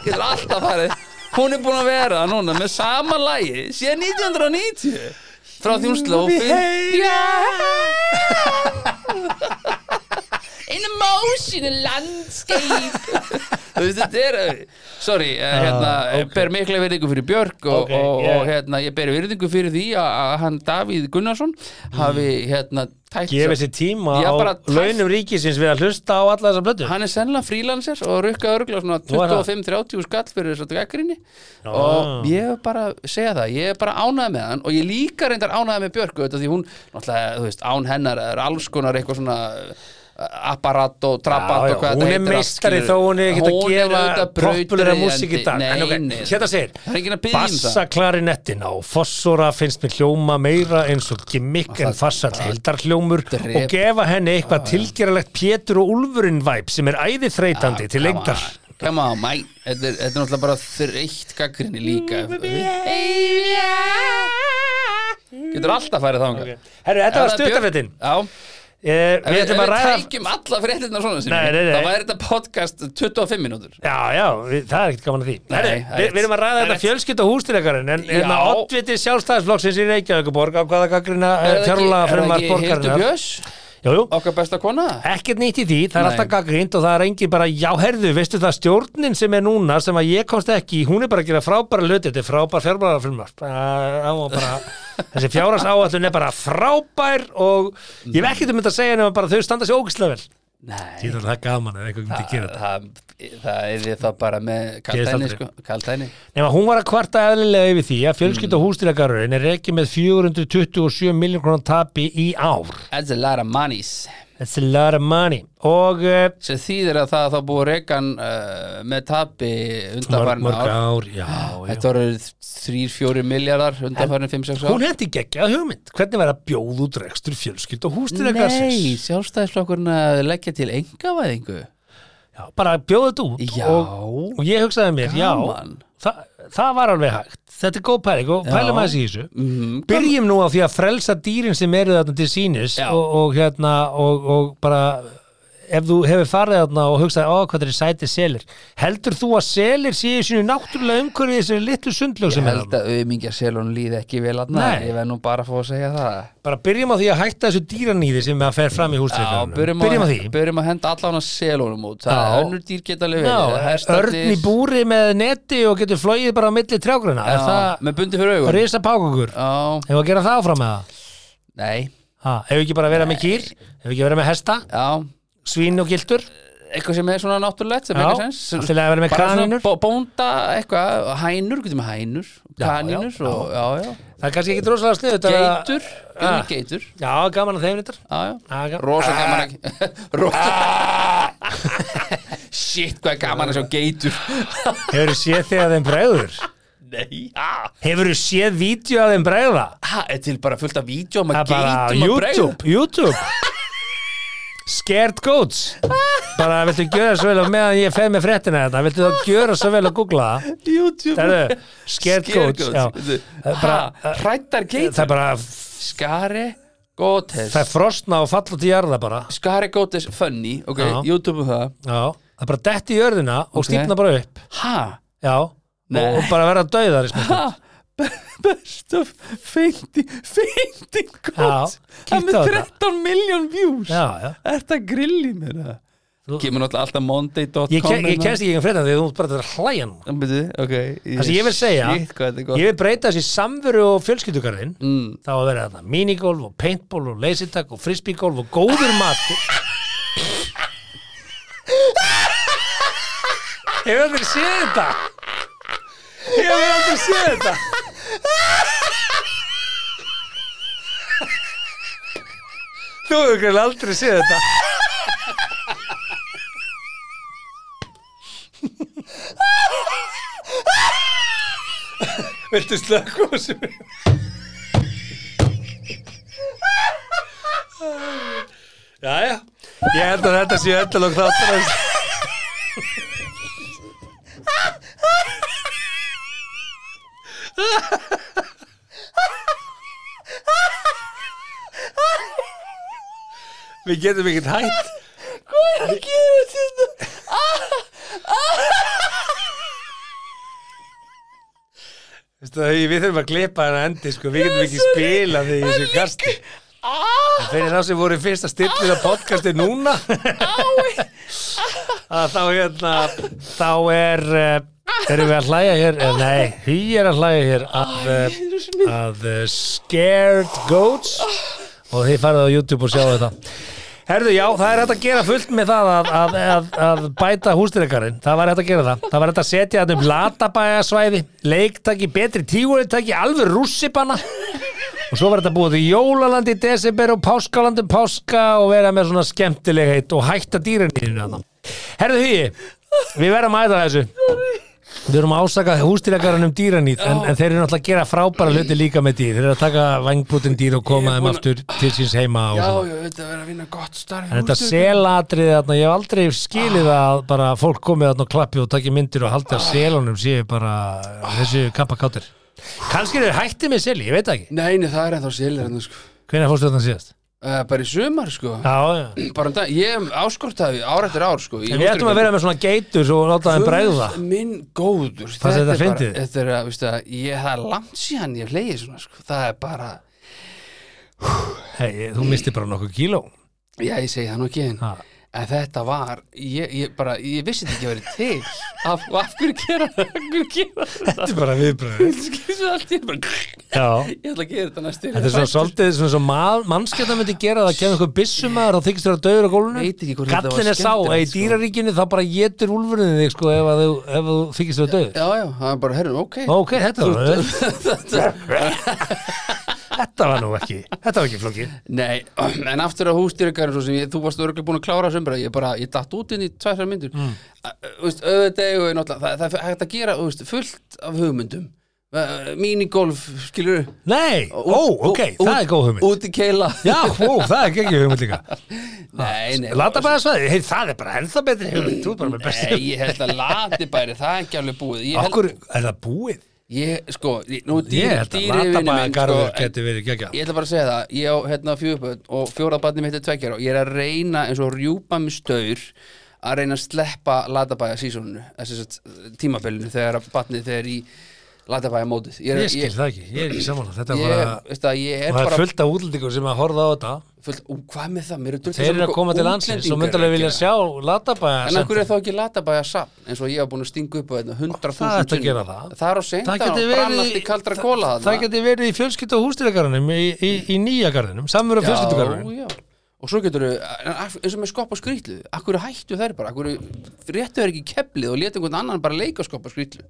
[SPEAKER 2] Getur alltaf farið Hún er búin að vera núna með sama lagi síðan 1990 frá því hún sló fyrst-
[SPEAKER 1] behavior.
[SPEAKER 2] In
[SPEAKER 6] an emotional landscape
[SPEAKER 2] þú veist, þetta er eh, sorry, uh, hérna, okay. ber mikla virðingu fyrir Björk og,
[SPEAKER 1] Ah, Ok,
[SPEAKER 2] og,
[SPEAKER 1] yeah.
[SPEAKER 2] og hérna, ég ber virðingu fyrir því að að hann Davíð Gunnarsson hafi hérna tætt
[SPEAKER 1] Mm. Gefið sér tíma
[SPEAKER 2] Já,
[SPEAKER 1] á
[SPEAKER 2] bara tæft.
[SPEAKER 1] launum ríkisins við að hlusta á alla þessa blötu
[SPEAKER 2] hann er sennilega frílanser og rukka örgla svona
[SPEAKER 1] Nú er það.
[SPEAKER 2] 25-30 skall fyrir þess að gaggrinni og ég hef bara segja það, ég hef bara ánæði með hann og ég líka reyndar ánæði með Björk þetta því hún, náttúrulega, þú veist, án hennar er alls konar eitthvað svona uh, apparat og trappat
[SPEAKER 1] Já, já,
[SPEAKER 2] og hvað
[SPEAKER 1] hún er
[SPEAKER 2] þetta allt,
[SPEAKER 1] meistari
[SPEAKER 2] skilur.
[SPEAKER 1] þó hún er ekkert að
[SPEAKER 2] Hún
[SPEAKER 1] gefa
[SPEAKER 2] auðvitað
[SPEAKER 1] poppulæra
[SPEAKER 2] brautryðjandi.
[SPEAKER 1] músík í dag.
[SPEAKER 2] Nei,
[SPEAKER 1] En ok,
[SPEAKER 2] nei.
[SPEAKER 1] hérna segir,
[SPEAKER 2] Það er enginn að byggja um það
[SPEAKER 1] Bassaklarinettin á Fossora finnst mér hljóma meira eins og gimmick en fassar heldarhljómur
[SPEAKER 2] drep-
[SPEAKER 1] og gefa henni eitthvað tilgeralegt Pétur og Úlfurinn væp sem er æði þreytandi til
[SPEAKER 2] Come
[SPEAKER 1] lengdar.
[SPEAKER 2] on, Come on, mæ Þetta er, þetta er náttúrulega bara þreytt gaggrinni
[SPEAKER 1] Mm,
[SPEAKER 2] líka Getur alltaf færið þá okay.
[SPEAKER 1] Herru, þetta var stuttafettin.
[SPEAKER 2] Já Ef
[SPEAKER 1] Eh, Við
[SPEAKER 2] Við,
[SPEAKER 1] ætlum
[SPEAKER 2] við
[SPEAKER 1] að ræða...
[SPEAKER 2] tækjum alla fréttirna svona sem
[SPEAKER 1] Nei, nei, nei.
[SPEAKER 2] þá væri þetta podcast 25 mínútur
[SPEAKER 1] Já, já, við, það er ekkert gaman að því
[SPEAKER 2] Nei,
[SPEAKER 1] Herri,
[SPEAKER 2] það er
[SPEAKER 1] við,
[SPEAKER 2] rétt.
[SPEAKER 1] við erum að ræða
[SPEAKER 2] Það er
[SPEAKER 1] þetta fjölskylda hústýrjakarinn en hérna
[SPEAKER 2] Já.
[SPEAKER 1] oddviti sjálfstæðisflokksins í Reykjavíkuborg á hvaða gaggrina fjárlega fremar
[SPEAKER 2] Hildur
[SPEAKER 1] borgarinnar
[SPEAKER 2] Björns,
[SPEAKER 1] Jú, jú,
[SPEAKER 2] okkar besta kona?
[SPEAKER 1] ekkert nýtt í því, það er
[SPEAKER 2] Nei.
[SPEAKER 1] alltaf gaggrind og það er engin bara, já herðu, veistu það stjórnin sem er núna sem að ég komst ekki í, hún er bara að gera frábæra löti, þetta er frábær fjárlega fremar bara, þessi fjárhans áallun er bara frábær og ég hef ekkert um þetta að segja nema bara þau standa sér ógislega vel
[SPEAKER 2] Nei,
[SPEAKER 1] Því það er gaman ef eitthvað myndi gera þetta
[SPEAKER 2] það, það er því það bara með
[SPEAKER 1] Gerist
[SPEAKER 2] kaltæni
[SPEAKER 1] aldrei.
[SPEAKER 2] sko, kaltæni
[SPEAKER 1] Nefna hún var að kvarta eðlilega yfir því að fjölskylda mm. hústýragarurinn er reikið með 427 miljón krónar tapi í ár.
[SPEAKER 2] That's a lot of monies
[SPEAKER 1] That's a lot of money. Og uh,
[SPEAKER 2] sem þýðir að það að það búið reikan uh, með tapi
[SPEAKER 1] mörg,
[SPEAKER 2] undanfarn
[SPEAKER 1] mörg
[SPEAKER 2] ár
[SPEAKER 1] ár, já, já.
[SPEAKER 2] Þetta voru 3-4 miljardar undanfarn 5-6 ár
[SPEAKER 1] Hún hendi geggjað hugmynd. Hvernig væri að bjóða út rekstur fjölskylda
[SPEAKER 2] Nei,
[SPEAKER 1] hústýragarsins?
[SPEAKER 2] sjálfstæðisflokkurinn að leggja til engavæðingu
[SPEAKER 1] Já, bara bjóða þetta út.
[SPEAKER 2] Já.
[SPEAKER 1] Og, og ég hugsaði mér,
[SPEAKER 2] Gaman.
[SPEAKER 1] já, það, það var alveg hægt. Þetta er góð pæling og pælum aðeins í þessu.
[SPEAKER 2] Mhm.
[SPEAKER 1] Byrjum nú á því að frelsa dýrin sem eru þarna til sínis
[SPEAKER 2] Já.
[SPEAKER 1] og, og hérna og, og bara ef þú hefur farið þarna og hugsaði ó hvað þeir sæti selir heldur þú að selir séu í sínu náttúrulega umhverfið í þessari litlu sundlög
[SPEAKER 2] Ég
[SPEAKER 1] sem er
[SPEAKER 2] held
[SPEAKER 1] þarna
[SPEAKER 2] að auðmingja selun líði ekki vel aðna
[SPEAKER 1] Nei.
[SPEAKER 2] Ég verð nú bara að fá að segja það
[SPEAKER 1] bara byrjum á því að hætta þessu dýranýði sem að fer fram í
[SPEAKER 2] Já,
[SPEAKER 1] húsleikarunum
[SPEAKER 2] byrjum,
[SPEAKER 1] byrjum á
[SPEAKER 2] að,
[SPEAKER 1] því
[SPEAKER 2] byrjum að henda allan að selunum út Það
[SPEAKER 1] Já.
[SPEAKER 2] er önnur dýr geta alveg verið
[SPEAKER 1] Já,
[SPEAKER 2] Hestarnir-
[SPEAKER 1] örn í búri með neti og getur flogið bara á milli trjágruna
[SPEAKER 2] Já,
[SPEAKER 1] er það
[SPEAKER 2] Með bundi fyrir augun
[SPEAKER 1] risa pákukur
[SPEAKER 2] Já,
[SPEAKER 1] hefur að gera það áfram með það
[SPEAKER 2] nei,
[SPEAKER 1] Ha, hefur ekki bara að vera með kýr hefur ekki að vera með hesta,
[SPEAKER 2] já
[SPEAKER 1] svín og giltur
[SPEAKER 2] eitthvað sem er svona náttúrulegt sem
[SPEAKER 1] Já,
[SPEAKER 2] ekki sens
[SPEAKER 1] allt í lagi að vera með
[SPEAKER 2] Bara svona
[SPEAKER 1] kanínur.
[SPEAKER 2] bó- bónda eitthvað, hænur, getur með hænur
[SPEAKER 1] Já,
[SPEAKER 2] kanínur
[SPEAKER 1] já,
[SPEAKER 2] og já, já,
[SPEAKER 1] það er kannski ekki drosalega snið
[SPEAKER 2] geitur getur
[SPEAKER 1] Ah.
[SPEAKER 2] með geitur
[SPEAKER 1] Já, gaman að þeim þetta
[SPEAKER 2] já, já,
[SPEAKER 1] Já, gaman.
[SPEAKER 2] rosa gaman ekki rosa
[SPEAKER 1] Ah.
[SPEAKER 2] shit, hvað er gaman að sjá geitur
[SPEAKER 1] Hefur þú séð þegar þeim bregður?
[SPEAKER 2] nei, ah,
[SPEAKER 1] Hefur þú séð vídeo að þeim bregða?
[SPEAKER 2] ha, er til bara fullt af vídjum
[SPEAKER 1] Það
[SPEAKER 2] að
[SPEAKER 1] er bara á
[SPEAKER 2] geitum að bregða
[SPEAKER 1] YouTube, YouTube Scared goats Bara viltu gjöra svo vel og meðan ég fer með fréttina þetta Viltu þá gjöra svo vel og googla það
[SPEAKER 2] YouTube
[SPEAKER 1] Herðu, Scared, goats, já. Það er bara- uh,
[SPEAKER 2] já hrættar
[SPEAKER 1] Það er
[SPEAKER 2] geitur
[SPEAKER 1] bara,
[SPEAKER 2] skari gótes
[SPEAKER 1] það er frosna og falla til jarða bara
[SPEAKER 2] skari gótes funny, ok,
[SPEAKER 1] Já.
[SPEAKER 2] YouTube um það
[SPEAKER 1] Já, það er bara detti í jörðina og
[SPEAKER 2] Ok.
[SPEAKER 1] stífna bara upp
[SPEAKER 2] Hæ?
[SPEAKER 1] Já,
[SPEAKER 2] Nei.
[SPEAKER 1] og bara vera döiðar í smá
[SPEAKER 2] Hæ? Best of feinti feinti
[SPEAKER 1] Já,
[SPEAKER 2] gott
[SPEAKER 1] kíktu
[SPEAKER 2] Það
[SPEAKER 1] á
[SPEAKER 2] með
[SPEAKER 1] þetta.
[SPEAKER 2] 13 miljón views
[SPEAKER 1] Já, já
[SPEAKER 2] Þetta grilli mér það
[SPEAKER 1] Þú-
[SPEAKER 2] Kemur náttúrulega alltaf monday.com
[SPEAKER 1] Ég, ke- ég kemst ekki um fréttina því að þú ert bara að hlæja nú
[SPEAKER 2] okay,
[SPEAKER 1] Það sem ég vil segja,
[SPEAKER 2] Shit, hvað þetta er
[SPEAKER 1] ég
[SPEAKER 2] gott
[SPEAKER 1] vil breyta þessi samveru og fjölskyldugarðin
[SPEAKER 2] Mm.
[SPEAKER 1] þá að vera þarna minigolf og paintball og leysitak og frisbeegolf og góður matur Ég hef aldrei séð þetta Ég hef aldrei séð þetta Þú hefur greið aldrei séð þetta Viltu slökku þessu? Jæja, ég held að þetta sé endalók þáttur að Við getum ekkert hætt Veistu, það, við þurfum að klippa hann endi sko. Við getum ekki spila því í þessu kasti
[SPEAKER 6] Ah,
[SPEAKER 1] Fyrir það sem voru fyrst að stilla podcasti núna
[SPEAKER 6] ái.
[SPEAKER 1] að þá hérna þá er eh, erum við að hlæja hér eh, nei, hý er að hlæja hér að, eh, að eh, Scared Goats og þið farið á YouTube og sjáu þetta Herðu, já, það er hægt að gera fullt með það að, að, að, að bæta húsdrekarinn. Það var hægt að gera það. Það var hægt að setja þetta um latabæjasvæði, leiktaki, betri tígurleitaki, alveg rússipanna. Og svo var þetta búið í Jólaland í desember og Páskaland um Páska og vera með svona skemmtileg heitt og hætta dýrinirinu hann. Herðu hugi, við verðum að æta þessu. Við erum að ásaka hústýrakaran um dýranýð en, en þeir eru náttúrulega að gera frábæra hluti líka með dýr. Þeir eru að taka vangbútin dýr og koma þeim aftur til síns heima og
[SPEAKER 2] Já,
[SPEAKER 1] svona.
[SPEAKER 2] ég veit að vera að vinna gott starf
[SPEAKER 1] En þetta selatrið þarna, ég hef aldrei skilið
[SPEAKER 2] Ah.
[SPEAKER 1] að bara fólk komið þarna og klappi og taki myndir og haldi að selunum séu bara þessu kampakátur. Kanski þeir hætti með seli, ég veit það ekki.
[SPEAKER 2] Nei, nei, það er ennþá silir ennþá, sko
[SPEAKER 1] Hvenær fórstu þarna síðast?
[SPEAKER 2] uh, Bara í sumar, sko
[SPEAKER 1] Já, já.
[SPEAKER 2] Bara um dag, ég hef áskortaði ár eftir ár, sko
[SPEAKER 1] En við ættum að vera með svona geitur og láta þeim bræðu það.
[SPEAKER 2] Minn góður
[SPEAKER 1] Fannst
[SPEAKER 2] er
[SPEAKER 1] þetta
[SPEAKER 2] bara-
[SPEAKER 1] fyndið?
[SPEAKER 2] Þetta er, að, veistu að, ég það er langt síðan ég hlegi svona, sko Það er bara,
[SPEAKER 1] Hei, þú misti bara nokkuð kíló.
[SPEAKER 2] já, ég segi það nú ekki en
[SPEAKER 1] Ha.
[SPEAKER 2] En þetta var, ég, ég bara, ég vissi þetta ekki að vera til Af, af hverju gera, af hverju gera þetta
[SPEAKER 1] Þetta er bara viðbræðu.
[SPEAKER 2] Skýrstu allt, ég bara,
[SPEAKER 1] Já.
[SPEAKER 2] ég ætla að gera þetta næstu
[SPEAKER 1] Þetta er svona svolítið svona svo mað, mannskjöta myndi gera það kemur einhver byssumæður og þykist þér að döður á gólunum
[SPEAKER 2] Veit ekki hvort þetta var
[SPEAKER 1] Kallin er sá,
[SPEAKER 2] skemmtilegt,
[SPEAKER 1] eða í
[SPEAKER 2] sko.
[SPEAKER 1] dýraríkinu þá bara getur úlfurinn þig sko ef að þú, ef þú þykist þér að döður
[SPEAKER 2] Já, já, það er bara, herrun, ok
[SPEAKER 1] Ok, þetta var Þetta var nú ekki Þetta var ekki flóki
[SPEAKER 2] Nei, en aftur á hústýrgarinn svo sem ég, þú varst örgulega búin að klára sem bara, ég bara, ég datt út inn í tvæsar myndur mm. veist, auðvitað og náttúrulega, það, það er hægt að gera þú veist, fullt af hugmyndum Uh, minigolf, skilur
[SPEAKER 1] Nei, ó, ok, það er góð hugmynd
[SPEAKER 2] Út í keila
[SPEAKER 1] Já, ó, það er ekki hugmynd líka
[SPEAKER 2] Nei, nei,
[SPEAKER 1] Lata bara svæði, hei, það er bara ennþá betri hugmynd Þú er bara með
[SPEAKER 2] nei,
[SPEAKER 1] besti
[SPEAKER 2] ég held að lati bæri, það er ekki alveg búið Ég held,
[SPEAKER 1] Okkur, er það búið?
[SPEAKER 2] ég, sko, ég- nú
[SPEAKER 1] Ég
[SPEAKER 2] dýri,
[SPEAKER 1] held að
[SPEAKER 2] dýri
[SPEAKER 1] lata
[SPEAKER 2] vinnu
[SPEAKER 1] bara
[SPEAKER 2] minn, sko,
[SPEAKER 1] garður
[SPEAKER 2] en-
[SPEAKER 1] geti verið gegja
[SPEAKER 2] Ég ætla bara að segja það, ég á hérna fjöðböld og fjóraðbarni mitt er tveggjara og ég er að reyna eins og rjúpa með staur að reyna að sleppa latabæja sísónunu, þessi tímabellinu þegar að barnið þegar í latabæja mótið. Ég, er-
[SPEAKER 1] Ég skil það ekki, ég er ekki samanlega Þetta
[SPEAKER 2] Ég,
[SPEAKER 1] er bara
[SPEAKER 2] ég, veist það,
[SPEAKER 1] og
[SPEAKER 2] ég er
[SPEAKER 1] það er
[SPEAKER 2] bara fullt,
[SPEAKER 1] fullt af útlendingum sem að horfa á þetta
[SPEAKER 2] ú, hvað með það, mér er
[SPEAKER 1] þeir eru að koma til landsins og myndarlega vilja sjá latabæja
[SPEAKER 2] En af hverju er þá ekki latabæja safn eins og ég hef búin að stinga upp á þetta 100.000
[SPEAKER 1] Það ætti að
[SPEAKER 2] sinnum.
[SPEAKER 1] gera það.
[SPEAKER 2] Það er á seint
[SPEAKER 1] það
[SPEAKER 2] að
[SPEAKER 1] geti
[SPEAKER 2] brann allt í kaldra kóla
[SPEAKER 1] það
[SPEAKER 2] þarna.
[SPEAKER 1] geti verið í fjölskyldu og hústýragarðinum í, í, í nýja garðinum, samveru fjölskyldugarðinum
[SPEAKER 2] já, já. og svo getur þau eins og með skopp og skrýtlu, akkur hættu þær bara akkur réttu þær ekki í keflið og leta einhvern annan bara leika skopp og skrýtlu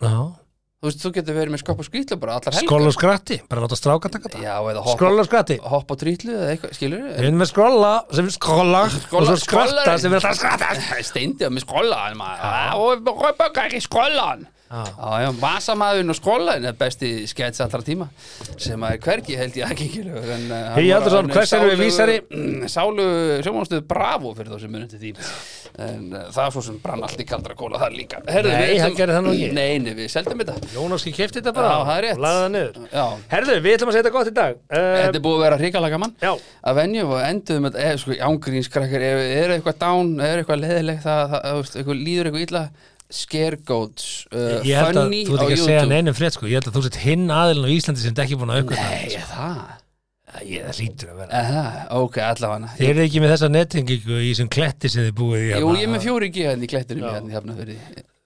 [SPEAKER 2] þú veist, þú getur verið með skopp og skrýtlu bara allar helgar
[SPEAKER 1] skroll og skratti, bara láta stráka taka
[SPEAKER 2] já,
[SPEAKER 1] þetta
[SPEAKER 2] eða
[SPEAKER 1] skroll
[SPEAKER 2] hoppa,
[SPEAKER 1] og skratti
[SPEAKER 2] hoppa á trýtlu eða eitthvað, skilur
[SPEAKER 1] við erum með skrolla sem við skrolla og svo skratta sem við ætla að skratta
[SPEAKER 2] steindi með skrólan og hoppa ekki skrólan já, já, vasamaðurinn og skrólan er besti skets allra tíma sem að er hvergi held ég ekki skilur en, uh,
[SPEAKER 1] Hugi Halldórsson, hvers erum við vísari?
[SPEAKER 2] Sálu sjómanstöðu bravo fyrir þá sem munið til því en uh, það er svo sem brann allt í kaldra kóla þar líka Herðu,
[SPEAKER 1] Nei,
[SPEAKER 2] við ætlum-
[SPEAKER 1] hann gerði það nú ekki.
[SPEAKER 2] Nei, nei, við seldum þetta
[SPEAKER 1] Jónáski kefti þetta
[SPEAKER 2] Já, það er
[SPEAKER 1] bara
[SPEAKER 2] rétt.
[SPEAKER 1] og laði það niður
[SPEAKER 2] Já,
[SPEAKER 1] herðu, við ætlum að segja þetta gott í dag
[SPEAKER 2] þetta
[SPEAKER 1] uh,
[SPEAKER 2] er búið að vera hrikalega gaman
[SPEAKER 1] já,
[SPEAKER 2] að venju og enduðum að eða sko ángrínskrakkar, ef er eitthvað dán er eitthvað leðilegt, það, það, það veist, eitthvað, líður eitthvað illa, scaregóts uh,
[SPEAKER 1] ég held að
[SPEAKER 2] funny
[SPEAKER 1] þú ert
[SPEAKER 2] á
[SPEAKER 1] ekki að segja
[SPEAKER 2] YouTube
[SPEAKER 1] neinum frétt sko, ég held að þú sett hinn aðilin á Íslandi sem þetta ekki búin að aukvita
[SPEAKER 2] Nei, er það
[SPEAKER 1] Ég, það hlýtur að vera.
[SPEAKER 2] Aha, ok, allavega
[SPEAKER 1] Þið eru ekki með þessa nettingingu í þessum kletti sem þið búið í.
[SPEAKER 2] Jú, ég er með fjóri G hérna í klettinum hérna í Hafnarfirði.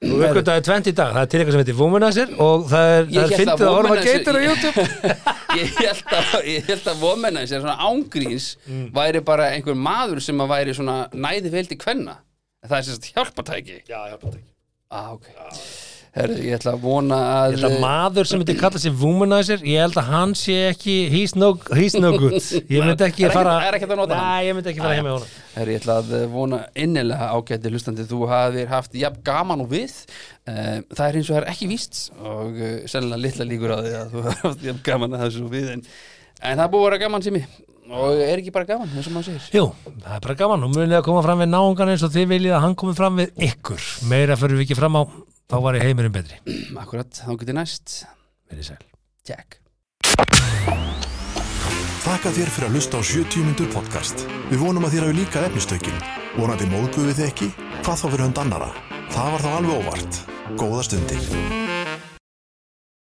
[SPEAKER 1] Ökkur dag er 20 í dag, það er til eitthvað sem heitir Womanizer og það er,
[SPEAKER 2] Ég
[SPEAKER 1] það er
[SPEAKER 2] hélt
[SPEAKER 1] fyndið að horfa
[SPEAKER 2] Womanizer-
[SPEAKER 1] geitur á YouTube.
[SPEAKER 2] ég held að, ég held að Womanizer, svona ángríns
[SPEAKER 1] Mm.
[SPEAKER 2] væri bara einhver maður sem að væri svona næði vel til kvenna En það er sérst hjálpatæki Já, hjálpatæki ah, okay. Herri, ég ætla að vona
[SPEAKER 1] Ég
[SPEAKER 2] að
[SPEAKER 1] held að maður sem myndi kalla sig Womanizer, ég held að hann sé ekki, he's no, he's no good. Ég myndi ekki
[SPEAKER 2] Er ekki-
[SPEAKER 1] fara...
[SPEAKER 2] er ekki hægt að nota hann?
[SPEAKER 1] Nei, ég myndi ekki fara heim með honum.
[SPEAKER 2] Herri, ég ætla að eh, vona innilega ágæti hlustandi þú hafðir haft jafn gaman og við Eh, það er eins og það er ekki víst og eh, sennilega litla líkur á því að þú hafðir haft jafn gaman að þessu og við en, en það er búið að vera gaman sem og er ekki bara gaman, eins og maður segir
[SPEAKER 1] Jú, það er bara gaman og munið að koma fram við náungan eins og þið viljið að hann komi fram við ykkur. Meira fyrir við ekki fram á, þá var ég heimurinn betri.
[SPEAKER 2] Akkurat, þá getur næst
[SPEAKER 1] Verið sæl.
[SPEAKER 2] Jack
[SPEAKER 4] Þakka þér fyrir að hlusta á 70 myndur podcast. Við vonum að þér hafi líka efnistökin. Vonandi móðguðu þið ekki? Hvað þá fyrir hund annara? Það var þá alveg óvart. Góða stundir.